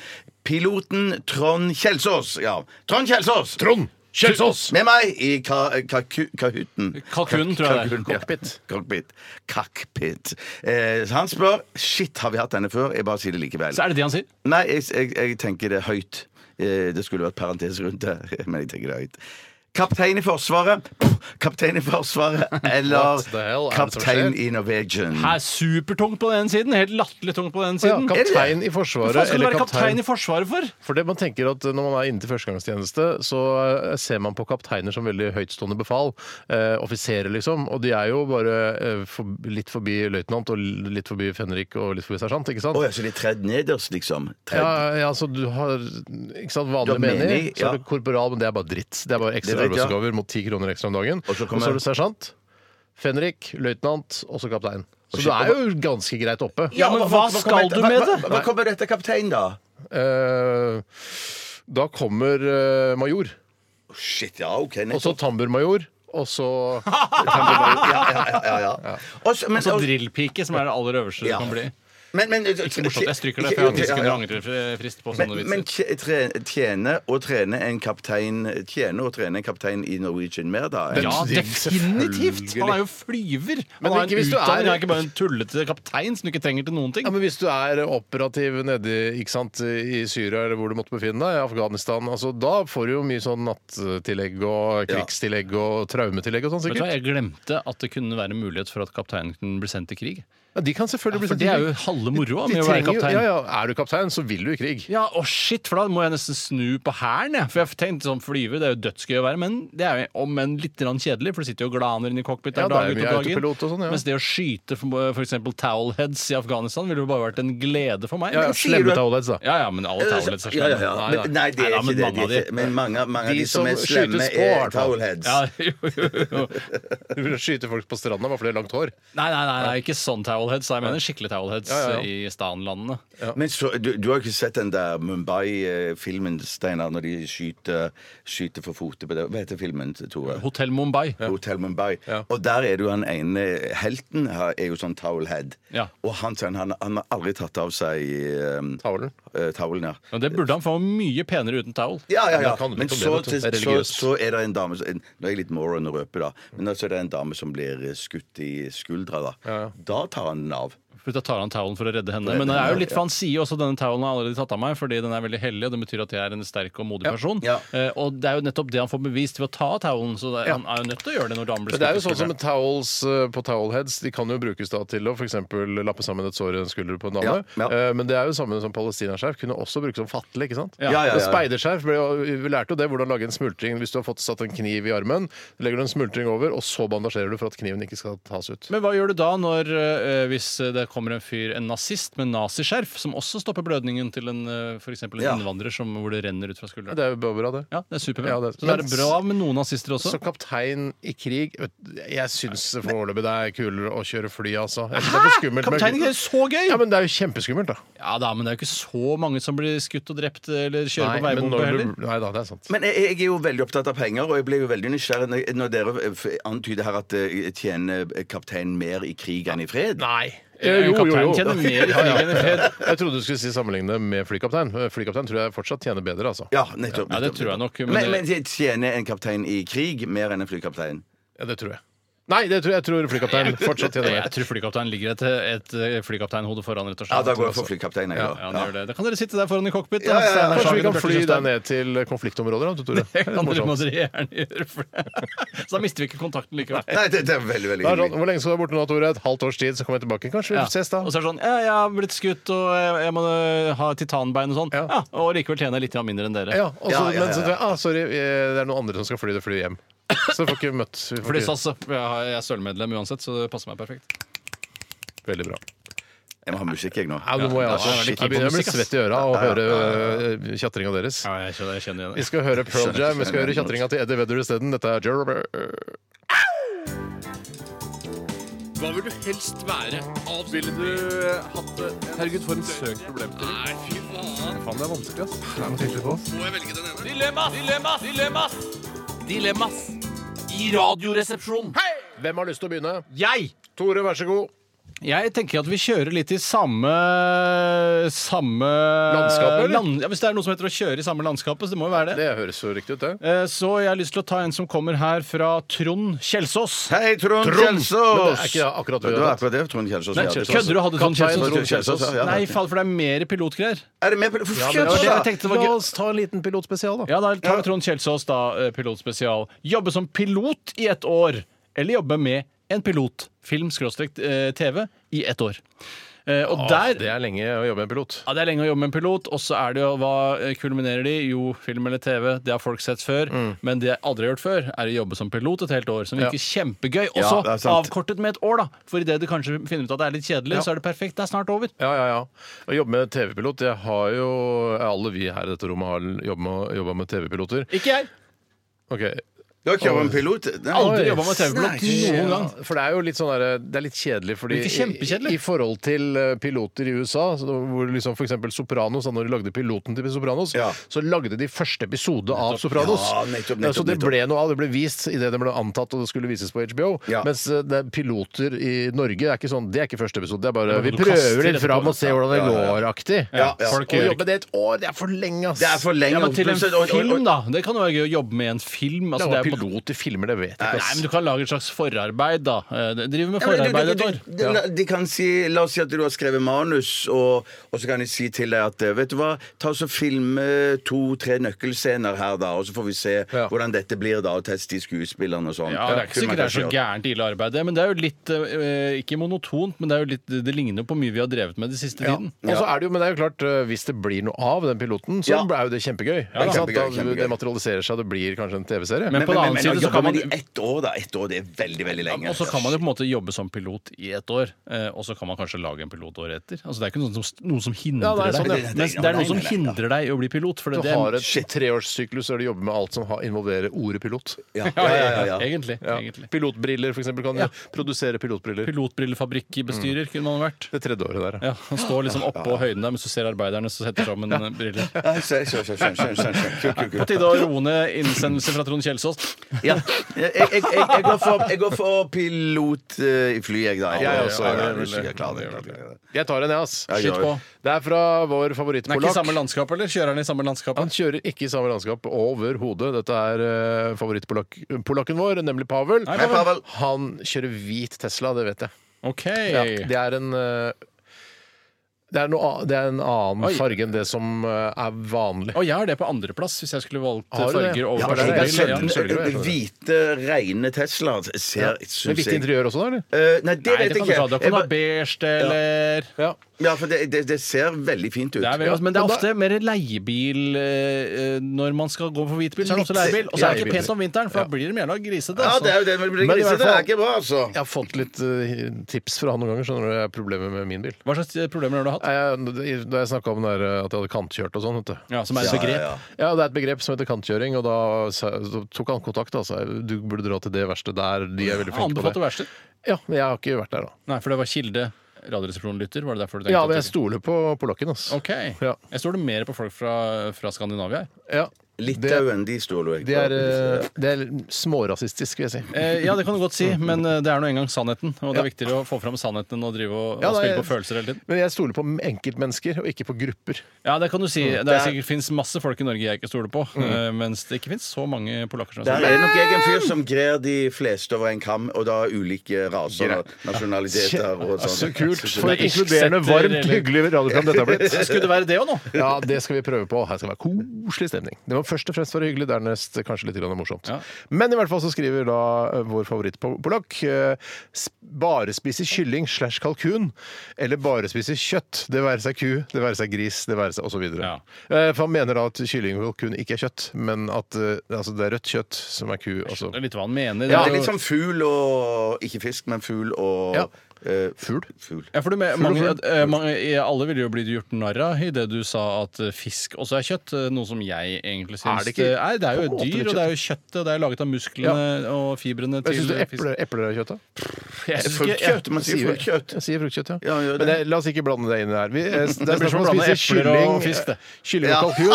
[SPEAKER 3] piloten Trond Kjelsås. Ja. Trond Kjelsås!
[SPEAKER 2] Trond Kjelsås!
[SPEAKER 3] Med meg i ka, kaku, kahutten.
[SPEAKER 4] Kalkunen, tror jeg det er.
[SPEAKER 3] Kalkun, ja.
[SPEAKER 2] Cockpit.
[SPEAKER 3] Cockpit. Cockpit. Eh, så han spør Shit, har vi hatt denne før? Jeg bare sier det likevel.
[SPEAKER 4] Så er det det han sier.
[SPEAKER 3] Nei, jeg, jeg, jeg tenker det er høyt. Eh, Det skulle vært parentes rundt det, men jeg tenker det er høyt. Kaptein i Forsvaret, Puh, kaptein i Forsvaret eller
[SPEAKER 2] What the hell er det som
[SPEAKER 3] kaptein
[SPEAKER 2] skjer?
[SPEAKER 3] i Norwegian.
[SPEAKER 4] Er supertungt på den ene siden, helt latterlig tungt på den ene
[SPEAKER 2] Ja,
[SPEAKER 4] siden. Hva
[SPEAKER 2] kaptein i Forsvaret
[SPEAKER 4] skal du
[SPEAKER 2] eller
[SPEAKER 4] være kaptein
[SPEAKER 2] kaptein
[SPEAKER 4] i Forsvaret for?
[SPEAKER 2] For det man tenker at eh, Når man er inne til førstegangstjeneste, så eh, ser man på kapteiner som veldig høytstående befal. Eh, offiserer, liksom. Og de er jo bare eh, for, litt forbi løytnant og litt forbi fenrik og litt forbi sersjant, ikke sant?
[SPEAKER 3] Å ja, så de er tredd nederst, liksom? Tredd.
[SPEAKER 2] Ja, ja, så du har ikke sant, vanlig
[SPEAKER 3] har
[SPEAKER 2] menig,
[SPEAKER 3] menig,
[SPEAKER 2] så har
[SPEAKER 3] ja.
[SPEAKER 2] du korporal, men det er bare dritt. Det er bare
[SPEAKER 3] Det
[SPEAKER 2] ekstra
[SPEAKER 3] er dritt, ja.
[SPEAKER 2] arbeidsoppgaver mot ti kroner ekstra om dagen.
[SPEAKER 3] Og så
[SPEAKER 2] Og
[SPEAKER 3] kommer-
[SPEAKER 2] så har du sersjant, fenrik, løytnant og så kaptein. Så du er jo ganske greit oppe.
[SPEAKER 4] Ja, men hva
[SPEAKER 3] kommer
[SPEAKER 4] skal
[SPEAKER 3] etter-
[SPEAKER 4] du med
[SPEAKER 3] hva-
[SPEAKER 4] det?
[SPEAKER 3] Hva, hva kommer etter kaptein, da?
[SPEAKER 2] Eh, da kommer eh, major,
[SPEAKER 3] Shit, ja, OK.
[SPEAKER 2] og så
[SPEAKER 3] nettopp.
[SPEAKER 2] tamburmajor, og så
[SPEAKER 3] Ja, ja, ja, ja, ja. Og så- men-
[SPEAKER 4] Altså
[SPEAKER 3] og-
[SPEAKER 4] drillpike, som er det aller øverste du
[SPEAKER 3] Ja.
[SPEAKER 4] kan bli.
[SPEAKER 3] men- men-
[SPEAKER 4] Ikke morsomt, jeg stryker det, for jeg har ti sekunder angrefrist på
[SPEAKER 3] Men,
[SPEAKER 4] sånne
[SPEAKER 3] men
[SPEAKER 4] vitser.
[SPEAKER 3] tje- tre- tjene og trene en kaptein Tjene og trene en kaptein i Norwegian mer, da? enn-
[SPEAKER 4] Ja, definitivt! Han er jo flyver!
[SPEAKER 2] Men
[SPEAKER 4] Han har en
[SPEAKER 2] ikke hvis du er-
[SPEAKER 4] utdanning, han er ikke bare en tullete kaptein som du ikke trenger til noen ting.
[SPEAKER 2] Ja, men Hvis du er operativ nede ikke sant, i Syria eller hvor du måtte befinne deg, i Afghanistan, altså, da får du jo mye sånn nattillegg og
[SPEAKER 3] Ja.
[SPEAKER 2] krigstillegg og traumetillegg og sånn,
[SPEAKER 4] Vet
[SPEAKER 2] sikkert.
[SPEAKER 4] du hva, Jeg glemte at det kunne være mulighet for at kapteinen kunne bli sendt til krig.
[SPEAKER 2] Ja, de kan selvfølgelig bli
[SPEAKER 4] For det er jo halve moroa
[SPEAKER 2] De
[SPEAKER 4] med å være
[SPEAKER 2] trenger jo-
[SPEAKER 4] kaptein.
[SPEAKER 2] Ja, ja. Er du kaptein, så vil du i krig.
[SPEAKER 4] Ja, å shit, for da må jeg nesten snu på hæren, jeg. For jeg tenkte sånn flyver, det er jo dødsgøy å være, men det er jo om enn litt grann kjedelig, for du sitter jo og glaner inn i cockpit
[SPEAKER 2] Ja,
[SPEAKER 4] der
[SPEAKER 2] det er
[SPEAKER 4] dag ut
[SPEAKER 2] jo mye
[SPEAKER 4] og dag
[SPEAKER 2] autopilot og
[SPEAKER 4] inn.
[SPEAKER 2] sånn, ja.
[SPEAKER 4] Mens det å skyte f.eks. towelheads i Afghanistan ville jo bare vært en glede for meg.
[SPEAKER 2] Ja,
[SPEAKER 4] Men
[SPEAKER 2] ja,
[SPEAKER 4] sier
[SPEAKER 2] slemme
[SPEAKER 4] du-
[SPEAKER 2] towelheads, da. Eh,
[SPEAKER 4] Ja, ja, men alle towelheads er
[SPEAKER 3] Ja, ja,
[SPEAKER 4] slemme.
[SPEAKER 3] ja.
[SPEAKER 4] Nei,
[SPEAKER 3] Men, nei, det er
[SPEAKER 4] Nei, da,
[SPEAKER 3] ikke
[SPEAKER 4] men
[SPEAKER 3] det.
[SPEAKER 4] mange
[SPEAKER 3] det
[SPEAKER 4] av
[SPEAKER 3] er ikke, men mange, mange av
[SPEAKER 2] De
[SPEAKER 3] de som
[SPEAKER 2] som
[SPEAKER 3] er slemme,
[SPEAKER 2] skytes på, i
[SPEAKER 3] er
[SPEAKER 2] hvert fall.
[SPEAKER 3] towelheads.
[SPEAKER 4] Ja, jo, jo, jo.
[SPEAKER 2] Du vil skyte folk på stranda bare fordi de har langt hår.
[SPEAKER 4] Nei, nei, nei, nei, ikke sånn towelheads. Jeg mener skikkelig towelheads
[SPEAKER 2] Ja, ja, ja.
[SPEAKER 4] i Stan-landene.
[SPEAKER 3] Men så, du, du har ikke sett den der Mumbai-filmen, Steinar, når de skyter, skyter for fote på det? Hva heter filmen, Tore?
[SPEAKER 4] Hotell Mumbai.
[SPEAKER 3] Hotel Mumbai.
[SPEAKER 2] Ja.
[SPEAKER 3] Og der er det jo han ene helten her er jo sånn towelhead.
[SPEAKER 4] Ja.
[SPEAKER 3] Og han, sier han, han har aldri tatt av seg eh,
[SPEAKER 2] Tavlen.
[SPEAKER 3] eh, towelen, ja.
[SPEAKER 4] Men det burde han få mye penere uten towel.
[SPEAKER 3] Ja, ja,
[SPEAKER 2] Da
[SPEAKER 3] ja.
[SPEAKER 2] kan du
[SPEAKER 3] Men
[SPEAKER 2] ikke om
[SPEAKER 3] så,
[SPEAKER 2] det, vet
[SPEAKER 3] til-
[SPEAKER 2] du. Det er
[SPEAKER 3] så,
[SPEAKER 2] religiøst.
[SPEAKER 3] så er det en dame som- en- Nå er jeg litt moron og røper, da. Men så er det en dame som blir skutt i skuldra. Da Da tar han den av.
[SPEAKER 4] For Da tar han towelen for å redde henne.
[SPEAKER 3] Redde
[SPEAKER 4] Men det er jo
[SPEAKER 3] henne,
[SPEAKER 4] litt for han sier jo også denne towelen har allerede tatt av meg, fordi den er veldig hellig, og det betyr at jeg er en sterk og modig person.
[SPEAKER 3] Ja.
[SPEAKER 4] Eh, og det er jo nettopp det han får bevist ved å ta av towelen, så det, han er jo nødt til å gjøre det når han blir
[SPEAKER 2] Men det er jo
[SPEAKER 4] skutt i
[SPEAKER 2] sånn som
[SPEAKER 4] skulderen.
[SPEAKER 2] towels eh, på towelheads. De kan jo brukes da til å for eksempel lappe sammen et sår i en skulder på en dame.
[SPEAKER 3] Ja, ja.
[SPEAKER 2] Eh, Men det er jo samme som palestinaskjerf. Kunne også brukes som fatle, ikke sant?
[SPEAKER 4] Ja.
[SPEAKER 3] Ja, ja,
[SPEAKER 2] Og
[SPEAKER 3] ja.
[SPEAKER 2] Speiderskjerf ble jo- Vi lærte jo det, hvordan lage en smultring hvis du har fått satt en kniv i armen. Legger du en smultring over, og så bandasjerer du for at kniven ikke skal tas ut.
[SPEAKER 4] Men hva gjør du da når, eh, hvis det kommer en fyr, en nazist med naziskjerf, som også stopper blødningen til en, eh, for eksempel en
[SPEAKER 3] Ja.
[SPEAKER 4] innvandrer som, hvor det renner ut fra skulderen?
[SPEAKER 2] Det er jo bare bra, det.
[SPEAKER 4] Ja, det er superbra.
[SPEAKER 2] Ja, det er-
[SPEAKER 4] Så det
[SPEAKER 2] Men-
[SPEAKER 4] er bra med noen nazister også.
[SPEAKER 2] Så kaptein i krig vet du, Jeg syns foreløpig det er kulere å kjøre fly, altså. Jeg synes det er for skummelt med-
[SPEAKER 4] Kapteinen, det er så gøy!
[SPEAKER 2] Ja, men det er jo kjempeskummelt, da.
[SPEAKER 4] Ja da, men det er jo ikke så mange som blir skutt og drept eh, eller kjører på
[SPEAKER 2] Nei, men
[SPEAKER 4] veibombe
[SPEAKER 2] når
[SPEAKER 4] heller.
[SPEAKER 2] du, nei da, det er sant.
[SPEAKER 3] Men jeg, jeg er jo veldig opptatt av penger, og jeg ble jo veldig nysgjerrig når- når dere eh, f- antyder her at eh, tjener kapteinen mer i krig enn i fred.
[SPEAKER 4] Nei.
[SPEAKER 2] Eh, jo, jo, jo.
[SPEAKER 4] Kapteinen tjener mer i krig enn i fred.
[SPEAKER 2] Jeg trodde du skulle si sammenligne med flykaptein. Flykaptein tror jeg fortsatt tjener bedre, altså.
[SPEAKER 3] Ja, nettopp.
[SPEAKER 4] Ja, det
[SPEAKER 3] nettopp,
[SPEAKER 4] tror jeg nok,
[SPEAKER 3] nettopp.
[SPEAKER 4] men eh,
[SPEAKER 3] Men,
[SPEAKER 4] det-
[SPEAKER 3] men, tjener en kaptein i krig mer enn en flykaptein?
[SPEAKER 2] Ja, det tror jeg. Nei, det tror jeg, jeg tror flykaptein fortsatt tjener
[SPEAKER 4] Jeg
[SPEAKER 2] mer.
[SPEAKER 4] tror flykapteinen ligger et, et eh, flykapteinhode foran, rett og
[SPEAKER 3] Ja,
[SPEAKER 4] slett.
[SPEAKER 3] da går jeg for flykaptein, jeg,
[SPEAKER 4] Ja,
[SPEAKER 3] da.
[SPEAKER 4] han gjør det. Da kan dere sitte der foran i cockpit. da.
[SPEAKER 3] Ja, ja, ja.
[SPEAKER 2] Kanskje
[SPEAKER 4] Steinar
[SPEAKER 2] vi
[SPEAKER 4] Sagen og
[SPEAKER 2] kan
[SPEAKER 4] Bjarte
[SPEAKER 2] fly
[SPEAKER 4] Tjøstheim.
[SPEAKER 2] deg ned til konfliktområder, da, Tore?
[SPEAKER 4] Det kan dere, må
[SPEAKER 2] Morsomt.
[SPEAKER 4] dere gjerne gjøre, for det. Så da mister vi ikke kontakten likevel.
[SPEAKER 3] Nei, det, det er veldig, veldig
[SPEAKER 2] Da er det
[SPEAKER 3] hyggelig.
[SPEAKER 2] sånn, Hvor lenge skal du være borte nå, Tore? Et halvt års tid, så kommer jeg tilbake. Kanskje vi
[SPEAKER 4] Ja.
[SPEAKER 2] ses da?
[SPEAKER 4] Og så er det sånn ja, 'Jeg har blitt skutt, og jeg, jeg må eh, ha titanbein' og sånn. Ja.
[SPEAKER 2] Ja.
[SPEAKER 4] og likevel tjener jeg litt grann mindre enn dere.
[SPEAKER 2] Ja, og så,
[SPEAKER 3] Ja, ja, ja,
[SPEAKER 2] Men så
[SPEAKER 3] ja.
[SPEAKER 2] tror jeg ah, sorry, eh, det er noen andre som skal fly det flyet hjem. Så vi får ikke møtt. vi får
[SPEAKER 4] Fordi
[SPEAKER 2] ikke-
[SPEAKER 4] SAS, for jeg har- jeg er sølvmedlem uansett, så det passer meg perfekt.
[SPEAKER 2] Veldig bra.
[SPEAKER 3] Jeg må ha musikk, jeg nå.
[SPEAKER 2] Ja, nå må jeg
[SPEAKER 4] Ja,
[SPEAKER 2] altså
[SPEAKER 4] da er det
[SPEAKER 2] shit,
[SPEAKER 4] ikke
[SPEAKER 2] Jeg begynner å bli
[SPEAKER 4] musikk, ass.
[SPEAKER 2] svett i øra av å høre eh, kjatringa deres.
[SPEAKER 4] Ja, jeg kjenner, jeg kjenner
[SPEAKER 2] Vi
[SPEAKER 4] igjen det.
[SPEAKER 2] skal høre Pearl Jam, vi skal høre kjatringa til Eddie Vedder isteden. Dette er Jeremy
[SPEAKER 8] Hva vil du helst være? Ville du
[SPEAKER 5] eh,
[SPEAKER 8] hatt det? Herregud, for en søk problemstilling. Nei, fy faen.
[SPEAKER 5] Faen, det er vanskelig, ass. Det er noe tydelig på oss.
[SPEAKER 8] Må jeg velge den ene? Dilemmas! Dilemmas! Dilemmas! Dilemmas i Radioresepsjonen.
[SPEAKER 2] Hvem har lyst til å begynne?
[SPEAKER 4] Jeg!
[SPEAKER 2] Tore, vær så god.
[SPEAKER 4] Jeg tenker at vi kjører litt i samme Samme
[SPEAKER 2] Landskapet, eller?
[SPEAKER 4] land, ja, Hvis det er noe som heter å kjøre i samme landskapet, så det må jo være det.
[SPEAKER 2] Det høres jo riktig ut, det.
[SPEAKER 4] Eh, Så jeg har lyst til å ta en som kommer her fra Trond Kjelsås.
[SPEAKER 3] Hei, Trond
[SPEAKER 2] Trond! Men det
[SPEAKER 3] Kjelsås!
[SPEAKER 2] er ikke akkurat det
[SPEAKER 3] det var
[SPEAKER 2] vi har tatt.
[SPEAKER 3] akkurat det Trond Kjelsås.
[SPEAKER 4] Nei,
[SPEAKER 3] ja, det-
[SPEAKER 4] Kødder du? Hadde du Trond
[SPEAKER 2] Kaptein
[SPEAKER 4] Kjelsås?
[SPEAKER 3] Trond Kjelsås, ja, ja.
[SPEAKER 4] Nei, faen, for det er mer pilotgreier.
[SPEAKER 3] Er det med på Hvorfor
[SPEAKER 4] det var det jeg
[SPEAKER 3] Kjelsås? da?
[SPEAKER 4] tenkte var gøy.
[SPEAKER 2] La oss ta en liten pilotspesial, da.
[SPEAKER 4] Ja, da tar vi Trond Kjelsås, da, eh, pilotspesial. Jobbe som pilot i ett år, eller jobbe med en pilot, film-tv, i ett år. Eh, Og
[SPEAKER 2] Åh,
[SPEAKER 4] der
[SPEAKER 2] Det er lenge å jobbe med en pilot.
[SPEAKER 4] Ja, Det er lenge å jobbe med en pilot, og så er det jo hva eh, kulminerer de? Jo, film eller TV. Det har folk sett før. Men det jeg aldri har gjort før, er å jobbe som pilot et helt år. Som virker kjempegøy. Og så
[SPEAKER 3] Ja, det er sant.
[SPEAKER 4] avkortet med et år, da. For idet du kanskje finner ut at det er litt kjedelig, så er det perfekt. Det er snart over.
[SPEAKER 2] Ja, ja, ja. Å jobbe med TV-pilot Jeg har jo Alle vi her i dette rommet har jobba med, jobbet med TV-piloter.
[SPEAKER 4] Ikke jeg.
[SPEAKER 2] Ok.
[SPEAKER 3] Du har ikke jobbet med pilot? Nei.
[SPEAKER 4] Aldri
[SPEAKER 2] Oi.
[SPEAKER 4] jobba med TV-pilot noen gang.
[SPEAKER 2] Ja, for det er jo litt sånn der, Det er litt kjedelig, fordi
[SPEAKER 4] Det er ikke kjempekjedelig.
[SPEAKER 2] i, i forhold til eh, piloter i USA, så da- hvor liksom for eksempel Sopranos, da når de lagde piloten til Sopranos,
[SPEAKER 3] Ja.
[SPEAKER 2] så lagde de første episode av Sopranos.
[SPEAKER 3] Ja, nettopp, nettopp,
[SPEAKER 2] så det ble noe av, det ble vist idet det ble antatt og det skulle vises på HBO.
[SPEAKER 3] Ja.
[SPEAKER 2] Mens eh, det er piloter i Norge det er ikke sånn, det er ikke første episode, det er bare
[SPEAKER 4] men
[SPEAKER 2] vi
[SPEAKER 4] du kaster
[SPEAKER 2] prøver
[SPEAKER 4] dette
[SPEAKER 2] litt fram
[SPEAKER 4] på-
[SPEAKER 2] og ser hvordan det
[SPEAKER 3] Ja, ja, ja.
[SPEAKER 2] går-aktig.
[SPEAKER 3] Ja, ja.
[SPEAKER 2] Folk gjør
[SPEAKER 4] Og jobbe
[SPEAKER 2] jobbe det et år, det er for lenge, ass!
[SPEAKER 3] Det er for lenge.
[SPEAKER 4] Ja, men til en
[SPEAKER 3] Pluss- og- og- og-
[SPEAKER 4] film, da. Det kan jo være gøy å jobbe med en film.
[SPEAKER 2] Det
[SPEAKER 4] Altså, det
[SPEAKER 2] var
[SPEAKER 4] er jo
[SPEAKER 2] pilot i filmer, det vet jeg ikke.
[SPEAKER 4] Nei, men
[SPEAKER 2] ass.
[SPEAKER 4] du kan lage et slags forarbeid, da. Eh, Driver med
[SPEAKER 3] Ja, men
[SPEAKER 4] forarbeid
[SPEAKER 3] du-
[SPEAKER 4] et
[SPEAKER 3] du-
[SPEAKER 4] år.
[SPEAKER 3] du- du- la- De kan si La oss si at du har skrevet manus, og, og så kan de si til deg at eh, Vet du hva, ta og så film eh, to-tre nøkkelscener her, da, og så får vi se
[SPEAKER 2] Ja.
[SPEAKER 3] hvordan dette blir, da, og teste de skuespillerne og sånn.
[SPEAKER 4] Ja, Det er ikke
[SPEAKER 3] Kunne man
[SPEAKER 4] sikkert det er så
[SPEAKER 3] kanskje gjøre.
[SPEAKER 4] gærent ille arbeid, det, men det er jo litt eh, Ikke monotont, men det er jo litt Det ligner jo på mye vi har drevet med den siste
[SPEAKER 2] Ja.
[SPEAKER 4] tiden.
[SPEAKER 2] Og så er det jo, men det er jo klart, eh, hvis det blir noe av den piloten, så
[SPEAKER 3] Ja.
[SPEAKER 2] er jo det kjempegøy. ikke sant?
[SPEAKER 3] kjempegøy,
[SPEAKER 2] Da,
[SPEAKER 3] kjempegøy.
[SPEAKER 2] det materialiserer seg, det blir kanskje en TV-serie.
[SPEAKER 4] Men- på den annen side så
[SPEAKER 3] jobber
[SPEAKER 4] kan man-
[SPEAKER 3] man i ett år, da. Ett år, det er veldig, veldig lenge.
[SPEAKER 4] Og så kan man jo på en måte jobbe som pilot i et år, eh, og så kan man kanskje lage en pilot året etter. Altså Det er ikke noe som, noe som hindrer
[SPEAKER 2] Ja, nei, sånn,
[SPEAKER 4] deg
[SPEAKER 2] ja.
[SPEAKER 4] Mens Det er noe som
[SPEAKER 3] Nei, nei, nei,
[SPEAKER 4] hindrer deg i å bli pilot. For
[SPEAKER 2] Du
[SPEAKER 4] det, det
[SPEAKER 2] har
[SPEAKER 4] er,
[SPEAKER 2] et treårssyklus der du jobber med alt som har, involverer ordet pilot.
[SPEAKER 3] Ja, ja, ja, ja, ja.
[SPEAKER 4] Egentlig.
[SPEAKER 2] Ja.
[SPEAKER 4] egentlig.
[SPEAKER 2] Pilotbriller, for eksempel, kan du produsere pilotbriller.
[SPEAKER 4] Pilotbrillefabrikkbestyrer kunne man vært.
[SPEAKER 2] Det tredje året der, ja.
[SPEAKER 4] Ja, Han står liksom oppå høyden der mens du ser arbeiderne som setter sammen eh, briller.
[SPEAKER 3] Ja, skjønner, skjønner, skjønner, skjønner, skjønner. Kult, kult,
[SPEAKER 4] På
[SPEAKER 3] kult.
[SPEAKER 4] tide å roe ned innsendelser fra Trond Kjelsås.
[SPEAKER 3] Ja. Jeg, jeg, jeg, jeg, går for, jeg går for pilot eh, i fly, jeg, da.
[SPEAKER 2] Jeg også,
[SPEAKER 3] Ja,
[SPEAKER 2] jeg
[SPEAKER 3] ja,
[SPEAKER 2] vil-
[SPEAKER 3] hvis jeg klarer det, jeg klarer det.
[SPEAKER 2] Jeg tar en, jeg, ass.
[SPEAKER 3] Ja,
[SPEAKER 4] Skyt
[SPEAKER 3] gjør.
[SPEAKER 4] på.
[SPEAKER 2] Det er fra vår
[SPEAKER 4] Den er ikke i samme
[SPEAKER 2] favorittpolakk.
[SPEAKER 4] landskap, eller? Kjører han i samme landskap?
[SPEAKER 2] Han kjører ikke i samme landskap overhodet. Dette er eh, favorittpolakken vår, nemlig Pavel.
[SPEAKER 4] Hei, Pavel.
[SPEAKER 3] Pavel.
[SPEAKER 2] Han kjører hvit Tesla, det vet jeg.
[SPEAKER 4] OK.
[SPEAKER 2] Ja, det er en eh, det er, noe, a- det er en annen
[SPEAKER 4] Oi.
[SPEAKER 2] farge enn det som eh, er vanlig.
[SPEAKER 4] Og jeg har det på andreplass, hvis jeg skulle valgt
[SPEAKER 2] Har du det?
[SPEAKER 4] farger over
[SPEAKER 2] Ja,
[SPEAKER 3] Ja,
[SPEAKER 2] det er
[SPEAKER 3] jeg
[SPEAKER 2] det.
[SPEAKER 4] personbil.
[SPEAKER 3] skjønner,
[SPEAKER 4] Ja.
[SPEAKER 2] sørger du, jeg skjønner.
[SPEAKER 3] Hvite, reine Teslaer ser
[SPEAKER 2] Med
[SPEAKER 3] synes
[SPEAKER 2] hvitt
[SPEAKER 3] jeg
[SPEAKER 2] interiør også, da? eller?
[SPEAKER 3] Eh, Nei, det
[SPEAKER 4] Nei,
[SPEAKER 3] vet
[SPEAKER 4] det
[SPEAKER 3] jeg
[SPEAKER 4] kan du
[SPEAKER 3] ikke.
[SPEAKER 4] ta. Da kan
[SPEAKER 3] Jeg
[SPEAKER 4] du ha
[SPEAKER 3] bare-
[SPEAKER 4] beige eller
[SPEAKER 2] Ja.
[SPEAKER 3] Ja, for det, det, det ser veldig fint ut.
[SPEAKER 4] Det er vel,
[SPEAKER 3] Ja.
[SPEAKER 4] men det er
[SPEAKER 2] og da-
[SPEAKER 4] ofte mer leiebil eh, eh, når man skal gå for hvitbil. Så er det ofte leiebil, Og så er det ikke
[SPEAKER 2] leiebil.
[SPEAKER 4] pent om vinteren, for da blir det mer da grisete.
[SPEAKER 3] Ja,
[SPEAKER 4] altså.
[SPEAKER 3] det er jo det med
[SPEAKER 2] Men i hvert
[SPEAKER 3] grisete. Det er
[SPEAKER 2] fall-
[SPEAKER 3] ikke bra, altså.
[SPEAKER 2] Jeg har fått litt eh, tips fra han noen ganger, skjønner du. Jeg har problemer med min bil.
[SPEAKER 4] Hva slags eh, problemer har du hatt?
[SPEAKER 2] Nei, jeg- Da jeg snakka om det her, eh, at jeg hadde kantkjørt og sånn, vet du.
[SPEAKER 4] Ja, som er
[SPEAKER 3] Ja,
[SPEAKER 4] et
[SPEAKER 3] ja,
[SPEAKER 4] begrep.
[SPEAKER 3] ja.
[SPEAKER 2] Ja, det er et begrep som heter kantkjøring, og da sa- så tok han kontakt. Da, sa jeg, du burde dra til det verste der, de er veldig flinke på
[SPEAKER 4] Anbefalte
[SPEAKER 2] det.
[SPEAKER 4] verksted?
[SPEAKER 2] Ja, men jeg har ikke vært der, da.
[SPEAKER 4] Nei, for det var Kilde, Radioresepsjonen-lytter. Var det derfor du tenkte
[SPEAKER 2] Ja, men
[SPEAKER 4] at
[SPEAKER 2] jeg stoler på polakken, altså.
[SPEAKER 4] Ok.
[SPEAKER 2] Ja.
[SPEAKER 4] Jeg stoler mer på folk fra, fra Skandinavia. jeg.
[SPEAKER 2] Ja. Det,
[SPEAKER 3] Litauen, de stoler jo
[SPEAKER 2] det, er, eh, det er smårasistisk, vil jeg si.
[SPEAKER 4] Eh, ja, det kan du godt si, men eh, det er nå engang sannheten. Og det er viktigere å få fram sannheten enn å drive og,
[SPEAKER 2] Ja,
[SPEAKER 4] og
[SPEAKER 2] nei,
[SPEAKER 4] spille på følelser hele tiden.
[SPEAKER 2] Men jeg stoler på enkeltmennesker, og ikke på grupper.
[SPEAKER 4] Ja, det kan du si. Mm. Det
[SPEAKER 3] Det
[SPEAKER 4] er
[SPEAKER 3] er-
[SPEAKER 4] sikkert finnes masse folk i Norge jeg ikke stoler på, eh, mens det ikke finnes så mange polakker som
[SPEAKER 3] Der
[SPEAKER 4] jeg stoler på.
[SPEAKER 3] er nok jeg en fyr som grer de fleste over en kam, og da ulike raser og nasjonaliteter og sånn.
[SPEAKER 2] Så kult! For et
[SPEAKER 4] det er
[SPEAKER 2] inkluderende,
[SPEAKER 4] ikke setter,
[SPEAKER 2] varmt,
[SPEAKER 4] eller-
[SPEAKER 2] hyggelig radioprogram dette har blitt.
[SPEAKER 4] Skulle det være det òg nå?
[SPEAKER 2] Ja, det skal vi prøve på. Her skal det være koselig stemning. Det må først og fremst være hyggelig, dernest kanskje litt grann morsomt.
[SPEAKER 4] Ja.
[SPEAKER 2] Men i hvert fall så skriver da eh, vår favorittpolakk eh, s- bare spise kylling slash kalkun, eller bare spise kjøtt. Det være seg ku, det være seg gris, det være seg osv.
[SPEAKER 4] Ja.
[SPEAKER 2] Eh, For han mener da at kylling og kalkun ikke er kjøtt, men at eh, altså, det er rødt kjøtt som er ku. Altså.
[SPEAKER 4] Det er litt hva han mener.
[SPEAKER 3] Ja, det er
[SPEAKER 4] Det er jo-
[SPEAKER 3] litt sånn fugl og Ikke fisk, men fugl og
[SPEAKER 2] Ja.
[SPEAKER 3] eh,
[SPEAKER 2] Fugl?
[SPEAKER 3] fugl.
[SPEAKER 4] ja, for du med,
[SPEAKER 2] Full og
[SPEAKER 4] mange,
[SPEAKER 2] full.
[SPEAKER 4] eh, mange, eh, alle ville jo blitt gjort narr av i det du sa at eh, fisk også er kjøtt. eh, Noe som jeg egentlig syns
[SPEAKER 2] Er det ikke
[SPEAKER 4] eh, er, det er jo
[SPEAKER 2] på en
[SPEAKER 4] et
[SPEAKER 2] måte
[SPEAKER 4] dyr,
[SPEAKER 2] litt
[SPEAKER 4] og det er jo kjøttet, og det er laget av musklene og fibrene til
[SPEAKER 2] Jeg synes du
[SPEAKER 4] eh, fisk.
[SPEAKER 2] eple, epler er kjøtt, da?
[SPEAKER 4] Jeg synes
[SPEAKER 3] Fullt
[SPEAKER 4] ikke- jeg-
[SPEAKER 3] kjøtt. Man sier
[SPEAKER 2] Sier-
[SPEAKER 3] fullt kjøtt.
[SPEAKER 2] Jeg sier fruktkjøtt, ja.
[SPEAKER 3] Ja, gjør det.
[SPEAKER 2] Men det, la oss ikke blande det inn her. Vi, eh, det er
[SPEAKER 4] blir
[SPEAKER 2] snakk
[SPEAKER 4] som
[SPEAKER 2] om å
[SPEAKER 4] å blande
[SPEAKER 2] spise
[SPEAKER 4] epler og
[SPEAKER 2] kylling,
[SPEAKER 4] fisk, det.
[SPEAKER 2] kylling og kalkun.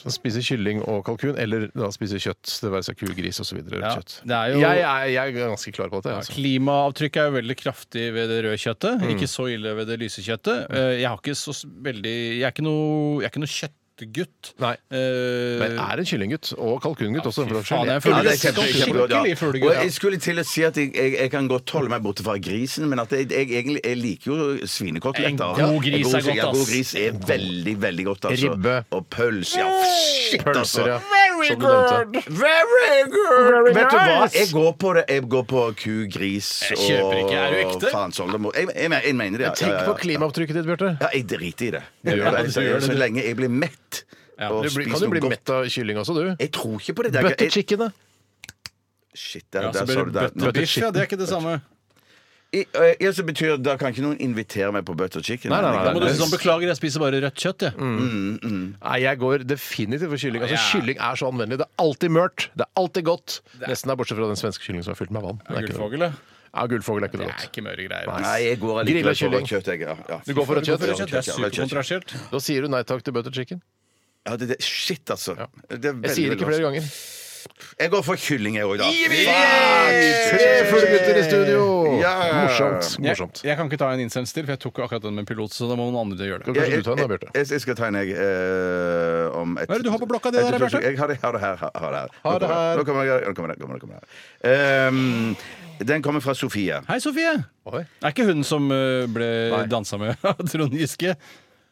[SPEAKER 2] Så Spise kylling og kalkun, eller da spise kjøtt. Det være seg ku, gris osv.
[SPEAKER 4] Ja,
[SPEAKER 2] Kjøtt.
[SPEAKER 4] det er jo-
[SPEAKER 2] jeg, er, jeg er ganske klar på dette.
[SPEAKER 4] Ja,
[SPEAKER 2] Altså. Mm.
[SPEAKER 4] Klimaavtrykket er jo veldig kraftig ved det røde kjøttet. Ikke så ille ved det lyse kjøttet. Eh, Jeg, har ikke så s- veldig, jeg, er ikke noe, jeg er ikke noe kjøttgutt.
[SPEAKER 2] Nei.
[SPEAKER 4] Eh,
[SPEAKER 2] Men jeg er en kyllinggutt og kalkungutt også. for den
[SPEAKER 4] faen, jeg
[SPEAKER 2] saks skyld.
[SPEAKER 4] er full-
[SPEAKER 3] Ja, det er
[SPEAKER 4] Skikkelig
[SPEAKER 3] kjempe- kjempegodt, ja.
[SPEAKER 4] fuglegutt,
[SPEAKER 3] Og
[SPEAKER 4] ja.
[SPEAKER 3] jeg skulle til å si at jeg, jeg, jeg kan godt holde meg borte fra grisen, men at jeg, jeg, egentlig- jeg liker jo svinekoteletter.
[SPEAKER 4] En god gris er
[SPEAKER 3] En
[SPEAKER 4] godt,
[SPEAKER 3] ja,
[SPEAKER 4] ass.
[SPEAKER 3] god gris er veldig, veldig godt, altså.
[SPEAKER 2] Ribbe.
[SPEAKER 3] Og pøls, ja. Shit,
[SPEAKER 2] Pølser, ja.
[SPEAKER 3] altså.
[SPEAKER 2] Very good!
[SPEAKER 3] Very good! Vet du hva? Jeg går på det. Jeg går på ku, gris og
[SPEAKER 4] kjøper ikke. Er du ekte?
[SPEAKER 3] Faen, soldemor. Jeg, jeg, jeg, mener det. Ja.
[SPEAKER 2] Tenk
[SPEAKER 3] Ja, ja,
[SPEAKER 2] på
[SPEAKER 3] ja.
[SPEAKER 2] klimaavtrykket ditt, Bjarte.
[SPEAKER 3] Ja, jeg driter i det. Jeg
[SPEAKER 4] gjør
[SPEAKER 3] gjør
[SPEAKER 4] det,
[SPEAKER 3] det.
[SPEAKER 4] du gjør det,
[SPEAKER 3] Så
[SPEAKER 4] du.
[SPEAKER 3] lenge jeg blir mett
[SPEAKER 4] Ja,
[SPEAKER 3] og
[SPEAKER 2] Du blir, kan
[SPEAKER 3] spiser
[SPEAKER 2] du bli
[SPEAKER 3] noe godt.
[SPEAKER 2] mett av kylling også, du?
[SPEAKER 3] Jeg tror ikke på det. det. er ikke-
[SPEAKER 2] Butter
[SPEAKER 3] jeg-
[SPEAKER 2] chicken, da.
[SPEAKER 3] Shit, der,
[SPEAKER 4] ja,
[SPEAKER 3] der
[SPEAKER 4] så
[SPEAKER 3] sa
[SPEAKER 4] blir
[SPEAKER 3] du
[SPEAKER 4] det
[SPEAKER 3] det.
[SPEAKER 4] bøtter biff. Ja, det er ikke det samme.
[SPEAKER 3] I- øh, Ja, så betyr Da kan ikke noen invitere meg på butter chicken.
[SPEAKER 2] Nei, nei, nei. Mm,
[SPEAKER 4] Da må du si
[SPEAKER 2] Nice.
[SPEAKER 4] sånn Beklager, jeg spiser bare rødt kjøtt, jeg.
[SPEAKER 2] Nei, jeg går definitivt for kylling. Altså,
[SPEAKER 4] Ja.
[SPEAKER 2] Kylling er så anvendelig. Det er alltid mørt, det er alltid godt. Nesten er bortsett fra den svenske kyllingen som er fylt med vann. Den er ikke noe godt.
[SPEAKER 4] Gullfogel, ja.
[SPEAKER 2] Ja, Gullfogel er ikke
[SPEAKER 4] Det
[SPEAKER 2] noe
[SPEAKER 4] er
[SPEAKER 2] godt.
[SPEAKER 4] ikke møre greier.
[SPEAKER 3] Nei,
[SPEAKER 4] ass.
[SPEAKER 3] Nei, jeg går
[SPEAKER 2] Grilla
[SPEAKER 3] allikevel for
[SPEAKER 2] kylling.
[SPEAKER 3] rødt kjøtt. Jeg, ja. Ja.
[SPEAKER 2] Du går for rødt
[SPEAKER 4] Hvorfor
[SPEAKER 2] kjøtt?
[SPEAKER 4] rødt kjøtt? Det er
[SPEAKER 3] Rødt kjøtt, ja.
[SPEAKER 4] superkontrasjert.
[SPEAKER 2] Da sier du nei takk til butter chicken.
[SPEAKER 3] Ja, det, det, shit, altså. Det er veldig,
[SPEAKER 2] Jeg sier
[SPEAKER 3] veldig
[SPEAKER 2] ikke flere ganger.
[SPEAKER 3] Jeg går for kylling, jeg òg, da.
[SPEAKER 2] Tre fulle gutter i studio!
[SPEAKER 3] Ja.
[SPEAKER 2] Morsomt.
[SPEAKER 4] Jeg,
[SPEAKER 2] morsomt.
[SPEAKER 4] jeg kan ikke ta en innsendelse til, for jeg tok jo akkurat den med pilot. Så da må noen andre gjøre det.
[SPEAKER 2] Skal kanskje du ta den da, Bjarte?
[SPEAKER 3] Jeg, jeg skal ta en, jeg. eh, om et,
[SPEAKER 4] Hva er det du har på blokka di der,
[SPEAKER 3] et-
[SPEAKER 4] Bjarte?
[SPEAKER 3] Jeg har det, har det her. Har, har det her.
[SPEAKER 2] Har det her.
[SPEAKER 3] Nå kommer det her. Nå kommer det, nå kommer det, nå kommer det her. Ehm, den kommer fra Sofie.
[SPEAKER 4] Hei, Sofie!
[SPEAKER 2] Oi.
[SPEAKER 4] Er ikke hun som eh, ble
[SPEAKER 2] Nei.
[SPEAKER 4] dansa med av Trond Giske?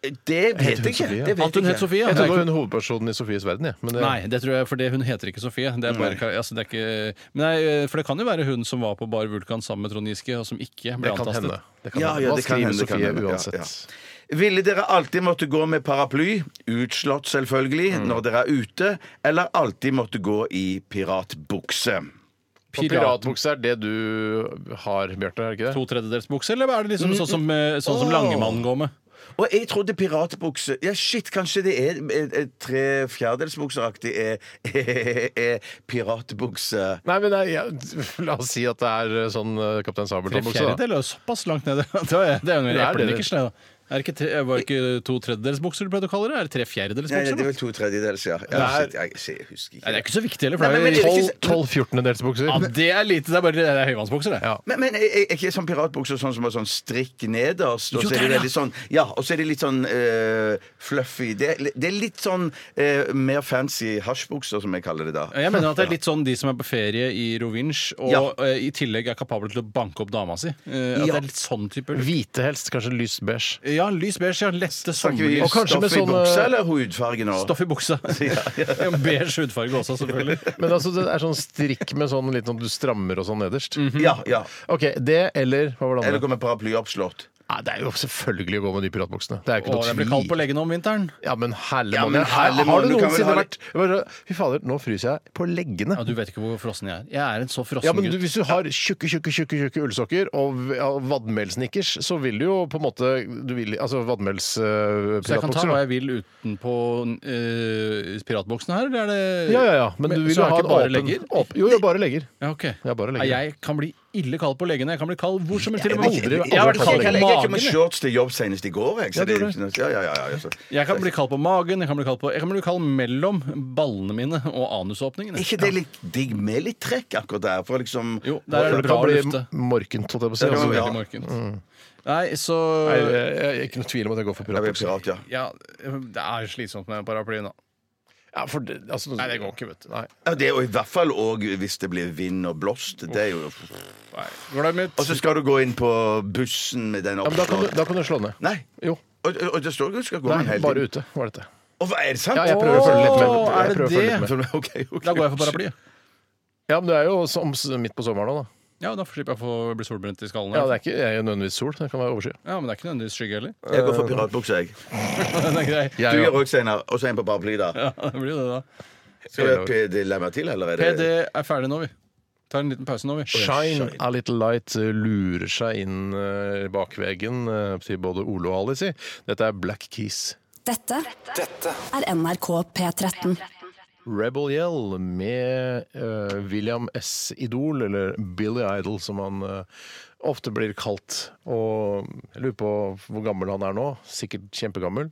[SPEAKER 3] Det vet jeg ikke.
[SPEAKER 2] Sofie?
[SPEAKER 3] Det vet
[SPEAKER 4] At hun het
[SPEAKER 3] jeg ikke.
[SPEAKER 4] Sofie?
[SPEAKER 2] Jeg
[SPEAKER 4] Det er
[SPEAKER 2] trodde
[SPEAKER 4] ikke-
[SPEAKER 2] hun hovedpersonen i Sofies verden, jeg. Men det,
[SPEAKER 4] Nei, det tror jeg, for det, hun heter ikke Sofie. Det er bare, altså, det er ikke, men nei, eh, for det kan jo være hun som var på Bar Vulkan sammen med Trond Giske, og som ikke ble
[SPEAKER 2] det kan
[SPEAKER 4] antastet.
[SPEAKER 2] hende. Det kan
[SPEAKER 3] Ja,
[SPEAKER 2] hende.
[SPEAKER 3] ja,
[SPEAKER 2] Man
[SPEAKER 3] det kan
[SPEAKER 2] skriver
[SPEAKER 3] hende, det kan
[SPEAKER 2] Sofie
[SPEAKER 3] hende. Ja,
[SPEAKER 2] uansett.
[SPEAKER 3] ja. Ville dere alltid måtte gå med paraply, utslått selvfølgelig,
[SPEAKER 2] Mm.
[SPEAKER 3] når dere er ute, eller alltid måtte gå i piratbukse?
[SPEAKER 2] Og Piratbukse er det du har, Bjarte? Er det ikke det?
[SPEAKER 4] To tredjedels bukse, eller er det liksom sånn som, eh, sånn som
[SPEAKER 3] Åh.
[SPEAKER 4] Langemann går med?
[SPEAKER 3] Og jeg trodde piratbukse Ja, shit, kanskje det er eh, eh, tre fjerdedelsbukseraktig er, er piratbukse.
[SPEAKER 2] Nei, men nei, ja, La oss si at det er sånn eh, Kaptein
[SPEAKER 4] Tre
[SPEAKER 2] Sabeltann-bukse. da.
[SPEAKER 4] fjerdedeler er såpass langt nede. Det er, det er jo en
[SPEAKER 2] Det er det.
[SPEAKER 4] eplenykkers, det. da. Er det ikke tre, var det ikke to tredjedels bukser du pleide å kalle det? Er det tre fjerdedels
[SPEAKER 3] Nei, det er
[SPEAKER 4] bukser? da?
[SPEAKER 3] vel to tredjedels, ja. ja
[SPEAKER 2] Nei.
[SPEAKER 3] shit, jeg, jeg husker
[SPEAKER 4] Nei, det
[SPEAKER 3] ikke.
[SPEAKER 4] er ikke så viktig heller. For
[SPEAKER 3] Nei,
[SPEAKER 4] det
[SPEAKER 3] men-
[SPEAKER 4] er,
[SPEAKER 3] men-
[SPEAKER 4] jo-
[SPEAKER 2] 12-14-delsbukser.
[SPEAKER 4] ja, det er lite. Det er bare det er høyvannsbukser, det.
[SPEAKER 2] Ja.
[SPEAKER 3] Men, men er, er ikke sånn piratbukser sånn som har sånn strikk nederst? Og
[SPEAKER 4] Jo,
[SPEAKER 3] så er det
[SPEAKER 4] det er
[SPEAKER 3] veldig sånn Ja, og så er det litt sånn eh, fluffy det, er- det er litt sånn eh, mer fancy hasjbukser, som jeg kaller det da.
[SPEAKER 4] Jeg mener at det er litt sånn de som er på ferie i Rovinj, og
[SPEAKER 3] Ja.
[SPEAKER 4] eh, i tillegg er kapable til å banke opp dama si. Eh, at
[SPEAKER 3] Ja.
[SPEAKER 4] det er litt sånn type
[SPEAKER 2] Hvite helst, kanskje lys beige.
[SPEAKER 4] Ja, lys beige, ja. Lette
[SPEAKER 3] Snakker vi
[SPEAKER 4] sommerlys.
[SPEAKER 2] Og kanskje
[SPEAKER 3] stoff
[SPEAKER 2] med
[SPEAKER 3] i
[SPEAKER 2] sånne-
[SPEAKER 3] buksa eller hudfarge nå?
[SPEAKER 4] sånn, eh, Stoff i buksa. En Beige hudfarge også, selvfølgelig.
[SPEAKER 2] Men altså, det er sånn strikk med sånn litt sånn du strammer og sånn nederst.
[SPEAKER 4] Mm.
[SPEAKER 3] Ja,
[SPEAKER 4] Mhm.
[SPEAKER 3] ja.
[SPEAKER 2] OK, det eller hva var det
[SPEAKER 3] Eller
[SPEAKER 2] andre?
[SPEAKER 3] gå med paraply oppslått.
[SPEAKER 2] Nei, det er jo selvfølgelig å gå med de piratbuksene. Det er jo ikke
[SPEAKER 4] Og det blir
[SPEAKER 2] noe
[SPEAKER 4] kaldt på
[SPEAKER 2] tvil.
[SPEAKER 4] leggen om vinteren.
[SPEAKER 2] Ja, men herlig
[SPEAKER 3] Ja,
[SPEAKER 2] måned.
[SPEAKER 3] men herlig
[SPEAKER 2] Har
[SPEAKER 3] måned,
[SPEAKER 2] du
[SPEAKER 3] du kan vel
[SPEAKER 2] noensinne
[SPEAKER 3] ha
[SPEAKER 2] vært bare, Fy fader, nå fryser jeg på leggene.
[SPEAKER 4] Ja, Du vet ikke hvor frossen jeg er. Jeg er en så frossen
[SPEAKER 2] Ja, men du,
[SPEAKER 4] gutt.
[SPEAKER 2] Hvis du har tjukke tjukke, tjukke, tjukke ullsokker og v- ja, vadmelsnickers, så vil du jo på en måte du vil, Altså eh,
[SPEAKER 4] Så jeg kan ta
[SPEAKER 2] vadmelspiratbukser.
[SPEAKER 4] hva jeg vil utenpå uh, piratboksene her, eller er det
[SPEAKER 2] ja, ja, ja. Men, du vil jo ha
[SPEAKER 4] så jeg har
[SPEAKER 2] en
[SPEAKER 4] ikke bare
[SPEAKER 2] åpen
[SPEAKER 4] legger?
[SPEAKER 2] åp- jo, jo, bare legger.
[SPEAKER 4] Ja, ok.
[SPEAKER 2] Ja, bare legger.
[SPEAKER 4] Nei, Jeg kan bli ille kald på leggene. Jeg kan bli kald hvor som helst. Til og med
[SPEAKER 2] Jeg-
[SPEAKER 4] hodet.
[SPEAKER 2] jeg-
[SPEAKER 4] Jeg har vært
[SPEAKER 2] jeg-
[SPEAKER 3] Jeg
[SPEAKER 4] kald på
[SPEAKER 3] gikk ikke med
[SPEAKER 4] magen. jeg.
[SPEAKER 3] shorts til jobb senest i går. Jeg, så
[SPEAKER 2] Ja,
[SPEAKER 3] det, er
[SPEAKER 2] du
[SPEAKER 3] jo ikke noe- ja, ja, ja, ja, så.
[SPEAKER 4] Jeg kan bli kald på magen, jeg kan bli kald på Jeg kan bli kald mellom ballene mine og anusåpningene.
[SPEAKER 3] ikke det litt digg med litt trekk akkurat der? For liksom
[SPEAKER 4] Jo, der er
[SPEAKER 2] For
[SPEAKER 4] det
[SPEAKER 2] det
[SPEAKER 4] bra
[SPEAKER 2] kan
[SPEAKER 4] å
[SPEAKER 2] bli
[SPEAKER 4] lufte.
[SPEAKER 2] morkent, holdt jeg på å si.
[SPEAKER 3] Det kan
[SPEAKER 2] Altså,
[SPEAKER 3] bli-
[SPEAKER 4] Veldig morkent. Nei, så
[SPEAKER 2] Nei, jeg, jeg, jeg er ikke noe tvil om at jeg går for
[SPEAKER 3] Jeg blir
[SPEAKER 2] piratbukser.
[SPEAKER 3] pirat, ja.
[SPEAKER 4] Ja, det er slitsomt med paraplyen, da.
[SPEAKER 2] Ja, for det- altså-
[SPEAKER 4] Nei, det går ikke, vet du.
[SPEAKER 2] Nei.
[SPEAKER 3] ja det, og I hvert fall òg hvis det blir vind og blåst. Det er jo
[SPEAKER 4] Nei. Glem ut.
[SPEAKER 3] Og så skal du gå inn på bussen med den
[SPEAKER 2] Ja, men da kan, du,
[SPEAKER 3] oppslått.
[SPEAKER 2] da kan du slå ned.
[SPEAKER 3] Nei.
[SPEAKER 2] Jo.
[SPEAKER 3] Og, og det står jo at du skal gå med den
[SPEAKER 2] Nei,
[SPEAKER 3] hele
[SPEAKER 2] bare
[SPEAKER 3] tiden.
[SPEAKER 2] ute, var dette.
[SPEAKER 3] Å, hva, er det sant?
[SPEAKER 2] Ja, jeg prøver å følge litt med.
[SPEAKER 4] Åh, er
[SPEAKER 2] Jeg
[SPEAKER 4] det
[SPEAKER 2] prøver å følge
[SPEAKER 4] det?
[SPEAKER 2] litt med.
[SPEAKER 3] Ok, ok.
[SPEAKER 4] Da går jeg for paraplyet.
[SPEAKER 2] Ja, men det er jo som, midt på sommeren nå, da.
[SPEAKER 4] Ja, da slipper jeg å få- bli solbrent i skallen.
[SPEAKER 2] Ja,
[SPEAKER 4] her.
[SPEAKER 2] det er ikke jeg er jo nødvendigvis sol. Det kan være overskyet.
[SPEAKER 4] Ja, men det er ikke nødvendigvis skygge heller.
[SPEAKER 3] Jeg går for piratbukse, jeg.
[SPEAKER 4] Den er grei.
[SPEAKER 3] Du gjør òg, Steinar. Og så en på paraply, da.
[SPEAKER 4] Ja, det blir jo det, da.
[SPEAKER 3] Skal jeg PD lemme til, eller er det
[SPEAKER 4] PD er ferdig nå, vi. Tar en liten pause nå, vi.
[SPEAKER 2] Shine a little light eh, lurer seg inn eh, bakveggen eh, til både Ole og Alice. i. Dette er Black Keys.
[SPEAKER 6] Dette er NRK P13.
[SPEAKER 2] Rebel Yell med eh, William S. Idol, eller Billy Idol som han eh, ofte blir kalt. Og jeg lurer på hvor gammel han er nå. Sikkert kjempegammel.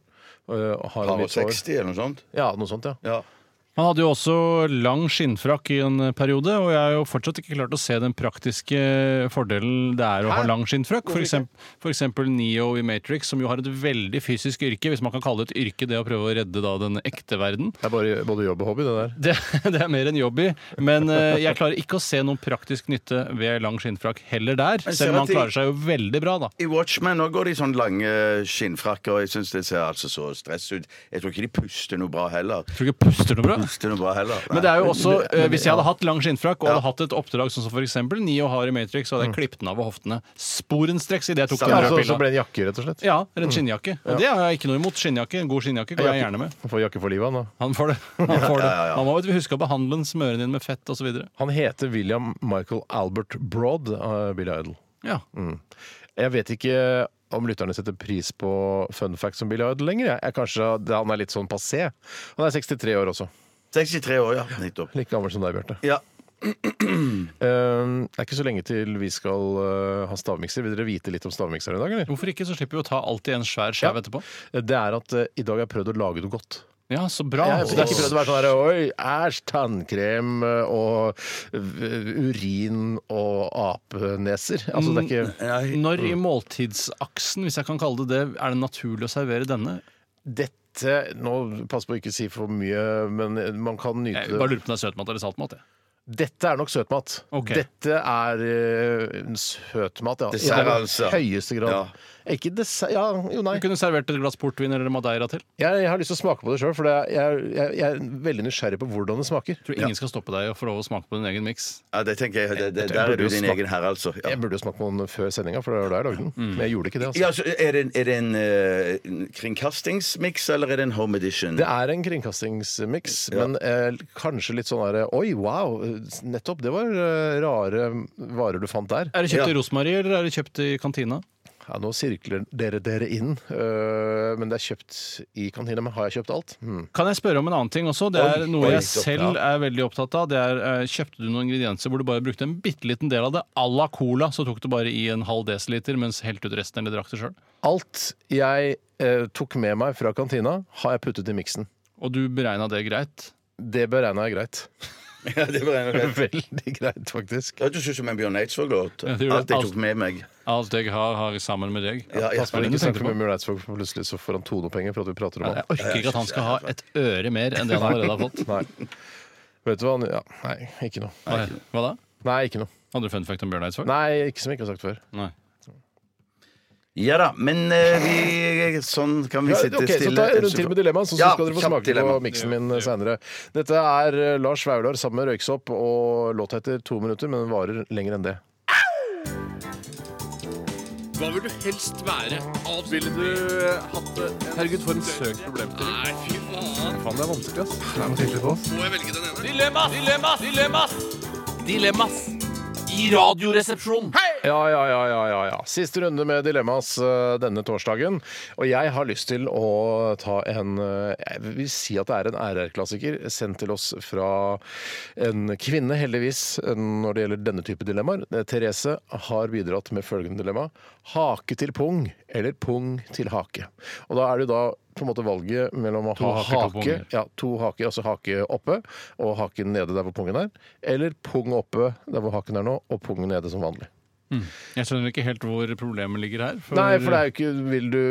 [SPEAKER 2] Eh, har han
[SPEAKER 3] Par og
[SPEAKER 2] litt hår?
[SPEAKER 3] 60 eller noe sånt?
[SPEAKER 2] Ja, noe sånt, ja.
[SPEAKER 3] Ja.
[SPEAKER 4] Han hadde jo også lang skinnfrakk i en periode, og jeg har jo fortsatt ikke klart å se den praktiske fordelen det er å ha lang skinnfrakk. For eksempel, for eksempel Neo i Matrix, som jo har et veldig fysisk yrke, hvis man kan kalle det et yrke det å prøve å redde da den ekte verden.
[SPEAKER 2] Det er bare både jobb og hobby, det der.
[SPEAKER 4] Det, det er mer en hobby, men eh, jeg klarer ikke å se noen praktisk nytte ved lang skinnfrakk heller der.
[SPEAKER 3] Men ser
[SPEAKER 4] Selv
[SPEAKER 3] at
[SPEAKER 4] om han
[SPEAKER 3] de-
[SPEAKER 4] klarer seg jo veldig bra, da.
[SPEAKER 3] I Watchmen nå går de i sånn lange skinnfrakker, og jeg syns det ser altså så stress ut. Jeg tror ikke de puster noe bra heller.
[SPEAKER 4] Tror ikke puster noe bra.
[SPEAKER 3] Puster noe bra heller.
[SPEAKER 4] Men det er jo også,
[SPEAKER 2] Men- men-
[SPEAKER 4] eh, hvis jeg hadde hatt lang skinnfrakk og hadde hatt et oppdrag sånn som for eksempel Neo har i Matrix, så hadde jeg klippet den av ved hoftene sporenstreks idet jeg tok den
[SPEAKER 2] Mm. Ja,
[SPEAKER 4] røde
[SPEAKER 2] så, så
[SPEAKER 4] pilla.
[SPEAKER 2] ble Mm. det en jakke, rett og slett.
[SPEAKER 4] Ja, eller en skinnjakke. Og det har jeg ikke noe imot. Skinnjakke, En god skinnjakke går jeg gjerne med.
[SPEAKER 2] Han får jakke for livet, han da.
[SPEAKER 4] Han får det. Han, får det. han må jo huske å behandle den, smøre den inn med fett osv.
[SPEAKER 2] Han heter William Michael Albert Broad, eh, Billy Idol.
[SPEAKER 4] Ja.
[SPEAKER 2] Jeg vet ikke om lytterne setter pris på fun facts om Billy Idol lenger. Jeg. Jeg kanskje det, Han er litt sånn passé. Han er 63 år også.
[SPEAKER 3] 63 år, ja. Nettopp.
[SPEAKER 2] Like gammel som deg, Bjarte.
[SPEAKER 3] Ja.
[SPEAKER 2] Eh, det er ikke så lenge til vi skal eh, ha stavmikser. Vil dere vite litt om stavmikser i dag, eller?
[SPEAKER 4] Hvorfor ikke? Så slipper vi å ta alt i en svær skjev
[SPEAKER 2] Ja.
[SPEAKER 4] etterpå.
[SPEAKER 2] Det er at eh, i dag har jeg prøvd å lage noe godt.
[SPEAKER 4] Ja, så bra.
[SPEAKER 2] Jeg
[SPEAKER 4] Så
[SPEAKER 2] skal ikke
[SPEAKER 4] det er-
[SPEAKER 2] prøvd å være sånn her Oi, æsj, tannkrem eh, og v- urin og apeneser. Altså, det
[SPEAKER 3] Mm.
[SPEAKER 2] er ikke
[SPEAKER 4] Når i måltidsaksen, hvis jeg kan kalle det det, er det naturlig å servere denne?
[SPEAKER 2] Dette Nå pass på å ikke si for mye, men eh, man kan nyte
[SPEAKER 3] Eh,
[SPEAKER 4] Jeg bare lurer på om det er søtmat eller saltmat. Jeg.
[SPEAKER 2] Dette er nok søtmat.
[SPEAKER 4] Ok.
[SPEAKER 2] Dette er eh, en søtmat, ja.
[SPEAKER 3] Dessert,
[SPEAKER 2] I aller
[SPEAKER 3] altså.
[SPEAKER 2] høyeste grad.
[SPEAKER 3] Ja.
[SPEAKER 2] Ikke dessert Ja, jo, nei.
[SPEAKER 4] Du kunne servert et glass portvin eller madeira til.
[SPEAKER 2] Jeg, jeg har lyst til å smake på det sjøl, for det er, jeg, jeg, jeg er veldig nysgjerrig på hvordan det smaker.
[SPEAKER 4] Tror ingen skal stoppe deg og få lov å smake på din egen miks.
[SPEAKER 3] Ja, det tenker jeg, det, det,
[SPEAKER 2] Eh, Jeg
[SPEAKER 3] Der er
[SPEAKER 2] burde
[SPEAKER 3] du
[SPEAKER 2] jo
[SPEAKER 3] din
[SPEAKER 2] smake-
[SPEAKER 3] egen herre, altså. Ja.
[SPEAKER 2] Jeg burde jo smake på den før sendinga, for det var da jeg lagde den. Men jeg gjorde ikke det. altså.
[SPEAKER 3] Ja, så er det en, er det en eh, en kringkastingsmiks, eller er det en home edition?
[SPEAKER 2] Det er en kringkastingsmiks, men eh, kanskje litt sånn derre Oi, wow! Nettopp! Det var eh, rare varer du fant der.
[SPEAKER 4] Er det kjøpt
[SPEAKER 3] Ja.
[SPEAKER 4] i Rosmarie, eller er det kjøpt i kantina?
[SPEAKER 2] Ja, nå sirkler dere dere inn, øh, men det er kjøpt i kantina. Men har jeg kjøpt alt? Hmm.
[SPEAKER 4] Kan jeg spørre om en annen ting også? Det er
[SPEAKER 3] Oi,
[SPEAKER 4] noe
[SPEAKER 3] oi,
[SPEAKER 4] jeg
[SPEAKER 3] så-
[SPEAKER 4] selv er veldig opptatt av. Det er, eh, Kjøpte du noen ingredienser hvor du bare brukte en bitte liten del av det, à la cola, så tok du bare i en halv desiliter, mens helte ut resten eller drakk det sjøl?
[SPEAKER 2] Alt jeg eh, tok med meg fra kantina, har jeg puttet i miksen.
[SPEAKER 4] Og du beregna det greit?
[SPEAKER 2] Det beregna jeg greit.
[SPEAKER 3] Ja, det var en,
[SPEAKER 2] Veldig greit, faktisk.
[SPEAKER 3] Ja, du synes som en Bjørn Eidsvåg-låt.
[SPEAKER 4] Ja, det gjorde
[SPEAKER 3] Alt jeg
[SPEAKER 4] alt.
[SPEAKER 3] tok med meg.
[SPEAKER 4] Alt jeg har, har jeg sammen med deg.
[SPEAKER 3] Ja, ja.
[SPEAKER 2] Pass på at
[SPEAKER 4] det
[SPEAKER 2] du
[SPEAKER 4] du
[SPEAKER 2] ikke snakker
[SPEAKER 4] tenkte på?
[SPEAKER 2] med Bjørn Eidsvåg, for plutselig så får han tonepenger for at vi prater om
[SPEAKER 4] Jeg
[SPEAKER 2] han.
[SPEAKER 4] orker ikke at han skal ha et øre mer enn det han allerede har fått.
[SPEAKER 2] Nei. Vet du hva han ja, Nei, ikke noe.
[SPEAKER 4] Hva, hva da?
[SPEAKER 2] Nei, ikke noe.
[SPEAKER 4] Hadde du fun fact om Bjørn Eidsvåg?
[SPEAKER 2] Nei, ikke som jeg ikke har sagt før.
[SPEAKER 4] Nei.
[SPEAKER 3] Ja da, men eh, vi, sånn kan vi
[SPEAKER 2] Ja,
[SPEAKER 3] sitte
[SPEAKER 2] ok, så
[SPEAKER 3] stille.
[SPEAKER 2] ta en rundt til med dilemmaet, så, så
[SPEAKER 3] Ja,
[SPEAKER 2] skal dere få
[SPEAKER 3] kjapt
[SPEAKER 2] smake
[SPEAKER 3] dilemma.
[SPEAKER 2] på miksen min seinere. Dette er eh, Lars Vaular sammen med Røyksopp, og låta heter to minutter, men den varer lenger enn det.
[SPEAKER 8] Hva vil du helst være? Ville du hatt det? Herregud, for en søk problemstilling. Nei, fy faen.
[SPEAKER 5] Faen, det er vanskelig, ass. Det er noe tydelig på oss.
[SPEAKER 8] Må jeg velge den ene? Dilemmas, dilemmas, dilemmas! Dilemmas i Radioresepsjonen.
[SPEAKER 2] Ja, ja, ja, ja, ja, ja. Siste runde med Dilemmas eh, denne torsdagen. Og jeg har lyst til å ta en eh, Jeg vil si at det er en RR-klassiker sendt til oss fra en kvinne, heldigvis, eh, når det gjelder denne type dilemmaer. Eh, Therese har bidratt med følgende dilemma. Hake til pung eller pung til hake. Og da er det jo da på en måte valget mellom å
[SPEAKER 4] To
[SPEAKER 2] ha
[SPEAKER 4] haker til
[SPEAKER 2] hake
[SPEAKER 4] punger.
[SPEAKER 2] ja, to haker, altså hake oppe og haken nede der hvor pungen er. Eller pung oppe der hvor haken er nå, og pung nede som vanlig.
[SPEAKER 4] Jeg skjønner ikke helt hvor problemet ligger her.
[SPEAKER 2] Nei, for det er jo ikke Vil du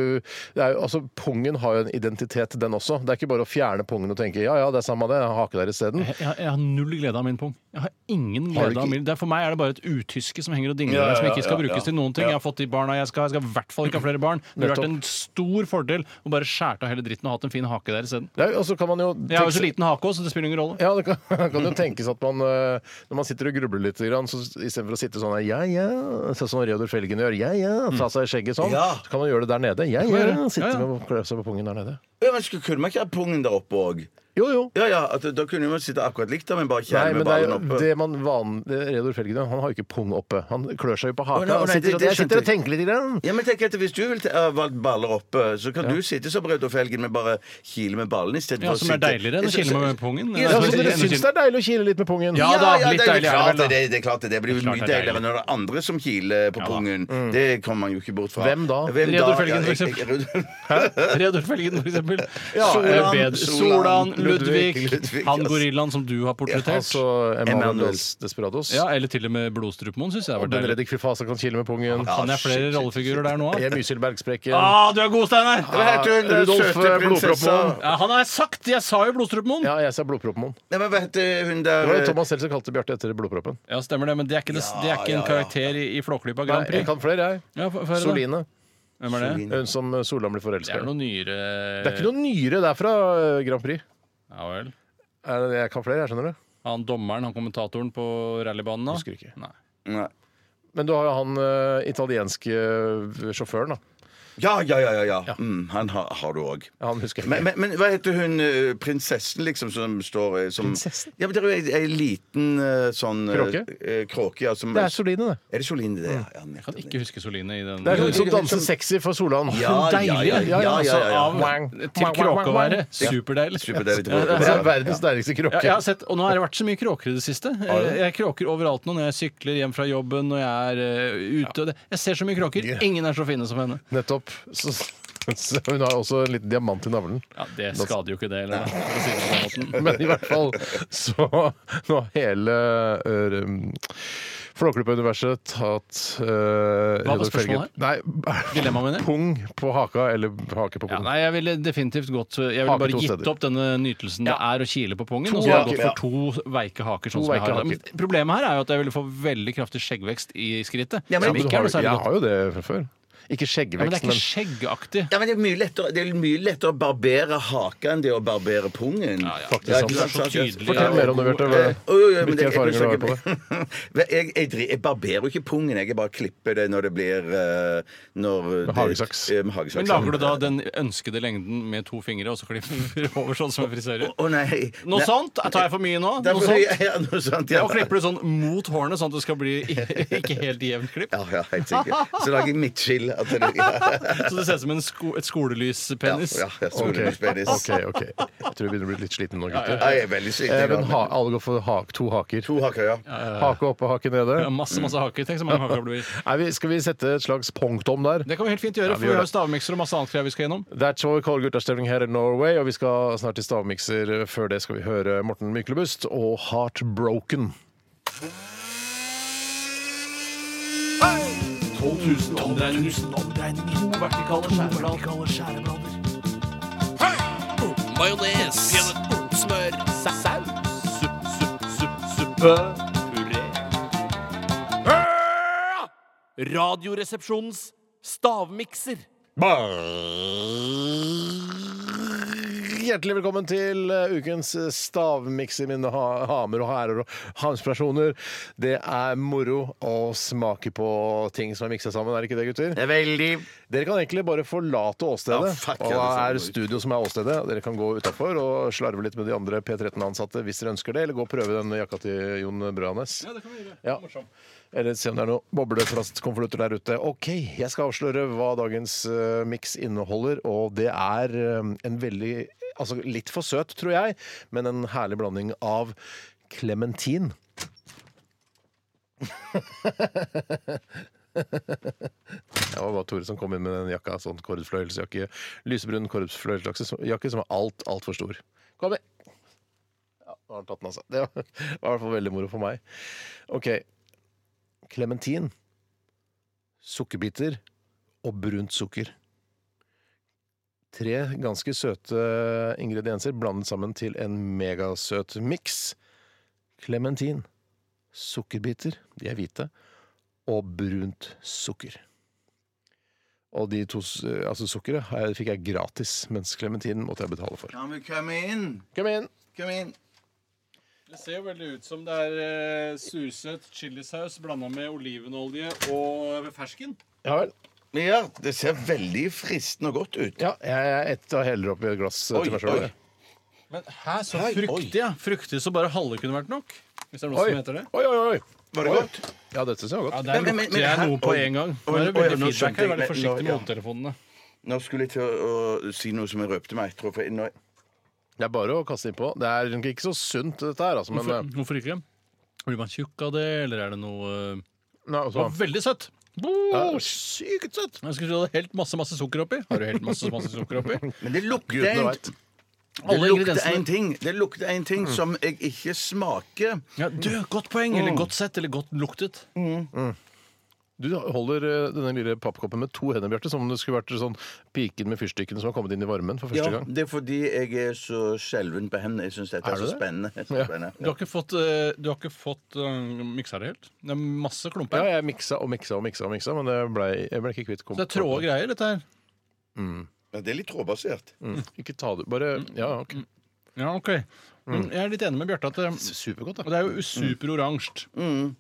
[SPEAKER 2] det er jo, Altså, pungen har jo en identitet, den også. Det er ikke bare å fjerne pungen og tenke ja ja, det er samme det, jeg har hake der isteden.
[SPEAKER 4] jeg, jeg, jeg har null glede av min pung. Jeg har ingen
[SPEAKER 2] Har du
[SPEAKER 4] glede
[SPEAKER 2] ikke-
[SPEAKER 4] av min det er, For meg er det bare et utyske som henger og dingler
[SPEAKER 3] Ja,
[SPEAKER 4] der, som
[SPEAKER 3] ja,
[SPEAKER 4] ikke skal
[SPEAKER 3] ja,
[SPEAKER 4] brukes
[SPEAKER 3] ja.
[SPEAKER 4] til noen ting. Jeg har fått de barna jeg skal ha. Jeg skal i hvert fall ikke ha flere barn. Det ville vært
[SPEAKER 2] Nettopp.
[SPEAKER 4] en stor fordel å bare skjære av hele dritten og hatt en fin hake der isteden.
[SPEAKER 2] Det er jo- Og så kan man jo
[SPEAKER 4] Jeg har jo så liten hake òg, så det spiller ingen rolle.
[SPEAKER 2] Ja, det kan, kan jo tenkes at man eh, når man sitter og grubler litt, grann, så istedenfor å sitte sånn her, ja ja, sånn som Reodor Felgen gjør, ja ja, ta seg skjegget sånn,
[SPEAKER 3] Ja.
[SPEAKER 2] så kan man gjøre det der nede. Ja
[SPEAKER 4] man
[SPEAKER 2] ja,
[SPEAKER 4] gjøre.
[SPEAKER 2] sitte
[SPEAKER 4] Ja, ja.
[SPEAKER 2] med og klø seg på pungen der nede.
[SPEAKER 3] Ja, men skulle, kunne man ikke ha pungen der oppe òg?
[SPEAKER 2] Jo jo.
[SPEAKER 3] Ja, ja, at, da kunne man sitte akkurat likt der, men bare
[SPEAKER 2] Nei,
[SPEAKER 3] kjære
[SPEAKER 2] men
[SPEAKER 3] med
[SPEAKER 2] det er
[SPEAKER 3] ballen
[SPEAKER 2] jo
[SPEAKER 3] oppe.
[SPEAKER 2] det man van... Reodor Felgen han har jo ikke pung oppe. Han klør seg jo på
[SPEAKER 3] Å,
[SPEAKER 2] haka.
[SPEAKER 3] nei, nei,
[SPEAKER 2] han
[SPEAKER 3] det- det
[SPEAKER 2] sitter, jeg sitter og
[SPEAKER 3] skjønte jeg.
[SPEAKER 2] tenker litt i den.
[SPEAKER 3] Ja, men tenk at Hvis du vil ha valgt baller oppe, så kan du sitte som Braut og Felgen, men bare kile med ballen istedenfor
[SPEAKER 4] Ja, som er deiligere enn å kile med pungen.
[SPEAKER 3] Ja,
[SPEAKER 2] Ja,
[SPEAKER 3] så
[SPEAKER 2] så dere
[SPEAKER 3] det-
[SPEAKER 2] syns det er deilig å kile litt med pungen?
[SPEAKER 4] Ja, det er litt
[SPEAKER 3] jo
[SPEAKER 4] deilig er
[SPEAKER 3] klart
[SPEAKER 4] det vel,
[SPEAKER 3] det,
[SPEAKER 4] da.
[SPEAKER 3] det er klart det. Det blir jo mye
[SPEAKER 4] Klart det er
[SPEAKER 3] deiligere
[SPEAKER 4] deilig.
[SPEAKER 3] når det er andre som kiler på
[SPEAKER 4] Ja Mm. da.
[SPEAKER 3] pungen. Det kommer man jo ikke bort fra.
[SPEAKER 2] Hvem da?
[SPEAKER 3] Hvem da?
[SPEAKER 4] Reodor
[SPEAKER 3] Ja,
[SPEAKER 4] Felgen,
[SPEAKER 3] jeg-
[SPEAKER 4] for eksempel.
[SPEAKER 3] Reodor-
[SPEAKER 4] Reodor Felgen, for eksempel.
[SPEAKER 3] Solan,
[SPEAKER 4] Solan, Solan
[SPEAKER 3] Solan,
[SPEAKER 4] Ludvig,
[SPEAKER 3] Ludvig,
[SPEAKER 4] han
[SPEAKER 3] ass.
[SPEAKER 4] gorillaen som du har portrettert.
[SPEAKER 2] Altså
[SPEAKER 3] Emanuel.
[SPEAKER 2] Emanuel Desperados.
[SPEAKER 4] Ja, eller til og med Blodstrupemoen syns jeg
[SPEAKER 2] Og
[SPEAKER 4] var
[SPEAKER 2] den
[SPEAKER 4] deilig.
[SPEAKER 2] Reddik Fifasa kan kile med pungen.
[SPEAKER 3] Ja.
[SPEAKER 4] Han er flere
[SPEAKER 3] shit, shit,
[SPEAKER 4] rollefigurer der nå.
[SPEAKER 2] Jeg er Mysil Bergsprekken.
[SPEAKER 4] Ah, eh, du er god, Steinar!
[SPEAKER 3] Hva heter hun? Den
[SPEAKER 2] Rudolf,
[SPEAKER 3] søte prinsessa?
[SPEAKER 2] Blodproppmoen.
[SPEAKER 4] Ja, han har jeg sagt! Jeg sa jo Blodstrupemoen!
[SPEAKER 2] Ja, jeg sa Blodproppmoen.
[SPEAKER 3] Nei, men hva heter hun
[SPEAKER 2] Det var
[SPEAKER 3] der
[SPEAKER 2] det Thomas selv som kalte Bjarte etter Blodproppen.
[SPEAKER 4] Ja, stemmer det, men det er ikke, det, det er
[SPEAKER 3] Ja, ja,
[SPEAKER 4] ikke en
[SPEAKER 3] ja.
[SPEAKER 4] karakter i, i Flåklypa
[SPEAKER 2] Nei,
[SPEAKER 4] Grand
[SPEAKER 2] jeg
[SPEAKER 4] Prix.
[SPEAKER 2] kan flere, jeg.
[SPEAKER 4] Ja, få- få høre da.
[SPEAKER 2] Soline.
[SPEAKER 4] Hvem er det?
[SPEAKER 3] Soline.
[SPEAKER 2] Hun som Solan blir
[SPEAKER 4] Det er
[SPEAKER 2] forelska i.
[SPEAKER 4] noe nyere
[SPEAKER 2] Det er ikke noe nyere der fra eh, Grand Prix.
[SPEAKER 4] Ja vel.
[SPEAKER 2] Er det- Jeg kan flere, jeg skjønner det.
[SPEAKER 4] Han dommeren, han kommentatoren på rallybanen da?
[SPEAKER 2] Husker ikke.
[SPEAKER 4] Nei.
[SPEAKER 3] Nei.
[SPEAKER 2] Men du har jo han eh, italienske eh, sjåføren, da.
[SPEAKER 3] Ja, ja, ja. ja, ja. Mm, han har, har du òg.
[SPEAKER 2] Ja, Han husker jeg
[SPEAKER 3] Men,
[SPEAKER 2] ikke.
[SPEAKER 3] men, men hva heter hun eh, prinsessen, liksom, som står eh, som
[SPEAKER 2] Prinsessen?
[SPEAKER 3] Ja, men Det er jo ei, ei liten eh, sånn eh,
[SPEAKER 2] Kråke?
[SPEAKER 3] eh, kråke ja, som,
[SPEAKER 2] Det er Soline, det.
[SPEAKER 3] Er det Soline, det? Ja, ja,
[SPEAKER 4] Kan
[SPEAKER 3] nettopp.
[SPEAKER 4] ikke huske Soline i den
[SPEAKER 2] Det er sånn- hun
[SPEAKER 3] jo-
[SPEAKER 2] som danser sexy for Solan.
[SPEAKER 3] sånn- Ja, ja, ja, ja, ja, ja, ja, ja.
[SPEAKER 4] Altså, Av,
[SPEAKER 2] Wang.
[SPEAKER 4] til
[SPEAKER 2] Wang, wang,
[SPEAKER 4] kråke å være.
[SPEAKER 2] wang.
[SPEAKER 4] Superdeilig.
[SPEAKER 3] Superdeilig.
[SPEAKER 2] Det
[SPEAKER 4] sånn
[SPEAKER 2] er altså verdens deiligste
[SPEAKER 4] Ja, altså-
[SPEAKER 2] kråke.
[SPEAKER 4] jeg har sett, og nå har det vært så mye kråker i det siste. Jeg, jeg kråker overalt nå når jeg sykler hjem fra jobben, når jeg er eh, ute. og det- Jeg ser så mye kråker. Ingen er så fine som henne.
[SPEAKER 2] Nettopp. Så, Så Hun har også en liten diamant i navlen.
[SPEAKER 4] Ja, det skader jo ikke det, eller? For å si det på den måten.
[SPEAKER 2] Men i hvert fall så nå har hele uh, Flåklypa-universet tatt uh,
[SPEAKER 4] Hva var spørsmålet her?
[SPEAKER 2] Nei,
[SPEAKER 4] Dilemmaet mener jeg?
[SPEAKER 2] Pung på haka eller hake på
[SPEAKER 4] Ja,
[SPEAKER 2] pung.
[SPEAKER 4] nei, jeg ville definitivt gått Jeg ville
[SPEAKER 2] Hake
[SPEAKER 4] bare
[SPEAKER 2] to
[SPEAKER 4] gitt
[SPEAKER 2] steder.
[SPEAKER 4] opp denne nytelsen det er å kile på pungen,
[SPEAKER 2] To
[SPEAKER 4] og så hadde jeg
[SPEAKER 2] haker,
[SPEAKER 4] gått for to veike haker. Sånn
[SPEAKER 2] To
[SPEAKER 4] som
[SPEAKER 2] veike
[SPEAKER 4] jeg har. i dag.
[SPEAKER 2] haker.
[SPEAKER 4] Men problemet her er jo at jeg ville få veldig kraftig skjeggvekst i skrittet.
[SPEAKER 3] Ja, men-
[SPEAKER 4] som
[SPEAKER 2] men du
[SPEAKER 4] ikke
[SPEAKER 2] har,
[SPEAKER 4] er noe
[SPEAKER 2] jo-
[SPEAKER 4] særlig
[SPEAKER 2] jeg
[SPEAKER 4] godt.
[SPEAKER 2] har jo det fra før. Ikke
[SPEAKER 4] Ja, men det
[SPEAKER 2] skjeggvekst,
[SPEAKER 4] er ikke skjeggaktig.
[SPEAKER 3] Ja, men det er, mye lettere, det er mye lettere å barbere haka enn det å barbere pungen.
[SPEAKER 4] ja.
[SPEAKER 3] ikke
[SPEAKER 2] Faktisk sant.
[SPEAKER 3] sant,
[SPEAKER 4] Du er så
[SPEAKER 3] sant,
[SPEAKER 4] tydelig.
[SPEAKER 3] sant.
[SPEAKER 2] Fortell mer om det, Bjarte. Hva-
[SPEAKER 4] eh,
[SPEAKER 3] Å, Eh, jo, jo, men
[SPEAKER 2] Hvilke
[SPEAKER 3] det- jeg-
[SPEAKER 2] erfaringer du har
[SPEAKER 3] jeg-
[SPEAKER 2] på det?
[SPEAKER 3] Vel, Jeg, jeg, dri- jeg barberer jo ikke pungen, jeg bare klipper det når det blir eh, når det-
[SPEAKER 2] hagesaks.
[SPEAKER 3] eh, Med hagesaks.
[SPEAKER 4] Men lager du da den ønskede lengden med to fingre, og så klipper du over sånn som en
[SPEAKER 3] Å
[SPEAKER 4] frisører?
[SPEAKER 3] å, nei.
[SPEAKER 4] Noe
[SPEAKER 3] Nei.
[SPEAKER 4] sånt? Tar jeg for mye nå?
[SPEAKER 3] Det er
[SPEAKER 4] Noe
[SPEAKER 3] for-
[SPEAKER 4] sånt?
[SPEAKER 3] Ja, noe sånt, ja.
[SPEAKER 4] Ja, og klipper du sånn mot hårene, sånn at det skal bli ikke helt jevnt klipp?
[SPEAKER 3] Ja, ja, helt sikkert. Så lager jeg midtskill. at det- Ja,
[SPEAKER 4] Så det ser ut som en sko et skolelyspenis?
[SPEAKER 3] ja, jeg tror
[SPEAKER 2] Ok,
[SPEAKER 3] det er penis.
[SPEAKER 2] ok, ok. Jeg tror vi begynner å bli litt slitne nå, gutter.
[SPEAKER 3] Ja, Jeg er veldig sliten.
[SPEAKER 2] Eh,
[SPEAKER 3] jeg,
[SPEAKER 2] men
[SPEAKER 3] da,
[SPEAKER 2] ha,
[SPEAKER 3] men-
[SPEAKER 2] alle går for hak, to haker.
[SPEAKER 3] To haker, ja.
[SPEAKER 2] Hake oppe, hake nede.
[SPEAKER 4] Ja, masse, masse haker. Tenk så mange haker det blir.
[SPEAKER 2] Nei, vi, skal vi sette et slags punktum der?
[SPEAKER 4] Det kan vi helt fint gjøre,
[SPEAKER 2] Ja, vi
[SPEAKER 4] for
[SPEAKER 2] gjør
[SPEAKER 4] vi har
[SPEAKER 2] det.
[SPEAKER 4] jo stavmikser og masse annet greier vi skal gjennom.
[SPEAKER 2] Det er Troy Cole guttastemning her i Norway, og vi skal snart til stavmikser. Før det skal vi høre Morten Myklebust og Heartbroken.
[SPEAKER 8] 12 000 omdreininger. To vertikale skjæreblader. Majones. Smør. Saus. Supp, supp, supp, suppe. Puré. Ah! Radioresepsjonens stavmikser.
[SPEAKER 2] Hjertelig velkommen til eh, ukens stavmikser, mine ha hamer og hærer og hamspersoner. Det er moro å smake på ting som er miksa sammen, er det ikke det, gutter?
[SPEAKER 3] Det er veldig
[SPEAKER 2] Dere kan egentlig bare forlate åstedet.
[SPEAKER 3] Ja, fuck,
[SPEAKER 2] og
[SPEAKER 3] ja,
[SPEAKER 2] det
[SPEAKER 3] det
[SPEAKER 2] er
[SPEAKER 3] ser
[SPEAKER 2] studio som er åstedet. Dere kan gå utafor og slarve litt med de andre P13-ansatte hvis dere ønsker det, eller gå og prøve den jakka til Jon Branes. Ja, det kan vi gjøre. Eller se om det er noen bobleplastkonvolutter der ute. OK, jeg skal avsløre hva dagens uh, miks inneholder, og det er eh, en veldig Altså litt for søt, tror jeg, men en herlig blanding av klementin. Det var bare Tore som kom inn med den jakka. Sånn korpsfløyelsjakke. Lysebrun korpsfløyelsjakke som var alt, altfor stor. Kom igjen! Ja, nå har han tatt den, altså. Det var, var i hvert fall veldig moro for meg. OK. Klementin, sukkerbiter og brunt sukker. Tre ganske søte ingredienser blandet sammen til en megasøt miks. Klementin, sukkerbiter, de er hvite, og brunt sukker. Og de to, s- altså sukkeret har jeg- fikk jeg gratis, mens klementinen måtte jeg betale for.
[SPEAKER 3] Kan vi komme inn?
[SPEAKER 2] Kom inn!
[SPEAKER 3] Kom inn.
[SPEAKER 4] Det ser jo veldig ut som det er eh, sursøt chilisaus blanda med olivenolje og fersken.
[SPEAKER 2] Ja vel.
[SPEAKER 3] Ja, det ser veldig fristende og godt ut.
[SPEAKER 2] Ja, jeg etter og heller oppi et glass eh,
[SPEAKER 3] Oi,
[SPEAKER 2] til meg sjøl.
[SPEAKER 3] oi.
[SPEAKER 4] Men her så
[SPEAKER 3] Hei,
[SPEAKER 4] fruktig, ja. Fruktig så bare halve kunne vært nok. Hvis det er noe som heter det.
[SPEAKER 2] oi, oi, oi!
[SPEAKER 3] Var det godt?
[SPEAKER 2] Ja, dette syns jeg var
[SPEAKER 4] Ja,
[SPEAKER 2] godt.
[SPEAKER 4] Der
[SPEAKER 3] Men- men- men-
[SPEAKER 4] lukter jeg
[SPEAKER 3] her-
[SPEAKER 4] noe på
[SPEAKER 3] oi.
[SPEAKER 4] en gang. Nå
[SPEAKER 3] Oi,
[SPEAKER 4] er det
[SPEAKER 3] oi, nå
[SPEAKER 4] veldig feedback
[SPEAKER 3] skjønte
[SPEAKER 4] her.
[SPEAKER 3] jeg,
[SPEAKER 4] Vær litt
[SPEAKER 3] men-
[SPEAKER 4] forsiktig
[SPEAKER 3] nå-
[SPEAKER 4] med
[SPEAKER 3] ja.
[SPEAKER 4] hodetelefonene.
[SPEAKER 3] Nå skulle jeg til å si noe som jeg røpte meg. Tror jeg, for nå,
[SPEAKER 2] Det er bare å kaste innpå. Det er ikke så sunt, dette her, altså, men eh,
[SPEAKER 4] Hvorfor, hvorfor ikke? Blir man tjukk av det, eller er det noe eh,
[SPEAKER 2] Nei,
[SPEAKER 4] det
[SPEAKER 2] altså,
[SPEAKER 4] var Veldig søtt! Bo!
[SPEAKER 2] ja, Sykt søtt!
[SPEAKER 4] Jeg skulle tro du hadde helt masse masse sukker oppi. Har du helt masse, masse sukker oppi?
[SPEAKER 3] men det lukter
[SPEAKER 2] Gudene
[SPEAKER 3] en,
[SPEAKER 2] veit.
[SPEAKER 4] Alle
[SPEAKER 3] det lukter
[SPEAKER 4] ingrediensene.
[SPEAKER 3] en ting, det lukter en ting
[SPEAKER 2] Mm.
[SPEAKER 3] som jeg ikke smaker.
[SPEAKER 4] Ja, du, godt poeng!
[SPEAKER 3] Mm.
[SPEAKER 4] Eller godt sett, eller godt luktet.
[SPEAKER 2] Du holder eh, denne lille pappkoppen med to hender, Bjarte, som om det skulle vært sånn piken med fyrstikkene som har kommet inn i varmen for første
[SPEAKER 3] Ja,
[SPEAKER 2] gang.
[SPEAKER 3] det er fordi jeg er så skjelven på hendene. Jeg syns dette
[SPEAKER 2] Er
[SPEAKER 3] er,
[SPEAKER 2] du
[SPEAKER 3] så
[SPEAKER 2] det?
[SPEAKER 3] spennende. Så spennende.
[SPEAKER 4] Du har ikke fått, eh, du har ikke fått eh, miksa det helt? Det er masse
[SPEAKER 2] Ja,
[SPEAKER 4] klumper.
[SPEAKER 2] jeg miksa og miksa og miksa, og miksa men jeg ble, jeg ble ikke kvitt
[SPEAKER 4] Så det er tråde greier, dette her.
[SPEAKER 3] Ja, det er litt trådbasert.
[SPEAKER 2] Mm. Ikke ta det Bare
[SPEAKER 4] Mm.
[SPEAKER 2] Ja, OK.
[SPEAKER 4] Ja, ok.
[SPEAKER 3] Mm.
[SPEAKER 4] Men jeg er litt enig med Bjarte. at det,
[SPEAKER 2] Supergodt,
[SPEAKER 4] og
[SPEAKER 2] da.
[SPEAKER 4] det er jo superoransje.
[SPEAKER 3] Mm.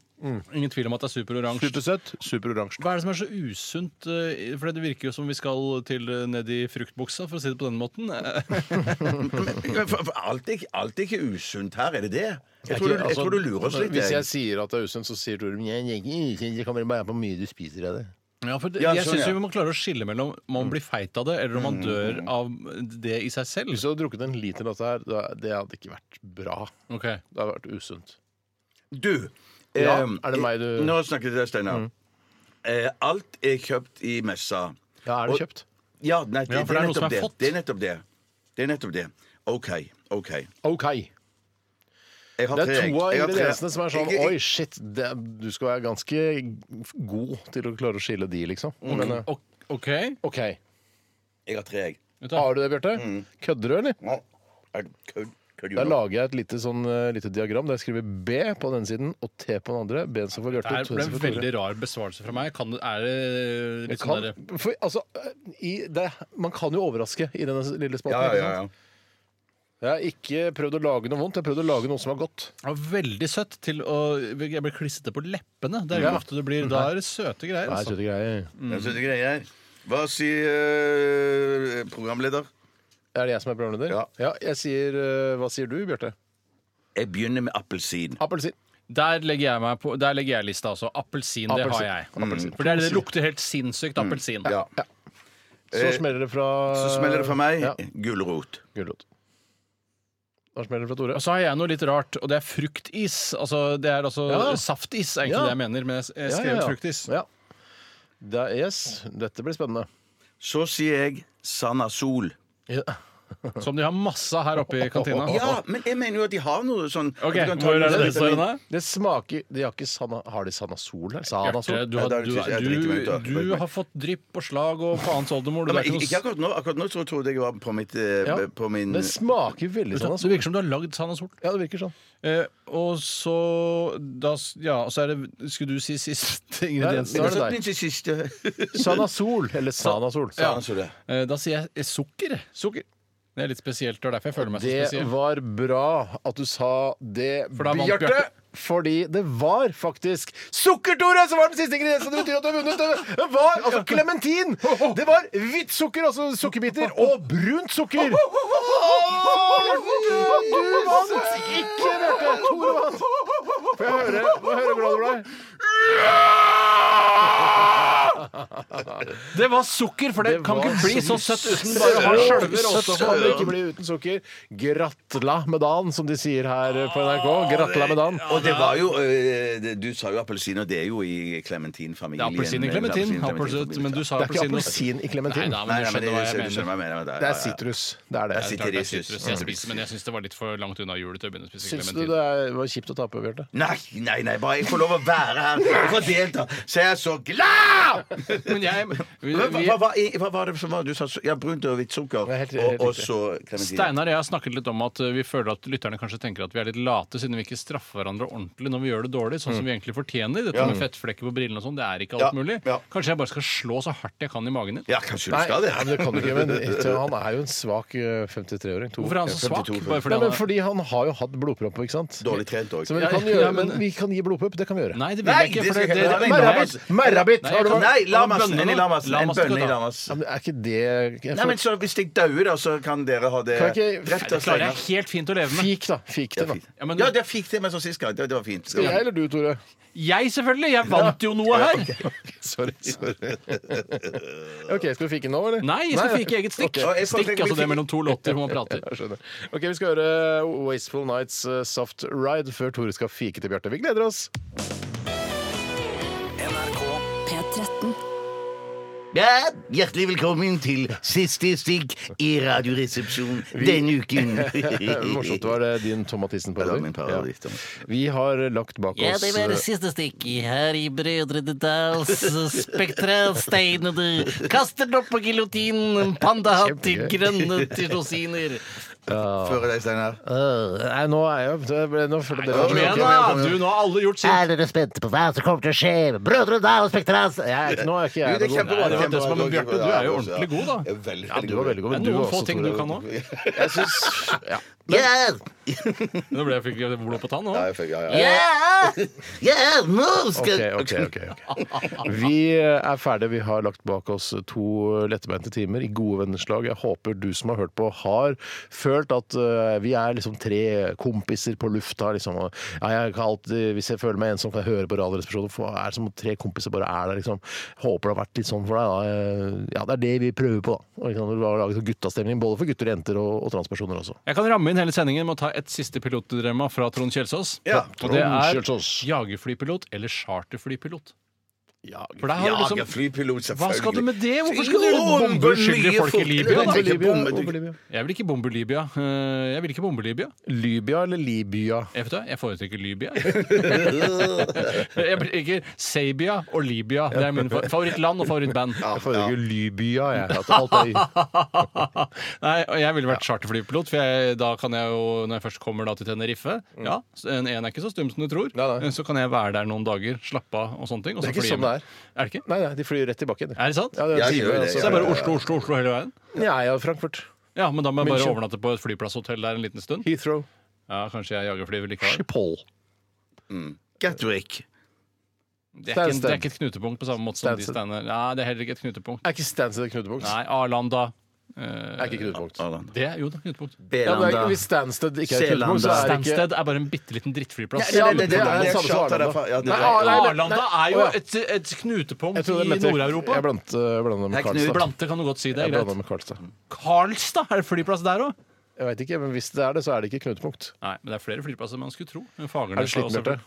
[SPEAKER 4] Ingen tvil om at det er superoransje.
[SPEAKER 2] Supersøtt, superoransje.
[SPEAKER 4] Hva er det som er så usunt? eh, For det virker jo som vi skal til eh, ned i fruktbuksa, for å si det på den måten. Eh,
[SPEAKER 3] Men for, for alt, er, ikke- alt er ikke usunt her, er det det? Jeg tror,
[SPEAKER 2] Det er
[SPEAKER 3] du,
[SPEAKER 2] ikke-
[SPEAKER 3] jeg tror du lurer oss
[SPEAKER 2] altså,
[SPEAKER 3] litt.
[SPEAKER 2] Hvis jeg
[SPEAKER 3] jeg.
[SPEAKER 2] sier at det er usunt, så sier Tore «Men jeg er ikke usunn, det kommer bare an på hvor mye du spiser av det.
[SPEAKER 4] Ja, Mm. for det,
[SPEAKER 3] Ja,
[SPEAKER 4] Eh, jeg
[SPEAKER 3] sånn,
[SPEAKER 4] syns
[SPEAKER 3] ja.
[SPEAKER 4] vi må klare å skille mellom om man blir feit av det, eller om man dør av det i seg selv.
[SPEAKER 2] Hvis du hadde drukket en liter av dette her, da- det hadde ikke vært bra.
[SPEAKER 4] Ok.
[SPEAKER 2] Det hadde vært usunt.
[SPEAKER 3] Du!
[SPEAKER 2] Ja,
[SPEAKER 3] ehm,
[SPEAKER 2] er det meg du- Mm.
[SPEAKER 3] Nå snakker jeg til deg, Steinar. Eh, alt er Eh, kjøpt i messa.
[SPEAKER 2] Ja, er det kjøpt?
[SPEAKER 3] Ja, nei, det,
[SPEAKER 4] Ja, for
[SPEAKER 3] det,
[SPEAKER 4] det er
[SPEAKER 3] er
[SPEAKER 4] noe som
[SPEAKER 3] nettopp
[SPEAKER 4] er
[SPEAKER 3] det.
[SPEAKER 4] fått.
[SPEAKER 3] det er nettopp det. Det er nettopp det. OK. OK.
[SPEAKER 2] OK.
[SPEAKER 3] Jeg har
[SPEAKER 2] Det er
[SPEAKER 3] tre, jeg.
[SPEAKER 2] to av
[SPEAKER 3] Jeg har tre.
[SPEAKER 2] ingrediensene som er sånn
[SPEAKER 3] Jeg- jeg-
[SPEAKER 2] Oi, shit, det, er- du skal være ganske god til å klare å skille de, liksom.
[SPEAKER 3] Mm.
[SPEAKER 2] Men, eh,
[SPEAKER 4] OK. Ah,
[SPEAKER 2] OK.
[SPEAKER 3] Jeg har tre, jeg.
[SPEAKER 2] Har du det, Bjarte?
[SPEAKER 3] Mm.
[SPEAKER 2] Kødder du, eller?
[SPEAKER 3] Nå, er det kødd? Kødd,
[SPEAKER 2] Der
[SPEAKER 3] Jonas?
[SPEAKER 2] lager jeg et lite, sånn, eh, lite diagram der jeg skriver B på den ene siden og T på den andre. B som for
[SPEAKER 4] Det
[SPEAKER 2] Bjarte.
[SPEAKER 4] her
[SPEAKER 2] T
[SPEAKER 4] ble
[SPEAKER 2] som
[SPEAKER 4] en
[SPEAKER 2] for Tore.
[SPEAKER 4] veldig rar besvarelse fra meg. Kan, det- er det
[SPEAKER 2] Det
[SPEAKER 4] litt
[SPEAKER 2] kan,
[SPEAKER 4] sånn derre
[SPEAKER 2] for, altså, eh, i, det, man kan jo overraske i denne lille spalten.
[SPEAKER 3] Ja, ja,
[SPEAKER 2] ikke
[SPEAKER 3] ja, ja.
[SPEAKER 2] sant? Jeg har ikke prøvd å lage noe vondt, jeg har prøvd å lage noe som er godt.
[SPEAKER 4] Det var Veldig søtt til å Jeg ble klissete på leppene. Det er jo
[SPEAKER 2] Ja.
[SPEAKER 4] ikke ofte det blir. Da er det søte greier.
[SPEAKER 2] Nei,
[SPEAKER 4] Altså.
[SPEAKER 2] søte greier.
[SPEAKER 3] Det er søte greier. Hva sier eh, programleder?
[SPEAKER 2] Er det jeg som er programleder?
[SPEAKER 3] Ja.
[SPEAKER 2] jeg sier, eh, Hva sier du, Bjarte?
[SPEAKER 3] Jeg begynner med appelsin.
[SPEAKER 2] Appelsin.
[SPEAKER 4] Der legger jeg meg på Der legger jeg lista også. Appelsin, Mm. det har
[SPEAKER 2] Appelsin.
[SPEAKER 4] jeg.
[SPEAKER 2] Appelsin.
[SPEAKER 4] For det, er det det lukter helt sinnssykt appelsin.
[SPEAKER 3] Ja.
[SPEAKER 2] Så smeller det fra
[SPEAKER 3] Eh, Så smeller det for meg.
[SPEAKER 2] Ja,
[SPEAKER 3] Gulrot.
[SPEAKER 2] Gulrot. Da smeller det fra Tore.
[SPEAKER 4] Og så har jeg noe litt rart, og det er fruktis. Altså, det er altså
[SPEAKER 2] Ja.
[SPEAKER 4] saftis, er egentlig
[SPEAKER 2] Ja.
[SPEAKER 4] det jeg mener. Men jeg s- jeg skrev fruktis.
[SPEAKER 2] Ja. Det er, yes, dette blir spennende.
[SPEAKER 3] Så sier jeg Sanasol.
[SPEAKER 4] Som de har masse av her oppe i kantina.
[SPEAKER 3] Ja, men jeg mener jo at de har noe sånn at
[SPEAKER 4] Ok,
[SPEAKER 3] du kan ta
[SPEAKER 4] hvor
[SPEAKER 3] noe
[SPEAKER 4] er det det
[SPEAKER 3] vitamin-
[SPEAKER 4] står da?
[SPEAKER 2] Det smaker de har, ikke sana, har de Sanasol her?
[SPEAKER 4] Bjarte,
[SPEAKER 2] Sanasol?
[SPEAKER 4] du, har-
[SPEAKER 3] Nei, det er
[SPEAKER 4] du,
[SPEAKER 3] ikke- jeg driter meg ut, da.
[SPEAKER 4] du, du har fått drypp og slag og faens
[SPEAKER 3] Ja,
[SPEAKER 4] oldemor. Du,
[SPEAKER 3] men
[SPEAKER 4] det er
[SPEAKER 3] ikke, ikke akkurat
[SPEAKER 4] ikke noe-
[SPEAKER 3] nå. Akkurat nå så trodde jeg jeg var på, mitt, eh,
[SPEAKER 2] Ja.
[SPEAKER 3] på min
[SPEAKER 2] Det smaker veldig
[SPEAKER 3] sånn,
[SPEAKER 4] det
[SPEAKER 2] Sanasol.
[SPEAKER 3] altså.
[SPEAKER 4] virker som du har lagd sand og sol.
[SPEAKER 2] Ja, det virker sånn.
[SPEAKER 4] Eh, og så da, s- Ja, og så er det Skulle du si siste ingrediens?
[SPEAKER 2] Nei,
[SPEAKER 4] da?
[SPEAKER 2] det
[SPEAKER 3] Så
[SPEAKER 2] deg.
[SPEAKER 3] min siste
[SPEAKER 2] Sanasol, eller Sanasol.
[SPEAKER 4] Ja.
[SPEAKER 3] Sanasol, ja.
[SPEAKER 4] Eh, da sier jeg eh, sukker. Sukker. Det er litt spesielt, og derfor jeg føler meg så
[SPEAKER 2] Det
[SPEAKER 4] spesiell.
[SPEAKER 2] var bra at du sa det,
[SPEAKER 4] For da vant
[SPEAKER 2] Bjarte.
[SPEAKER 4] Bjarte.
[SPEAKER 2] Fordi det var faktisk sukker, Tore, som var den siste ingrediensen. Det betyr at du har vunnet. Det var altså klementin! Det var hvitt sukker, altså sukkerbiter, og brunt sukker. Du vant ikke, Bjarte. Tore vant. Får jeg høre, Får jeg høre hvordan det ble?
[SPEAKER 4] Det var sukker, for det,
[SPEAKER 2] Det
[SPEAKER 4] kan
[SPEAKER 2] var
[SPEAKER 4] ikke bli så
[SPEAKER 2] sukker.
[SPEAKER 4] søtt uten bare å ha skjølver også.
[SPEAKER 2] Søtt kan det ikke bli uten sukker. Gratla med dagen, som de sier her på NRK. Gratla med dagen.
[SPEAKER 3] Og det var jo eh, det- Du sa jo appelsin, og det er jo i
[SPEAKER 4] Det
[SPEAKER 3] klementinfamilien.
[SPEAKER 4] er appelsin i klementin, appelsin, men du sa
[SPEAKER 2] Det er ikke appelsin
[SPEAKER 4] appelsin.
[SPEAKER 2] i klementin.
[SPEAKER 4] Nei,
[SPEAKER 3] Nei,
[SPEAKER 4] da,
[SPEAKER 3] nei, men
[SPEAKER 4] men du skjønner
[SPEAKER 3] det,
[SPEAKER 4] hva
[SPEAKER 3] du
[SPEAKER 4] jeg
[SPEAKER 3] skjønner
[SPEAKER 4] mener.
[SPEAKER 3] hva jeg mener.
[SPEAKER 2] Det er sitrus. Det er det.
[SPEAKER 3] sitrus.
[SPEAKER 4] Klart det er
[SPEAKER 3] Sitrus.
[SPEAKER 4] sitrus. Jeg spiser, men jeg syns det var litt for langt unna julet til å begynne å spise
[SPEAKER 2] Syns du
[SPEAKER 4] klementin.
[SPEAKER 2] det er- var kjipt å tape, Bjarte?
[SPEAKER 3] Nei, nei, nei, bare jeg får lov å være her og få delta, så jeg er så glad!
[SPEAKER 4] Men jeg vi,
[SPEAKER 3] Hva, hva,
[SPEAKER 4] vi,
[SPEAKER 3] hva, i- hva var det som var du sa? Ja, Brunt og hvitt sukker.
[SPEAKER 2] Ja, helt- helt
[SPEAKER 3] Og, og
[SPEAKER 2] riktig.
[SPEAKER 3] så klementin.
[SPEAKER 4] Steinar og jeg har snakket litt om at eh, vi føler at lytterne kanskje tenker at vi er litt late, siden vi ikke straffer hverandre ordentlig når vi gjør det dårlig, sånn som vi egentlig fortjener. Dette med fettflekker på brillene og sånn, det er ikke
[SPEAKER 3] Ja,
[SPEAKER 4] alt mulig.
[SPEAKER 3] ja.
[SPEAKER 4] Kanskje jeg bare skal slå så hardt jeg kan i magen din?
[SPEAKER 3] Ja, kanskje du
[SPEAKER 2] Nei,
[SPEAKER 3] skal det.
[SPEAKER 2] men det kan du ikke. Men han er jo en svak eh, 53-åring. To-
[SPEAKER 4] Hvorfor er han så svak?
[SPEAKER 3] 52,
[SPEAKER 4] Bare
[SPEAKER 2] Nei,
[SPEAKER 4] fordi
[SPEAKER 2] men
[SPEAKER 4] han er
[SPEAKER 2] fordi han har jo hatt blodpropp, ikke sant?
[SPEAKER 3] Dårlig trent òg.
[SPEAKER 2] Så men vi, kan
[SPEAKER 4] Ja,
[SPEAKER 2] gjøre,
[SPEAKER 4] ja, men-
[SPEAKER 2] men vi kan gi blodpropp. Det kan vi gjøre.
[SPEAKER 4] Nei, det vil
[SPEAKER 3] Nei,
[SPEAKER 4] jeg ikke.
[SPEAKER 3] det
[SPEAKER 4] For
[SPEAKER 3] skal
[SPEAKER 4] det,
[SPEAKER 3] jeg
[SPEAKER 4] det,
[SPEAKER 3] ikke ha.
[SPEAKER 4] det,
[SPEAKER 2] Merrabit! Merrabit!
[SPEAKER 4] Nei,
[SPEAKER 2] Har
[SPEAKER 4] jeg
[SPEAKER 2] du vært
[SPEAKER 4] kan-
[SPEAKER 3] Nei, Lamas.
[SPEAKER 4] Bønner
[SPEAKER 3] En i
[SPEAKER 4] nå.
[SPEAKER 3] Lamas. En
[SPEAKER 4] Lamas
[SPEAKER 3] bønne
[SPEAKER 4] skal
[SPEAKER 3] i
[SPEAKER 4] ta.
[SPEAKER 3] Lamas.
[SPEAKER 2] Ja, men Er ikke det jeg
[SPEAKER 3] Nei, men
[SPEAKER 2] får-
[SPEAKER 3] så Hvis jeg dauer, da, så kan dere ha det
[SPEAKER 2] Kan jeg ikke-
[SPEAKER 3] drept
[SPEAKER 4] det
[SPEAKER 3] av
[SPEAKER 4] klarer jeg
[SPEAKER 3] Steinar.
[SPEAKER 4] helt fint å leve med.
[SPEAKER 2] Fik, da. Fik det, da.
[SPEAKER 4] Ja, men-
[SPEAKER 3] Ja, det fikk det meg som sist gang. Det, det var fint.
[SPEAKER 2] Skal jeg eller du, Tore?
[SPEAKER 4] Jeg, selvfølgelig! Jeg vant jo noe her!
[SPEAKER 2] Sorry. sorry. OK, skal vi fike nå, eller?
[SPEAKER 4] Nei, jeg skal
[SPEAKER 2] Nei.
[SPEAKER 4] fike eget stikk.
[SPEAKER 3] Ok. Ja, jeg skal
[SPEAKER 4] Stikk,
[SPEAKER 3] tenke-
[SPEAKER 4] altså det mellom to låter hvor man prater.
[SPEAKER 2] Jeg skjønner. Ok, Vi skal høre Wasteful Nights eh, Soft Ride før Tore skal fike til Bjarte. Vi gleder oss!
[SPEAKER 6] P13.
[SPEAKER 3] Ja, hjertelig velkommen til siste stikk i Radioresepsjonen denne uken.
[SPEAKER 2] Morsomt var det din Tom
[SPEAKER 3] Det var min
[SPEAKER 2] Mathisen-parodi.
[SPEAKER 3] parodi,
[SPEAKER 2] Ja.
[SPEAKER 3] Tom.
[SPEAKER 2] Vi har lagt bak
[SPEAKER 9] Ja,
[SPEAKER 2] oss
[SPEAKER 9] det var det
[SPEAKER 2] eh,
[SPEAKER 9] siste stikket her i Brødrene Dals spektralsteinede. Kaster den opp på giljotinen, pandahatt til grønne tirosiner.
[SPEAKER 3] Føre deg, Steinar.
[SPEAKER 2] øh, Nei, nå er jeg det ble- Nå følte dere
[SPEAKER 4] Kom igjen, da! Du, nå har alle gjort sitt.
[SPEAKER 9] Er dere spente på hva som kommer til å skje med Brødrene Dal spektras? Ja,
[SPEAKER 2] Nå er ikke
[SPEAKER 3] Jo,
[SPEAKER 2] jeg
[SPEAKER 3] det er
[SPEAKER 2] noe god.
[SPEAKER 3] kjempebra.
[SPEAKER 4] Nei, det var det som var- men Bjarte, du er jo ordentlig god, da.
[SPEAKER 3] Jeg er veldig,
[SPEAKER 2] Ja, du var veldig god,
[SPEAKER 4] Det
[SPEAKER 2] men
[SPEAKER 4] er
[SPEAKER 2] du
[SPEAKER 4] noen
[SPEAKER 2] var
[SPEAKER 4] få
[SPEAKER 2] også,
[SPEAKER 4] ting du
[SPEAKER 2] Tore.
[SPEAKER 4] kan nå.
[SPEAKER 2] Jeg syns ja.
[SPEAKER 9] ja,
[SPEAKER 4] Nå ble jeg fikk jeg blod på tann nå.
[SPEAKER 3] Ja, jeg fikk, ja, ja.
[SPEAKER 9] ja, ja, nå
[SPEAKER 2] OK,
[SPEAKER 9] skal
[SPEAKER 2] OK. ok, ok. Vi eh, er ferdige. Vi har lagt bak oss eh, to lettbeinte timer i gode venners lag. Jeg håper du som har hørt på, har følt at øh, vi er liksom tre kompiser på lufta. Liksom. Og, ja, jeg kan alltid, hvis jeg føler meg ensom, kan jeg høre på Radioresepsjonen. for Det er som om tre kompiser bare er der. Liksom. Håper det har vært litt sånn for deg. Da. Ja, det er det vi prøver på. Da. Og, Liksom, vi har laget guttastemning både for gutter, jenter og, og transpersoner også.
[SPEAKER 4] Jeg kan ramme inn hele sendingen med å ta et siste pilotdilemma fra Trond Kjelsås.
[SPEAKER 3] Ja.
[SPEAKER 4] Og
[SPEAKER 2] Trond
[SPEAKER 4] det er
[SPEAKER 2] Kjelsås.
[SPEAKER 4] jagerflypilot eller charterflypilot. For der har du liksom
[SPEAKER 3] Jagerflypilot, selvfølgelig.
[SPEAKER 4] Hva skal du med det? Hvorfor skal du bombe uskyldige folk i Libya?
[SPEAKER 3] Jeg
[SPEAKER 4] da?
[SPEAKER 3] tenker bombe,
[SPEAKER 2] Bombe
[SPEAKER 3] du-
[SPEAKER 2] Libya.
[SPEAKER 4] Jeg vil ikke bombe Libya. Eh, Jeg vil ikke bombe Libya.
[SPEAKER 2] Libya eller Libya?
[SPEAKER 4] Jeg, vet, hva, jeg foretrekker Libya. jeg blir ikke Sabia og Libya. Det er min fa- favorittland og favorittband.
[SPEAKER 2] Jeg foretrekker Libya, jeg. At alt er i-
[SPEAKER 4] Nei, og jeg ville vært charterflypilot, for jeg, da kan jeg jo, når jeg først kommer da til Tenerife Ja, så en en er ikke så stum som du tror.
[SPEAKER 2] Mm. Nei, nei.
[SPEAKER 4] Så kan jeg være der noen dager, slappe av og sånne ting. Og
[SPEAKER 2] Det er
[SPEAKER 4] så
[SPEAKER 2] ikke
[SPEAKER 4] fly hjem.
[SPEAKER 2] sånn det er.
[SPEAKER 4] Er det ikke?
[SPEAKER 2] Nei, nei, de flyr rett tilbake igjen.
[SPEAKER 4] Er det sant?
[SPEAKER 2] Ja, det er
[SPEAKER 3] Jeg
[SPEAKER 2] time,
[SPEAKER 3] gjør det,
[SPEAKER 2] altså.
[SPEAKER 4] Så det er bare Oslo, Oslo, Oslo hele veien?
[SPEAKER 2] Ja, ja, Frankfurt.
[SPEAKER 4] Ja, men da må jeg bare
[SPEAKER 2] München.
[SPEAKER 4] overnatte på et flyplasshotell der en liten stund?
[SPEAKER 2] Heathrow.
[SPEAKER 4] Ja, kanskje jeg jager fly likevel.
[SPEAKER 2] Schiphol.
[SPEAKER 3] Gatwick.
[SPEAKER 4] Det er, ikke, en-
[SPEAKER 2] Stansted.
[SPEAKER 4] det er ikke et knutepunkt på samme måte som de
[SPEAKER 2] Stansted.
[SPEAKER 4] standene. Nei, det er heller ikke et knutepunkt.
[SPEAKER 2] Er ikke Stansted et knutepunkt?
[SPEAKER 4] Nei, Arlanda. Eh,
[SPEAKER 2] Er ikke knutepunkt.
[SPEAKER 3] Arland.
[SPEAKER 4] det, jo, det er knutepunkt.
[SPEAKER 2] Ja, men det er ikke-
[SPEAKER 3] Belanda.
[SPEAKER 2] hvis Stansted ikke er et knutepunkt, så er det ikke
[SPEAKER 4] Stansted er bare en bitte liten drittflyplass.
[SPEAKER 2] Ja,
[SPEAKER 3] Ja,
[SPEAKER 2] men
[SPEAKER 3] det-
[SPEAKER 2] det er
[SPEAKER 3] det-
[SPEAKER 2] det
[SPEAKER 3] det-
[SPEAKER 2] samme som
[SPEAKER 3] charter
[SPEAKER 2] Arlanda.
[SPEAKER 3] derfra, ja, det-
[SPEAKER 2] Nei, Ar- nei, nei,
[SPEAKER 4] Arlanda er jo
[SPEAKER 2] Å, ja.
[SPEAKER 4] et, et knutepunkt
[SPEAKER 2] Jeg trodde
[SPEAKER 4] i
[SPEAKER 2] jeg mente-
[SPEAKER 4] Nord-Europa.
[SPEAKER 2] Jeg blandet blanda med
[SPEAKER 3] Det er
[SPEAKER 2] Karlstad.
[SPEAKER 3] knut.
[SPEAKER 4] Blante kan du godt si. det
[SPEAKER 2] Jeg
[SPEAKER 4] er
[SPEAKER 2] blanda
[SPEAKER 4] greit.
[SPEAKER 2] med Karlstad.
[SPEAKER 4] Karlstad! Er det flyplass der òg?
[SPEAKER 2] Jeg vet ikke, men hvis det er det, så er det ikke knutepunkt.
[SPEAKER 4] Nei, men det er flere flyplasser enn man skulle tro.
[SPEAKER 2] Er du sliten, Bjarte?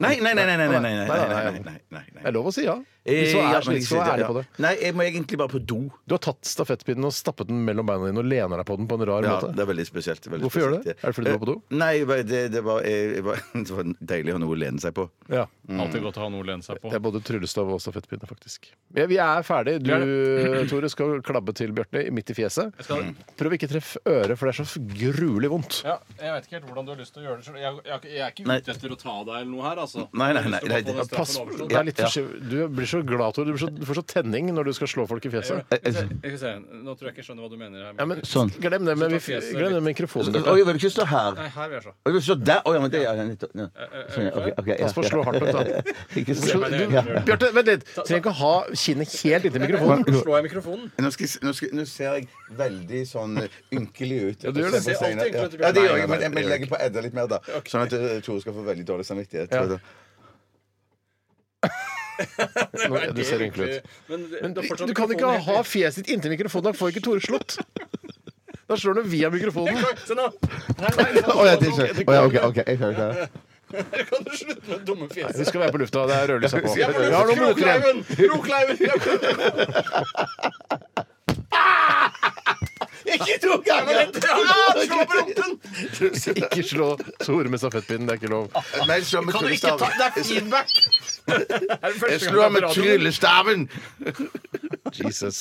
[SPEAKER 3] Nei, nei, nei, nei, nei, nei, nei,
[SPEAKER 2] Nei,
[SPEAKER 3] nei,
[SPEAKER 2] nei,
[SPEAKER 3] nei,
[SPEAKER 2] nei.
[SPEAKER 3] nei, nei, nei.
[SPEAKER 2] Det er lov å si ja.
[SPEAKER 3] Eh,
[SPEAKER 2] Hvis du
[SPEAKER 3] ja,
[SPEAKER 2] er
[SPEAKER 3] men
[SPEAKER 2] slik,
[SPEAKER 3] ikke
[SPEAKER 2] så
[SPEAKER 3] si det,
[SPEAKER 2] er ærlig
[SPEAKER 3] ja.
[SPEAKER 2] på det.
[SPEAKER 3] Nei, jeg må egentlig bare på do.
[SPEAKER 2] Du har tatt stafettpinnen og stappet den mellom beina dine og lener deg på den på en rar
[SPEAKER 3] Ja, det
[SPEAKER 2] måte.
[SPEAKER 3] er veldig spesielt. Veldig
[SPEAKER 2] Hvorfor gjør du
[SPEAKER 3] spesielt,
[SPEAKER 2] det?
[SPEAKER 3] ja.
[SPEAKER 2] Er det fordi du var på do?
[SPEAKER 3] Eh, Nei, det, det, var, jeg, jeg var, det var deilig å ha noe å lene seg på.
[SPEAKER 2] Ja. Mm.
[SPEAKER 4] Alltid godt å ha noe å lene seg på.
[SPEAKER 2] Det er både tryllestav og stafettpinne, faktisk. Ja, vi er ferdig. Du, Tore, skal klabbe til Bjarte midt i fjeset.
[SPEAKER 4] skal-
[SPEAKER 2] Prøv å ikke treffe øret, for det er så gruelig vondt.
[SPEAKER 4] Ja, jeg vet ikke helt hvordan du har lyst til å gjøre det. selv. Jeg, jeg, jeg er ikke
[SPEAKER 3] Nei.
[SPEAKER 4] ute etter å ta deg eller noe her, altså.
[SPEAKER 3] Nei, nei, nei,
[SPEAKER 4] Jeg har lyst til å
[SPEAKER 3] nei,
[SPEAKER 4] bare få
[SPEAKER 3] det-
[SPEAKER 4] den
[SPEAKER 2] Pass,
[SPEAKER 4] straffen overstått.
[SPEAKER 2] det er litt forsi- du blir så glad, Tore. Du blir så, du får så tenning når du skal slå folk i fjeset.
[SPEAKER 4] Jeg gjør det. Skal vi se. Nå tror jeg ikke jeg skjønner hva du mener her.
[SPEAKER 2] Ja, men,
[SPEAKER 3] Sånn.
[SPEAKER 2] Glem det med,
[SPEAKER 4] Så tar fjeset
[SPEAKER 2] glem det med mikrofonen.
[SPEAKER 3] Oi, jeg vil ikke stå her.
[SPEAKER 4] Nei, her vil jeg se.
[SPEAKER 3] Å, Jeg vil stå der. Å, ja, men det er nettopp ja. Sånn, ja, ok, ok, ja,
[SPEAKER 2] Pass på å slå hardt ut, da.
[SPEAKER 3] ja. Ikke
[SPEAKER 2] Du,
[SPEAKER 3] stå-
[SPEAKER 2] du,
[SPEAKER 3] ja.
[SPEAKER 2] Bjarte, vent litt. Trenger ikke å ha kinnet helt inntil mikrofonen.
[SPEAKER 4] Slår jeg mikrofonen?
[SPEAKER 3] Nå, skal, jeg- nå, skal, nå ser jeg veldig sånn eh, ynkelig ut.
[SPEAKER 2] du gjør det.
[SPEAKER 3] Se på
[SPEAKER 4] Ser alltid
[SPEAKER 3] Steinar.
[SPEAKER 4] ynkelig ut, Bjørn.
[SPEAKER 3] Ja, det gjør
[SPEAKER 4] Nei,
[SPEAKER 3] jeg,
[SPEAKER 4] nei,
[SPEAKER 3] men jeg men jeg legger på Edda litt mer, da. Sånn at eh, Tore skal få veldig dårlig samvittighet.
[SPEAKER 2] Ja.
[SPEAKER 3] tror jeg.
[SPEAKER 2] Nå, ja, du ser ynkelig ut.
[SPEAKER 4] Men, det-
[SPEAKER 2] Men
[SPEAKER 4] det er fortsatt
[SPEAKER 2] du kan ikke
[SPEAKER 4] mikrofonen
[SPEAKER 2] ha fjeset ditt inntil mikrofonen. Da får ikke Tore slått. Da slår du via mikrofonen.
[SPEAKER 4] helt- Se nå!
[SPEAKER 3] Å, ja, det skjønner jeg. Å, ja, ok, ok, jeg skjønner det.
[SPEAKER 4] Kan du slutte med det dumme
[SPEAKER 2] Du
[SPEAKER 4] fjeset?
[SPEAKER 2] skal være på lufta. Det er rødlysa på.
[SPEAKER 4] Jeg er på
[SPEAKER 2] Vi har noen
[SPEAKER 4] luft.
[SPEAKER 2] minutter igjen.
[SPEAKER 4] Krokleiven! Krokleiven! Jeg er på
[SPEAKER 3] Ikke to ganger!
[SPEAKER 4] luft. Slå på rumpen!
[SPEAKER 2] Ikke slå Tore med stafettpinnen. Det er ikke lov.
[SPEAKER 3] Nei, slå med
[SPEAKER 4] Kan du ikke ta
[SPEAKER 3] tryllestaven.
[SPEAKER 4] Det er feedback! Er det første
[SPEAKER 3] Jeg
[SPEAKER 4] gang
[SPEAKER 3] slår
[SPEAKER 4] på
[SPEAKER 3] med
[SPEAKER 4] radioen?
[SPEAKER 3] tryllestaven!
[SPEAKER 2] Jesus.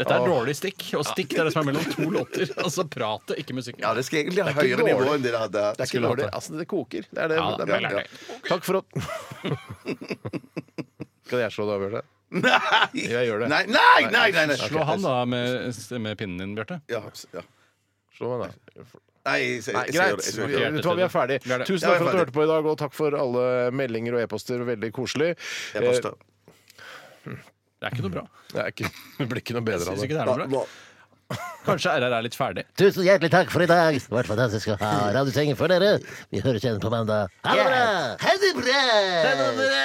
[SPEAKER 4] Dette er dårlig stikk, og stikk det er det som er mellom to låter. Altså pratet, ikke musikken.
[SPEAKER 3] Ja, det skal egentlig ha
[SPEAKER 2] Det er ikke
[SPEAKER 3] høyere nivå
[SPEAKER 2] dårlig.
[SPEAKER 3] enn det det hadde.
[SPEAKER 2] Det er ikke
[SPEAKER 4] Skulle hatt
[SPEAKER 2] dårlig.
[SPEAKER 4] det.
[SPEAKER 2] Altså, det koker. Det er det.
[SPEAKER 4] Ja,
[SPEAKER 2] det er
[SPEAKER 4] vel,
[SPEAKER 2] bra.
[SPEAKER 4] er det.
[SPEAKER 2] Takk for at Skal jeg slå deg, Bjarte?
[SPEAKER 3] Nei!
[SPEAKER 2] Jeg gjør det.
[SPEAKER 3] Nei, nei, nei! nei, nei.
[SPEAKER 4] Slå han da med, med pinnen din, Bjarte.
[SPEAKER 3] Ja, ja.
[SPEAKER 2] Slå meg, da.
[SPEAKER 3] Nei, jeg, jeg,
[SPEAKER 2] Nei,
[SPEAKER 3] jeg,
[SPEAKER 2] greit.
[SPEAKER 3] jeg, jeg,
[SPEAKER 2] Vi, vet du hva, vi er ferdig.
[SPEAKER 4] Vi er det.
[SPEAKER 2] Tusen
[SPEAKER 3] Ja, vi er ferdig.
[SPEAKER 2] takk for at du hørte på i dag, og takk for alle meldinger og e-poster. Veldig koselig.
[SPEAKER 3] jeg, jeg, jeg
[SPEAKER 4] Det er ikke noe bra.
[SPEAKER 2] Eh, det, er ikke, det blir ikke noe bedre
[SPEAKER 4] Synes
[SPEAKER 2] av
[SPEAKER 4] ikke
[SPEAKER 2] det.
[SPEAKER 4] det er noe bra. Kanskje RR er litt ferdig.
[SPEAKER 10] Tusen hjertelig takk for i dag. Det har vært fantastisk å ha Radiosengen for dere. Vi høres igjen på mandag. Ha det bra! Ha det bra! Ha det bra!